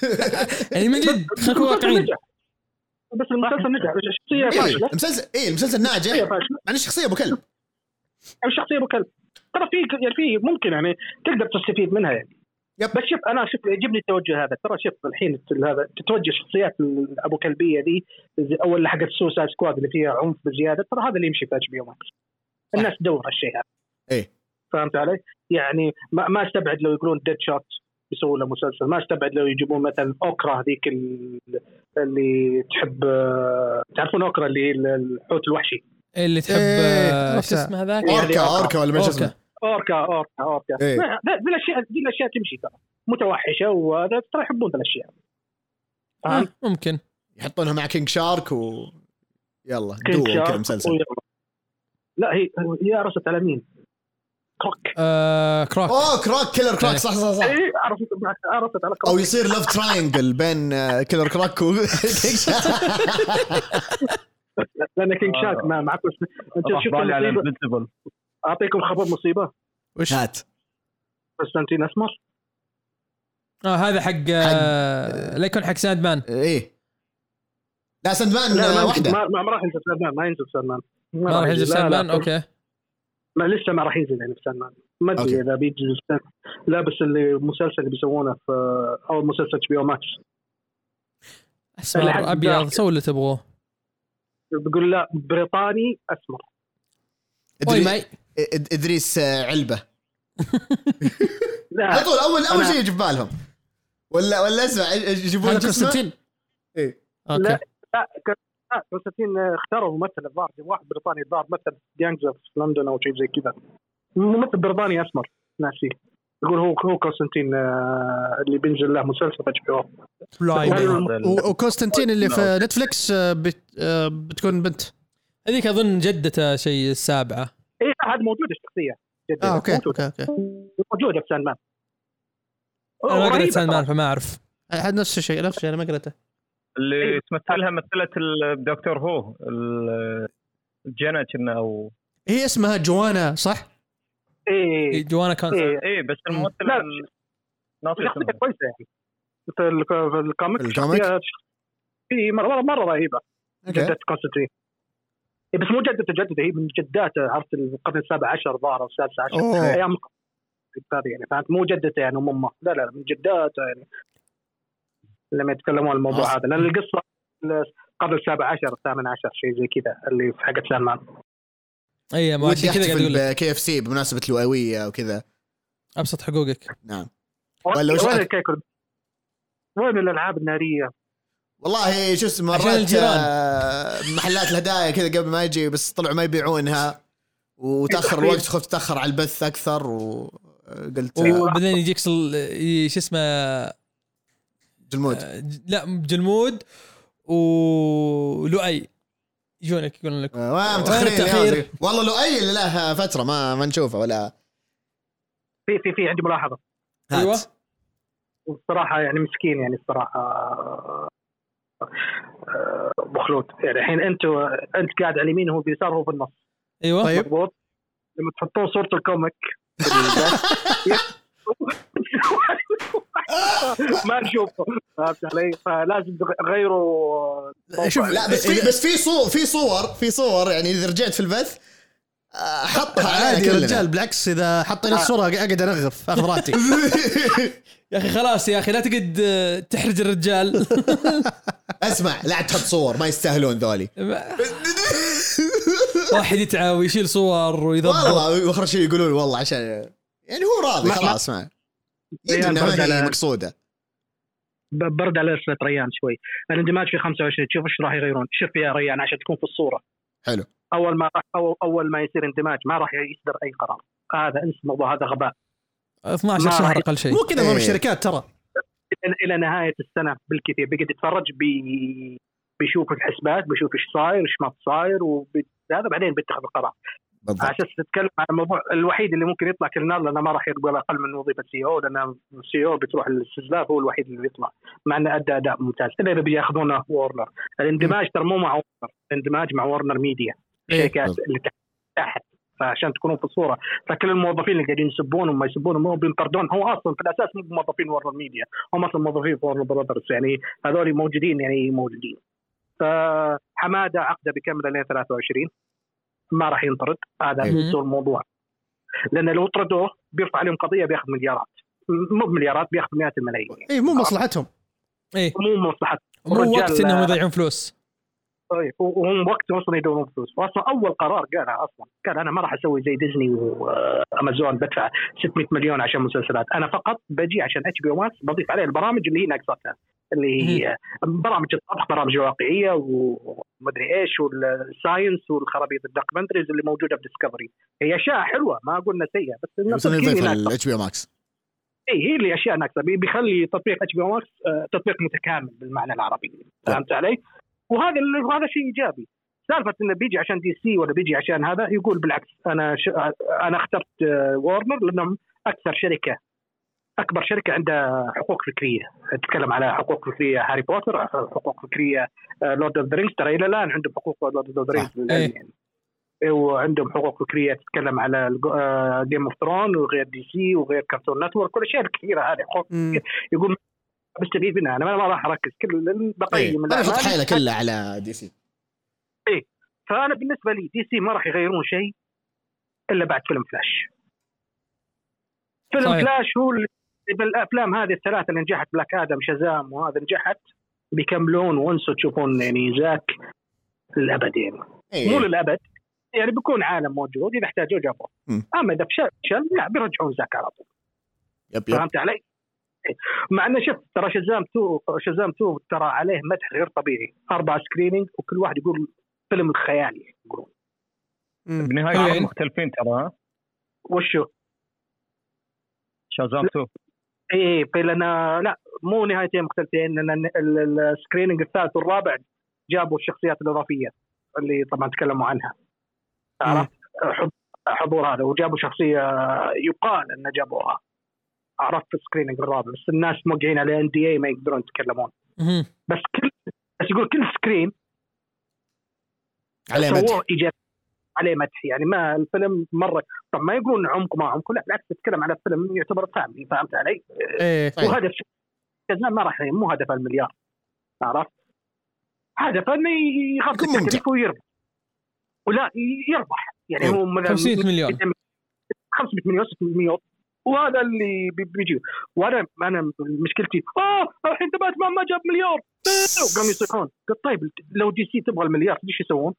Speaker 3: يعني من جد خلينا نكون
Speaker 6: المسلسل
Speaker 3: واقعيين
Speaker 6: نجح. بس المسلسل نجح الشخصية فاشلة
Speaker 1: المسلسل ايه المسلسل
Speaker 6: الشخصية
Speaker 1: ناجح
Speaker 6: فاشلة
Speaker 1: عن الشخصيه ابو كلب
Speaker 6: الشخصية ابو كلب ترى في يعني في ممكن يعني تقدر تستفيد منها يعني
Speaker 1: يب.
Speaker 6: بس شوف انا شوف يعجبني التوجه هذا ترى شوف الحين الت- هذا تتوجه شخصيات ابو كلبيه ذي زي- او اللي حقت سوسايد سكواد اللي فيها عنف بزياده ترى هذا اللي يمشي في اتش بي الناس تدور هالشيء هذا
Speaker 1: إيه.
Speaker 6: فهمت علي؟ يعني ما, ما استبعد لو يقولون ديد شوت يسووا له مسلسل ما استبعد لو يجيبون مثلا اوكرا هذيك ال- اللي تحب آه، تعرفون اوكرا اللي هي الحوت الوحشي
Speaker 3: اللي تحب
Speaker 1: إيه،
Speaker 3: آه،
Speaker 2: عرفت.
Speaker 3: شو اسمه ذاك
Speaker 6: إيه.
Speaker 1: اوركا اوركا ولا ما شو اسمه
Speaker 6: اوركا اوركا اوركا
Speaker 1: إيه.
Speaker 6: ما- ذا- ذي الاشياء ذي الاشياء تمشي ترى متوحشه وهذا ترى يحبون ذي الاشياء
Speaker 3: آه، ممكن
Speaker 1: يحطونها مع كينج شارك و يلا
Speaker 6: كينج
Speaker 1: دوم كذا
Speaker 6: شارك
Speaker 1: مسلسل
Speaker 6: ويلا. لا هي هي عرست على مين؟ كروك
Speaker 3: آه، كروك
Speaker 1: اوه كراك كيلر
Speaker 3: إيه.
Speaker 1: كراك صح صح صح
Speaker 6: اي عرفت عرفت على
Speaker 1: او
Speaker 6: كروك
Speaker 1: يصير لاف تراينجل بين آه، كيلر كراك و كينج شارك
Speaker 6: لان كينج
Speaker 1: آه.
Speaker 6: شارك ما معكم انت
Speaker 7: راح
Speaker 6: شفت
Speaker 7: بالي أه، على
Speaker 6: المصيبه
Speaker 7: انفنسبل
Speaker 6: اعطيكم خبر مصيبه
Speaker 2: وش
Speaker 1: هات
Speaker 6: قسطنطين اسمر
Speaker 3: آه هذا حق آه، لا يكون حق ساند مان
Speaker 1: ايه لا سندمان
Speaker 6: لا ما
Speaker 1: آه،
Speaker 6: ينزل-
Speaker 1: واحده
Speaker 6: ما- ما ما راح ينزل سلمان ما ينزل سلمان
Speaker 3: ما راح ينزل
Speaker 6: لا، لا،
Speaker 3: ساند مان اوكي
Speaker 6: ما لسه ما راح ينزل يعني في سلمان ما
Speaker 1: أوكي.
Speaker 6: ادري اذا بيجي السنة. لا بس اللي المسلسل اللي بيسوونه في او مسلسل اتش بي او ماكس اللي حق
Speaker 3: اسمر ابيض
Speaker 6: دارك.
Speaker 3: سووا اللي تبغوه
Speaker 6: بيقول لا بريطاني اسمر
Speaker 3: واي
Speaker 1: إدري-
Speaker 3: ماي
Speaker 1: إد- ادريس آه، علبه على
Speaker 6: لا
Speaker 1: طول اول اول
Speaker 6: آه. أنا-
Speaker 1: شيء يجي في بالهم ولا ولا اسمع يجيبون
Speaker 3: هذا
Speaker 1: جسمه
Speaker 3: قسطنطين
Speaker 1: إيه.
Speaker 3: اوكي
Speaker 6: لا. لا ك- لا، كونستانتين آه، اختاروا ممثل الظاهر واحد بريطاني الظاهر مثل جانجر في لندن او شيء زي كذا ممثل بريطاني اسمر ناسي يقول هو هو كونستانتين آه، اللي بينزل له مسلسل اتش بي او
Speaker 2: بلايم.
Speaker 7: هذا ال-
Speaker 2: و- وكونستانتين اللي في نتفلكس آه، بت- آه، بتكون بنت
Speaker 3: هذيك اظن جدته شيء السابعه
Speaker 6: اي إيه، هذا موجود الشخصيه جداً.
Speaker 2: اه اوكي
Speaker 6: موجودة.
Speaker 2: اوكي اوكي
Speaker 6: موجوده في ساند مان
Speaker 3: انا ما قريت
Speaker 6: رهيبة
Speaker 3: ساند مان
Speaker 6: ترى.
Speaker 3: فما اعرف
Speaker 2: هذا نفس الشيء نفس الشيء انا ما قريته
Speaker 7: اللي تمثلها مثلت الدكتور هو ال- جانا كنا او
Speaker 2: هي اسمها جوانا صح؟
Speaker 6: اي
Speaker 3: جوانا كان
Speaker 6: اي
Speaker 7: اي إيه، بس الممثل
Speaker 6: لا.
Speaker 7: ال- ناصر
Speaker 6: شخصيه
Speaker 7: اسمه.
Speaker 6: كويسه يعني مثل الك- في الكوميك
Speaker 1: الكوميك؟
Speaker 6: اي مره مره, مرة رهيبه
Speaker 1: اوكي
Speaker 6: جدة كونستانتين إيه بس مو جدته جدته هي من جداته عرفت القرن السابع عشر ظاهر او السادس عشر
Speaker 1: أوه.
Speaker 6: ايام هذه يعني فهمت مو جدته يعني أم امه لا لا من جداته يعني لما يتكلمون عن الموضوع
Speaker 1: أص-
Speaker 6: هذا لان القصه القرن السابع عشر الثامن عشر شيء زي كذا اللي في حقت سلمان
Speaker 3: اي إيه، ما
Speaker 1: ودي
Speaker 3: عشان كذا قاعد اقول لك
Speaker 1: احتفل بكي اف سي بمناسبه الوئويه وكذا
Speaker 3: ابسط حقوقك
Speaker 1: نعم ولا
Speaker 6: وين
Speaker 1: وش-
Speaker 6: وين الكيك وين الالعاب الناريه؟
Speaker 1: والله شو اسمه
Speaker 3: عشان
Speaker 1: مرات
Speaker 3: الجيران.
Speaker 1: آه، محلات الهدايا كذا قبل ما يجي بس طلعوا ما يبيعونها وتاخر الوقت خفت تاخر على البث اكثر وقلت آه،
Speaker 3: وبعدين يجيك صل... ي- شو اسمه آه،
Speaker 1: جلمود
Speaker 3: ج- لا جلمود ولؤي يجونك يقولون لك
Speaker 1: آه، ما متاخرين
Speaker 3: وين
Speaker 1: يا
Speaker 3: التأخير؟
Speaker 1: زلمة. والله لو اي اللي له فتره ما ما نشوفه ولا
Speaker 6: في في في عندي ملاحظه
Speaker 1: هات.
Speaker 3: ايوه
Speaker 6: الصراحه يعني مسكين يعني الصراحه آه، ابو خلود يعني الحين انت انت قاعد على اليمين وهو باليسار وهو بالنص
Speaker 3: ايوه
Speaker 1: أيوه.
Speaker 2: طيب.
Speaker 6: مضبوط لما تحطون صوره الكوميك ما نشوفه فهمت علي فلازم غيروا
Speaker 2: شوف
Speaker 1: لا بس في بس في صور في صور في صور يعني اذا رجعت في البث آه، حطها
Speaker 2: عادي
Speaker 1: علينا
Speaker 2: يا
Speaker 1: كلنا. آه،
Speaker 2: رجال بالعكس اذا حطينا الصوره اقعد انغف اخذ راحتي
Speaker 3: يا اخي خلاص يا اخي لا تقعد آه، تحرج الرجال
Speaker 1: اسمع لا تحط صور ما يستاهلون ذولي
Speaker 3: واحد يتعب ويشيل صور ويضبط
Speaker 1: والله واخر شيء يقولون والله عشان يعني هو راضي خلاص ما يدري
Speaker 6: إيه،
Speaker 1: انها ما
Speaker 6: برجع
Speaker 1: هي
Speaker 6: ل-
Speaker 1: مقصوده
Speaker 6: ب- برد على اسمه ريان شوي الاندماج في 25 شوف ايش راح يغيرون شوف يا ريان عشان تكون في الصوره
Speaker 1: حلو.
Speaker 6: اول ما راح أو اول ما يصير اندماج ما راح يصدر اي قرار هذا انسى الموضوع هذا غباء
Speaker 3: 12
Speaker 6: ما
Speaker 3: شهر
Speaker 6: راح-
Speaker 3: اقل شيء
Speaker 2: مو كذا ضم
Speaker 1: إيه.
Speaker 2: الشركات ترى
Speaker 6: إلى- الى نهايه السنه بالكثير بيقعد يتفرج بي... بيشوف الحسبات بيشوف ايش صاير ايش ما صاير وبي... هذا بعدين بيتخذ القرار
Speaker 1: بالضبط
Speaker 6: على اساس تتكلم عن الموضوع الوحيد اللي ممكن يطلع كل نار لانه ما راح يقبل اقل من E وظيفه سي او لان السي او E بتروح للاستزلاف هو الوحيد اللي يطلع مع انه ادى اداء ممتاز الا اذا بياخذونه وورنر الاندماج ترى مو مع وورنر الاندماج مع وورنر ميديا الشركات
Speaker 1: بالضبط.
Speaker 6: اللي تحت- تحت فعشان تكونون في الصوره فكل الموظفين اللي قاعدين يسبون وما يسبون وما بينطردون هو اصلا في الاساس مو موظفين وورنر ميديا هم اصلا موظفين في وورنر براذرز يعني هذول موجودين يعني موجودين فحماده عقده بيكمل لين 23 ما راح ينطرد هذا
Speaker 1: أي.
Speaker 6: انسوا الموضوع لان لو طردوه بيرفع عليهم قضيه بياخذ مليارات مو بمليارات بياخذ مئات الملايين
Speaker 2: اي إيه،
Speaker 1: آه.
Speaker 2: مو مصلحتهم
Speaker 3: ايه
Speaker 6: مو مصلحة
Speaker 3: مو
Speaker 6: الرجال-
Speaker 3: وقت انهم يضيعون فلوس
Speaker 6: طيب وهم وقتهم اصلا يدورون فلوس واصلا اول قرار قالها اصلا كان انا ما راح اسوي زي ديزني وامازون بدفع 600 مليون عشان مسلسلات انا فقط بجي عشان اتش بي او ماكس بضيف عليه البرامج اللي هي ناقصتها اللي هي برامج الطبخ برامج واقعيه ومدري ايش والساينس والخرابيط الدوكيومنتريز اللي موجوده في ديسكفري هي اشياء حلوه ما قلنا سيئه بس
Speaker 4: بس
Speaker 6: الناس
Speaker 4: انه يضيف
Speaker 6: تفكيري
Speaker 4: الاتش بي او ماكس
Speaker 6: اي هي اللي اشياء ناقصه بي- بيخلي تطبيق اتش بي ماكس تطبيق متكامل بالمعنى العربي فهمت علي؟ وهذا ال- وهذا شيء ايجابي سالفه انه بيجي عشان دي سي ولا بيجي عشان هذا يقول بالعكس انا ش... انا اخترت آه، وارنر لانهم اكثر شركه اكبر شركه عندها حقوق فكريه اتكلم على حقوق فكريه هاري بوتر آه، حقوق آه، فكريه لورد اوف ذا رينجز ترى الى الان عندهم حقوق لورد اوف ذا رينجز
Speaker 3: إيه.
Speaker 6: يعني وعندهم حقوق فكريه تتكلم على آه، جيم اوف ثرون وغير دي سي وغير كرتون نتورك والاشياء الكثيره هذه حقوق
Speaker 2: مم.
Speaker 6: يقول بستفيد منها انا ما ما راح اركز كل
Speaker 4: إيه.
Speaker 6: بقيم
Speaker 4: انا احط
Speaker 6: الأعمال.
Speaker 4: حيله كلها على دي سي
Speaker 6: فانا بالنسبه لي دي سي ما راح يغيرون شيء الا بعد فيلم فلاش فيلم
Speaker 3: صحيح.
Speaker 6: صحيح. فلاش هو اللي بالافلام هذه الثلاثه اللي نجحت بلاك ادم شازام وهذا نجحت بيكملون وانسوا تشوفون يعني ذاك للابد يعني مو
Speaker 4: إيه.
Speaker 6: للابد يعني بيكون عالم موجود اذا احتاجوه جابوه
Speaker 4: مم.
Speaker 6: اما اذا فشل لا بيرجعون ذاك على طول
Speaker 4: يب يب
Speaker 6: فهمت علي؟ إيه. مع انه شوف ترى شزام 2 شزام 2 ترى عليه مدح غير طبيعي اربع سكريننج وكل واحد يقول فيلم خيالي يقولون
Speaker 2: مم.
Speaker 3: حلوين.
Speaker 7: بالنهايه مختلفين ترى ها
Speaker 6: وشو؟
Speaker 7: شازام 2
Speaker 6: اي لان إيه، لا مو نهايتين مختلفتين لان ال- ال- السكريننج الثالث والرابع جابوا الشخصيات الاضافيه اللي طبعا تكلموا عنها عرفت حض- حضور هذا وجابوا شخصيه يقال انه جابوها عرفت في السكريننج الرابع بس الناس موقعين على ان دي اي ما يقدرون يتكلمون
Speaker 3: مهم.
Speaker 6: بس كل بس يقول كل سكرين
Speaker 4: عليه مدح
Speaker 6: سووه ايجابي عليه مدح يعني ما الفيلم مره طب ما يقولون عمق ما عمق لا بالعكس تتكلم على فيلم يعتبر فاملي فهمت علي؟
Speaker 2: ايه
Speaker 4: طيب.
Speaker 6: وهدف كازنان ما راح ي- مو هدف المليار عرفت؟ هدف انه ي- يغطي
Speaker 4: يكون ممتع.
Speaker 6: التكلفه ويربح ولا ي- يربح يعني هو مثلا
Speaker 3: 500 مليون
Speaker 6: 500 مليون 600 مليون وهذا اللي بي- بيجي وانا انا مشكلتي اه الحين باتمان ما جاب مليار وقاموا يصيحون قلت طيب لو دي سي تبغى المليار ايش يسوون؟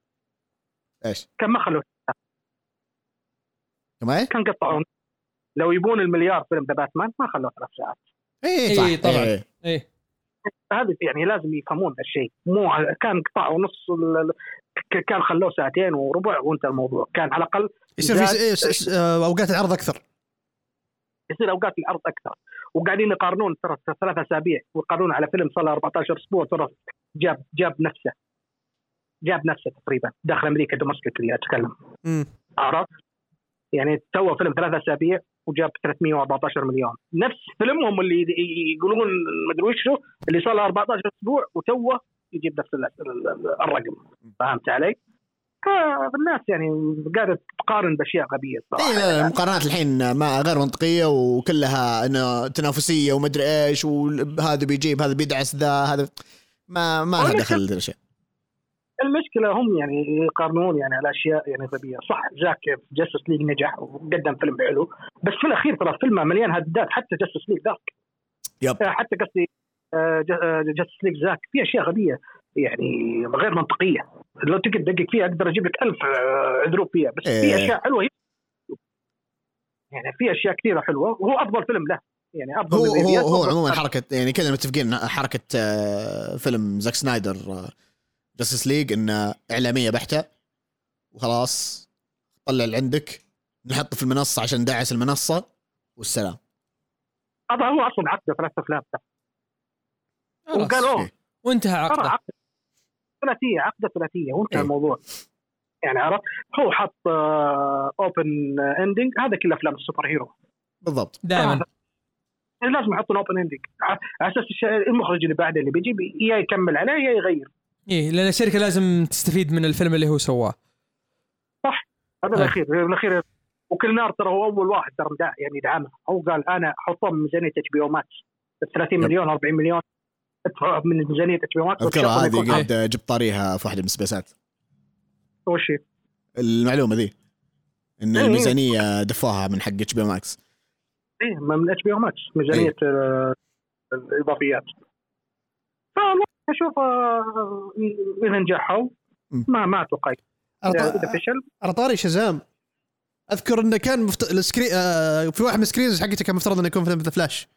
Speaker 4: ايش؟
Speaker 6: كان ما خلوه
Speaker 4: كمان ايه؟
Speaker 6: كان قطعون لو يبون المليار فيلم ذا باتمان ما خلوه ثلاث ساعات
Speaker 4: ايه
Speaker 3: إيه،
Speaker 4: صح
Speaker 3: طبعاً.
Speaker 4: إيه.
Speaker 3: ايه
Speaker 6: هذا يعني لازم يفهمون هالشيء مو على- كان قطع ونص ال- ال- ك- كان خلوه ساعتين وربع وانتهى الموضوع كان على الاقل
Speaker 2: يصير في إيه، س- س- آه، اوقات العرض اكثر
Speaker 6: يصير اوقات العرض اكثر وقاعدين يقارنون ترى ثلاث اسابيع ويقارنون على فيلم صار له 14 اسبوع ترى جاب جاب نفسه جاب نفسه تقريبا داخل امريكا دومستيك اللي اتكلم
Speaker 2: مم.
Speaker 6: عرفت؟ يعني تو فيلم ثلاث اسابيع وجاب 314 مليون، نفس فيلمهم اللي ي- ي- يقولون مدري وشو اللي صار له 14 اسبوع وتوه يجيب نفس ال- ال- ال- الرقم، فهمت علي؟ فالناس يعني قاعده تقارن باشياء غبيه
Speaker 4: اي
Speaker 6: صراحه.
Speaker 4: إيه،
Speaker 1: طيب،
Speaker 4: لا لا، المقارنات الحين ما غير منطقيه وكلها انه تنافسيه ومدري ايش وهذا بيجيب هذا بيدعس ذا هذا ما ما لها دخل ذي الاشياء
Speaker 6: المشكله هم يعني يقارنون يعني على اشياء يعني غبيه، صح جاك جاستس ليج نجح وقدم فيلم حلو، بس في الاخير ترى فيلمه مليان هدات حتى جاستس ليج ذاك آه،
Speaker 4: يب
Speaker 6: حتى قصدي آه، جاستس ليج زاك في اشياء غبيه يعني غير منطقيه لو تقدر تدقق فيها اقدر اجيب لك ألف آه، عذروب فيها بس
Speaker 4: إيه.
Speaker 6: في اشياء حلوه يعني في اشياء كثيره حلوه وهو افضل فيلم له يعني افضل
Speaker 4: هو
Speaker 6: من
Speaker 4: هو
Speaker 6: الإيديات
Speaker 4: هو
Speaker 6: وأفضل-
Speaker 4: عموما حركه يعني كلنا متفقين حركه آه، فيلم زاك سنايدر آه، جاستس ليج انه اعلاميه بحته وخلاص طلع اللي عندك نحطه في المنصه عشان دعس المنصه والسلام
Speaker 6: هذا هو اصلا عقده ثلاث افلام
Speaker 3: خلاص.
Speaker 6: وقال اوه
Speaker 4: إيه.
Speaker 3: وانتهى
Speaker 6: ترى
Speaker 3: عقده
Speaker 6: عقده ثلاثيه عقده ثلاثيه وانتهى
Speaker 4: إيه.
Speaker 6: الموضوع يعني عرفت هو حط اوبن اندنج هذا كله افلام السوبر هيرو آه،
Speaker 4: بالضبط
Speaker 3: دائما
Speaker 6: يعني لازم يحطون اوبن اندنج على اساس الش- المخرج اللي بعده اللي بيجي بي- يا يكمل عليه يا يغير
Speaker 3: ايه لان الشركه لازم تستفيد من الفيلم اللي هو سواه
Speaker 6: هذا
Speaker 4: إيه.
Speaker 3: أي.
Speaker 6: الاخير الاخير وكل نار ترى هو اول واحد ترى مدع- يعني دعمه هو قال انا حطه من ميزانيه اتش بي او ماكس 30 مليون 40 مليون ادفع من ميزانيه اتش بي او ماكس
Speaker 4: اذكرها
Speaker 6: والشرط إنه يكون
Speaker 4: هذه إيه. قد جبت طاريها في واحده من السبيسات
Speaker 6: حق وش هي.
Speaker 4: المعلومه ذي ان
Speaker 6: إيه.
Speaker 4: الميزانيه دفوها من حق اتش بي ماكس
Speaker 6: ايه من اتش بي او ماكس ميزانيه آه، الاضافيات فالله اشوف آه، اذا نجحوا
Speaker 10: مم.
Speaker 6: ما ما اتوقع
Speaker 2: على
Speaker 6: اذا
Speaker 2: ط-
Speaker 6: إذا فشل
Speaker 2: على طاري شزام اذكر انه كان مفت... السكري... آه في واحد من السكرينز حقته كان مفترض انه يكون فيلم ذا فلاش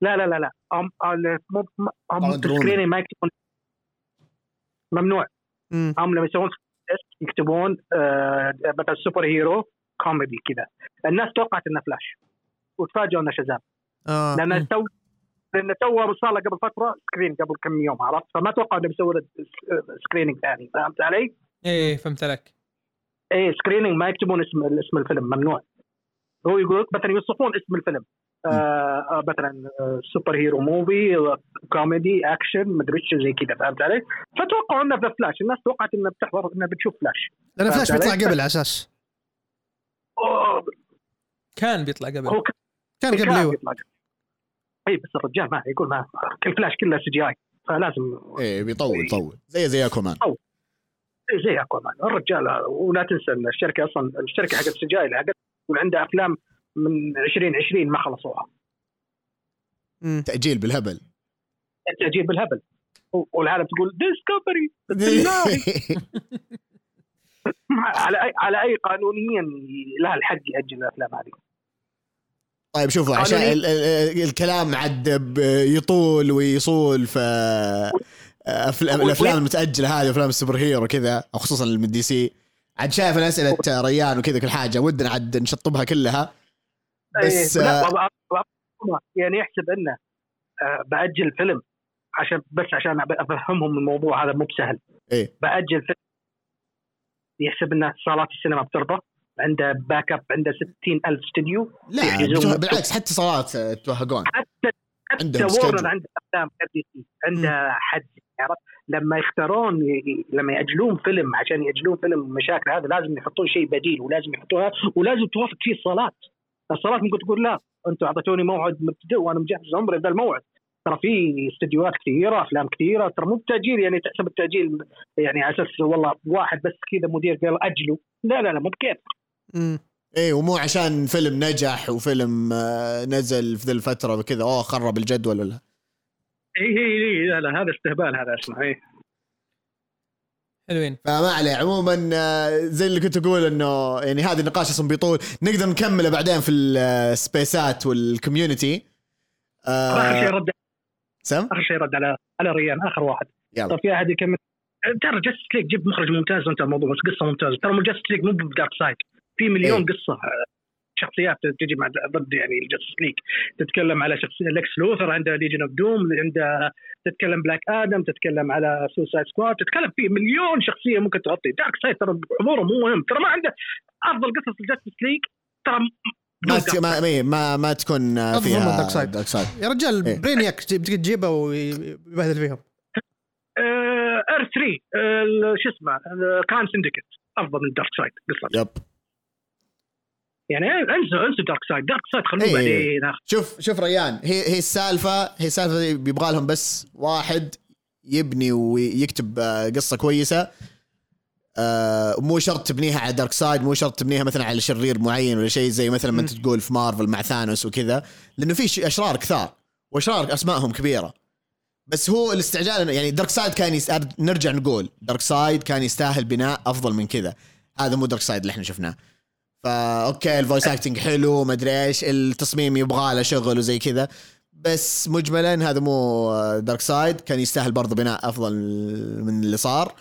Speaker 6: لا لا لا لا أم... ال- مو م-
Speaker 10: طبعاً
Speaker 6: هم
Speaker 10: دروني.
Speaker 6: سكرينين ما يكتبون ممنوع
Speaker 2: مم.
Speaker 6: هم لما يسوون تيست يكتبون آه، مثلا سوبر هيرو كوميدي كذا الناس توقعت انه فلاش وتفاجئوا انه شزام
Speaker 2: اه
Speaker 6: لان
Speaker 2: مم.
Speaker 6: تو لان تو صار له قبل فتره سكرين قبل كم يوم عرفت فما توقع انه بيسوي له س- سكرينينج ثاني فهمت علي؟
Speaker 3: ايه فهمت عليك
Speaker 6: ايه سكرينينج ما يكتبون اسم اسم الفيلم ممنوع هو يقول لك مثلا يوصفون اسم الفيلم آه آه، مثلا آه، سوبر هيرو موفي كوميدي اكشن مدري ايش زي كذا فهمت علي؟ فتوقعوا انه في فلاش الناس توقعت انه بتحضر انه بتشوف فلاش
Speaker 2: لان فلاش
Speaker 6: فهمت
Speaker 2: بيطلع
Speaker 6: علي؟
Speaker 2: قبل على اساس
Speaker 6: أوه،
Speaker 3: كان بيطلع قبل
Speaker 6: هو كان
Speaker 2: كان قبل
Speaker 6: كان
Speaker 2: ايوه
Speaker 6: يطلع. اي بس الرجال ما يقول ما كل فلاش كله سي جي اي فلازم
Speaker 4: إيه،
Speaker 1: ايه بيطول طول زي زي اكومان
Speaker 6: زي اكوامان الرجال هذا ولا تنسى ان الشركه اصلا الشركه حقت السجايل حقت وعندها افلام من 2020 ما خلصوها
Speaker 2: مم.
Speaker 1: تاجيل بالهبل
Speaker 6: التاجيل بالهبل و- والعالم تقول ديسكفري على اي على اي قانونيا لها الحق ياجل الافلام هذه
Speaker 1: طيب شوفوا عشان
Speaker 6: قانوني.
Speaker 1: ال- ال- الكلام عاد ب- يطول ويصول ف أفل- الافلام المتاجله هذه افلام السوبر هيرو كذا او خصوصا اللي من دي سي عاد شايف انا اسئله ريان وكذا كل حاجه ودنا عاد نشطبها كلها بس
Speaker 6: إيه،
Speaker 1: آه،
Speaker 6: لا، وب- وب- يعني يحسب انه آه، باجل فيلم عشان بس عشان أب- افهمهم الموضوع هذا مو بسهل
Speaker 1: إيه.
Speaker 6: باجل فيلم يحسب ان صالات السينما بترضى عنده باك اب عنده 60 الف استوديو
Speaker 1: لا
Speaker 6: يحجزون
Speaker 1: بتوه-
Speaker 6: وقت.
Speaker 1: بالعكس حتى صلاة آه، توهقون
Speaker 6: حتى حتى
Speaker 1: عندهم schedule.
Speaker 6: وورنر عنده افلام غير دي سي عنده حد عرفت لما يختارون ي- ي- لما ياجلون فيلم عشان ياجلون فيلم مشاكل هذا لازم يحطون شيء بديل ولازم يحطوها ولازم توافق فيه الصالات الصالات ممكن تقول لا انتم اعطيتوني موعد مبتدئ وانا مجهز عمري ذا الموعد ترى في استديوهات كثيره افلام كثيره ترى مو بتاجيل يعني تحسب التاجيل يعني على اساس والله واحد بس كذا مدير قال اجله لا لا لا مو بكيف
Speaker 2: مم.
Speaker 1: ايه ومو عشان فيلم نجح وفيلم آه، نزل في ذي الفتره وكذا اوه خرب الجدول ولا
Speaker 6: اي اي لا لا هذا استهبال هذا اسمع اي
Speaker 1: آه.
Speaker 3: حلوين
Speaker 1: فما عليه عموما آه، زي اللي كنت اقول انه يعني هذا النقاش اصلا بيطول نقدر نكمله بعدين في السبيسات والكوميونتي
Speaker 6: اخر شيء
Speaker 1: آه
Speaker 6: رد
Speaker 1: سم
Speaker 6: اخر شيء رد على على ريان اخر واحد
Speaker 1: يلا.
Speaker 6: طب في احد يكمل ترى جاست ليك جيب مخرج ممتاز وانت الموضوع بس قصه ممتازه ترى مو جاست ليك مو بدارك سايد في مليون
Speaker 1: إيه.
Speaker 6: قصه آه، شخصيات تجي مع ضد يعني الجاستس ليك تتكلم على شخصيه لكس لوثر عنده ليجن اوف دوم عنده تتكلم بلاك ادم تتكلم على سوسايد سكواد تتكلم في مليون شخصيه ممكن تغطي دارك سايد ترى حضوره مو مهم ترى ما عنده افضل قصص الجاستس ليك ترى م-
Speaker 1: ما
Speaker 6: بدون
Speaker 1: تك- ما إيه، ما ما تكون آه،
Speaker 2: أفضل من
Speaker 1: فيها
Speaker 2: Dark Side.
Speaker 1: Dark Side.
Speaker 2: يا رجال
Speaker 1: إيه.
Speaker 2: برينياك تجيب- تجي تجيبه ويبهدل فيهم
Speaker 6: ار 3 شو اسمه كان سندكت افضل من دارك سايد قصه
Speaker 1: يب
Speaker 6: يعني انسوا انسوا دارك سايد دارك سايد خلوه
Speaker 1: إيه.
Speaker 6: بعدين
Speaker 1: شوف شوف ريان هي هي السالفه هي السالفه دي بيبغى لهم بس واحد يبني ويكتب آه، قصه كويسه آه، مو شرط تبنيها على دارك سايد مو شرط تبنيها مثلا على شرير معين ولا شيء زي مثلا ما انت تقول في مارفل مع ثانوس وكذا لانه في ش- اشرار كثار واشرار اسمائهم كبيره بس هو الاستعجال إنه- يعني دارك سايد كان يس... أر- نرجع نقول دارك سايد كان يستاهل بناء افضل من كذا هذا مو دارك سايد اللي احنا شفناه فا اوكي الفويس اكتنج حلو ما ادري ايش التصميم يبغى له شغل وزي كذا بس مجملا هذا مو دارك سايد كان يستاهل برضه بناء افضل من اللي صار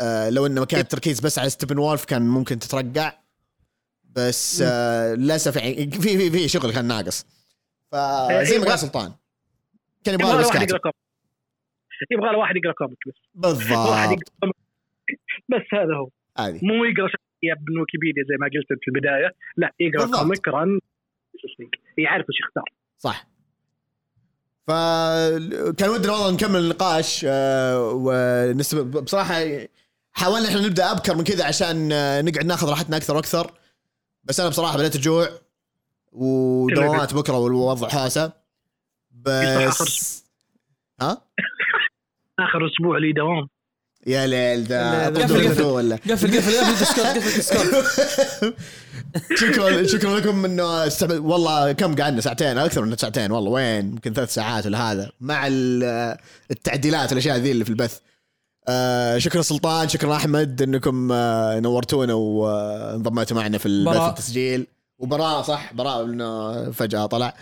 Speaker 1: آه، لو انه كان التركيز بس على ستيبن وولف كان ممكن تترقع بس آه، للاسف يعني في في في شغل كان ناقص فزي ما قال سلطان كان يبغى له بس كاتب
Speaker 6: يبغى له إيه، واحد يقرا كوميك يبغى له واحد يقرا كوميك بس واحد
Speaker 1: بالضبط
Speaker 6: يقرا كوميك. بس هذا هو
Speaker 1: هذه
Speaker 6: مو يقرا شخصيه من ويكيبيديا زي ما قلت في البدايه لا
Speaker 1: بالضبط.
Speaker 6: يقرا كوميك رن يعرف ايش يختار
Speaker 1: صح فكان ودنا والله نكمل النقاش آه، ونسب بصراحه حاولنا احنا نبدا ابكر من كذا عشان آه، نقعد ناخذ راحتنا اكثر واكثر بس انا بصراحه بدات اجوع ودوامات بكره والوضع حاسه
Speaker 6: يصح آخر
Speaker 1: بس ها
Speaker 6: اخر اسبوع لي دوام
Speaker 1: يا ليل ده
Speaker 2: لا، لا،
Speaker 1: أعطيته
Speaker 3: قفل، قفل.
Speaker 1: هدوء ولا
Speaker 3: قفل قفل قفل ديسكورد قفل ديسكورد
Speaker 1: شكرا شكرا لكم انه استعمل والله كم قعدنا ساعتين اكثر من ساعتين والله وين يمكن ثلاث ساعات ولا هذا مع ال- التعديلات والاشياء ذي اللي في البث آه شكرا سلطان شكرا احمد انكم آه نورتونا وانضميتوا معنا في البث
Speaker 3: براء.
Speaker 1: والتسجيل وبراء صح براء انه فجاه طلع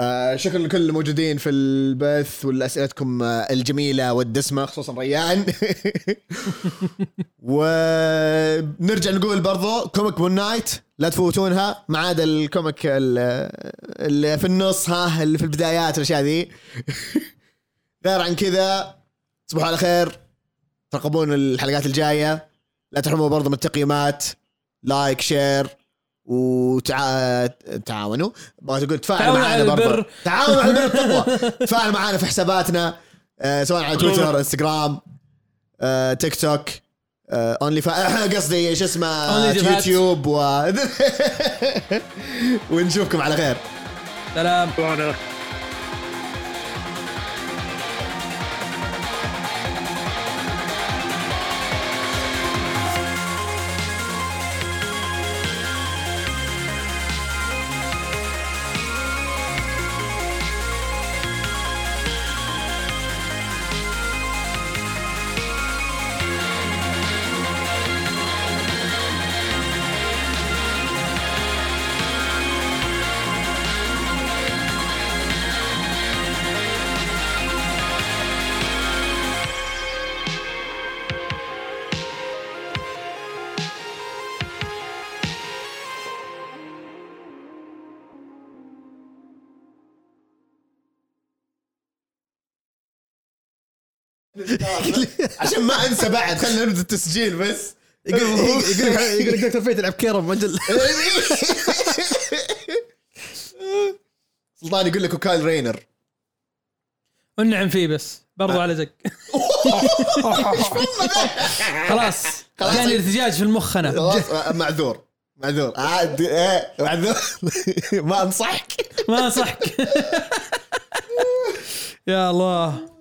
Speaker 1: آه شكرا لكل الموجودين في البث والاسئلتكم آه، الجميله والدسمه خصوصا ريان ونرجع نقول برضو كوميك مون نايت لا تفوتونها ما عدا الكوميك ال- اللي في النص ها اللي في البدايات والاشياء ذي غير عن كذا تصبحوا على خير ترقبون الحلقات الجايه لا تحرموا برضو من التقييمات لايك شير وتعاونوا تعاونوا بغيت اقول تفاعلوا
Speaker 3: تعاونوا
Speaker 1: معنا
Speaker 3: على
Speaker 1: برضو
Speaker 3: البر.
Speaker 1: تعاونوا على البر والتقوى تفاعلوا معنا في حساباتنا آه، سواء على تويتر انستغرام آه، تيك توك آه، اونلي فا قصدي شو اسمه
Speaker 3: أونلي جبهات.
Speaker 1: يوتيوب و... ونشوفكم على خير
Speaker 3: سلام
Speaker 11: وانا
Speaker 1: عشان ما انسى بعد خلينا نبدا التسجيل بس
Speaker 2: يقول يقول لك دكتور فيت العب كيرم اجل
Speaker 1: سلطان يقول لك وكايل رينر
Speaker 3: والنعم فيه بس
Speaker 1: آه.
Speaker 3: برضو على زق خلاص
Speaker 1: خلاص.
Speaker 3: جاني ارتجاج في المخ انا
Speaker 1: خلاص، آه، معذور معذور عاد آه، معذور ما انصحك
Speaker 3: ما انصحك يا الله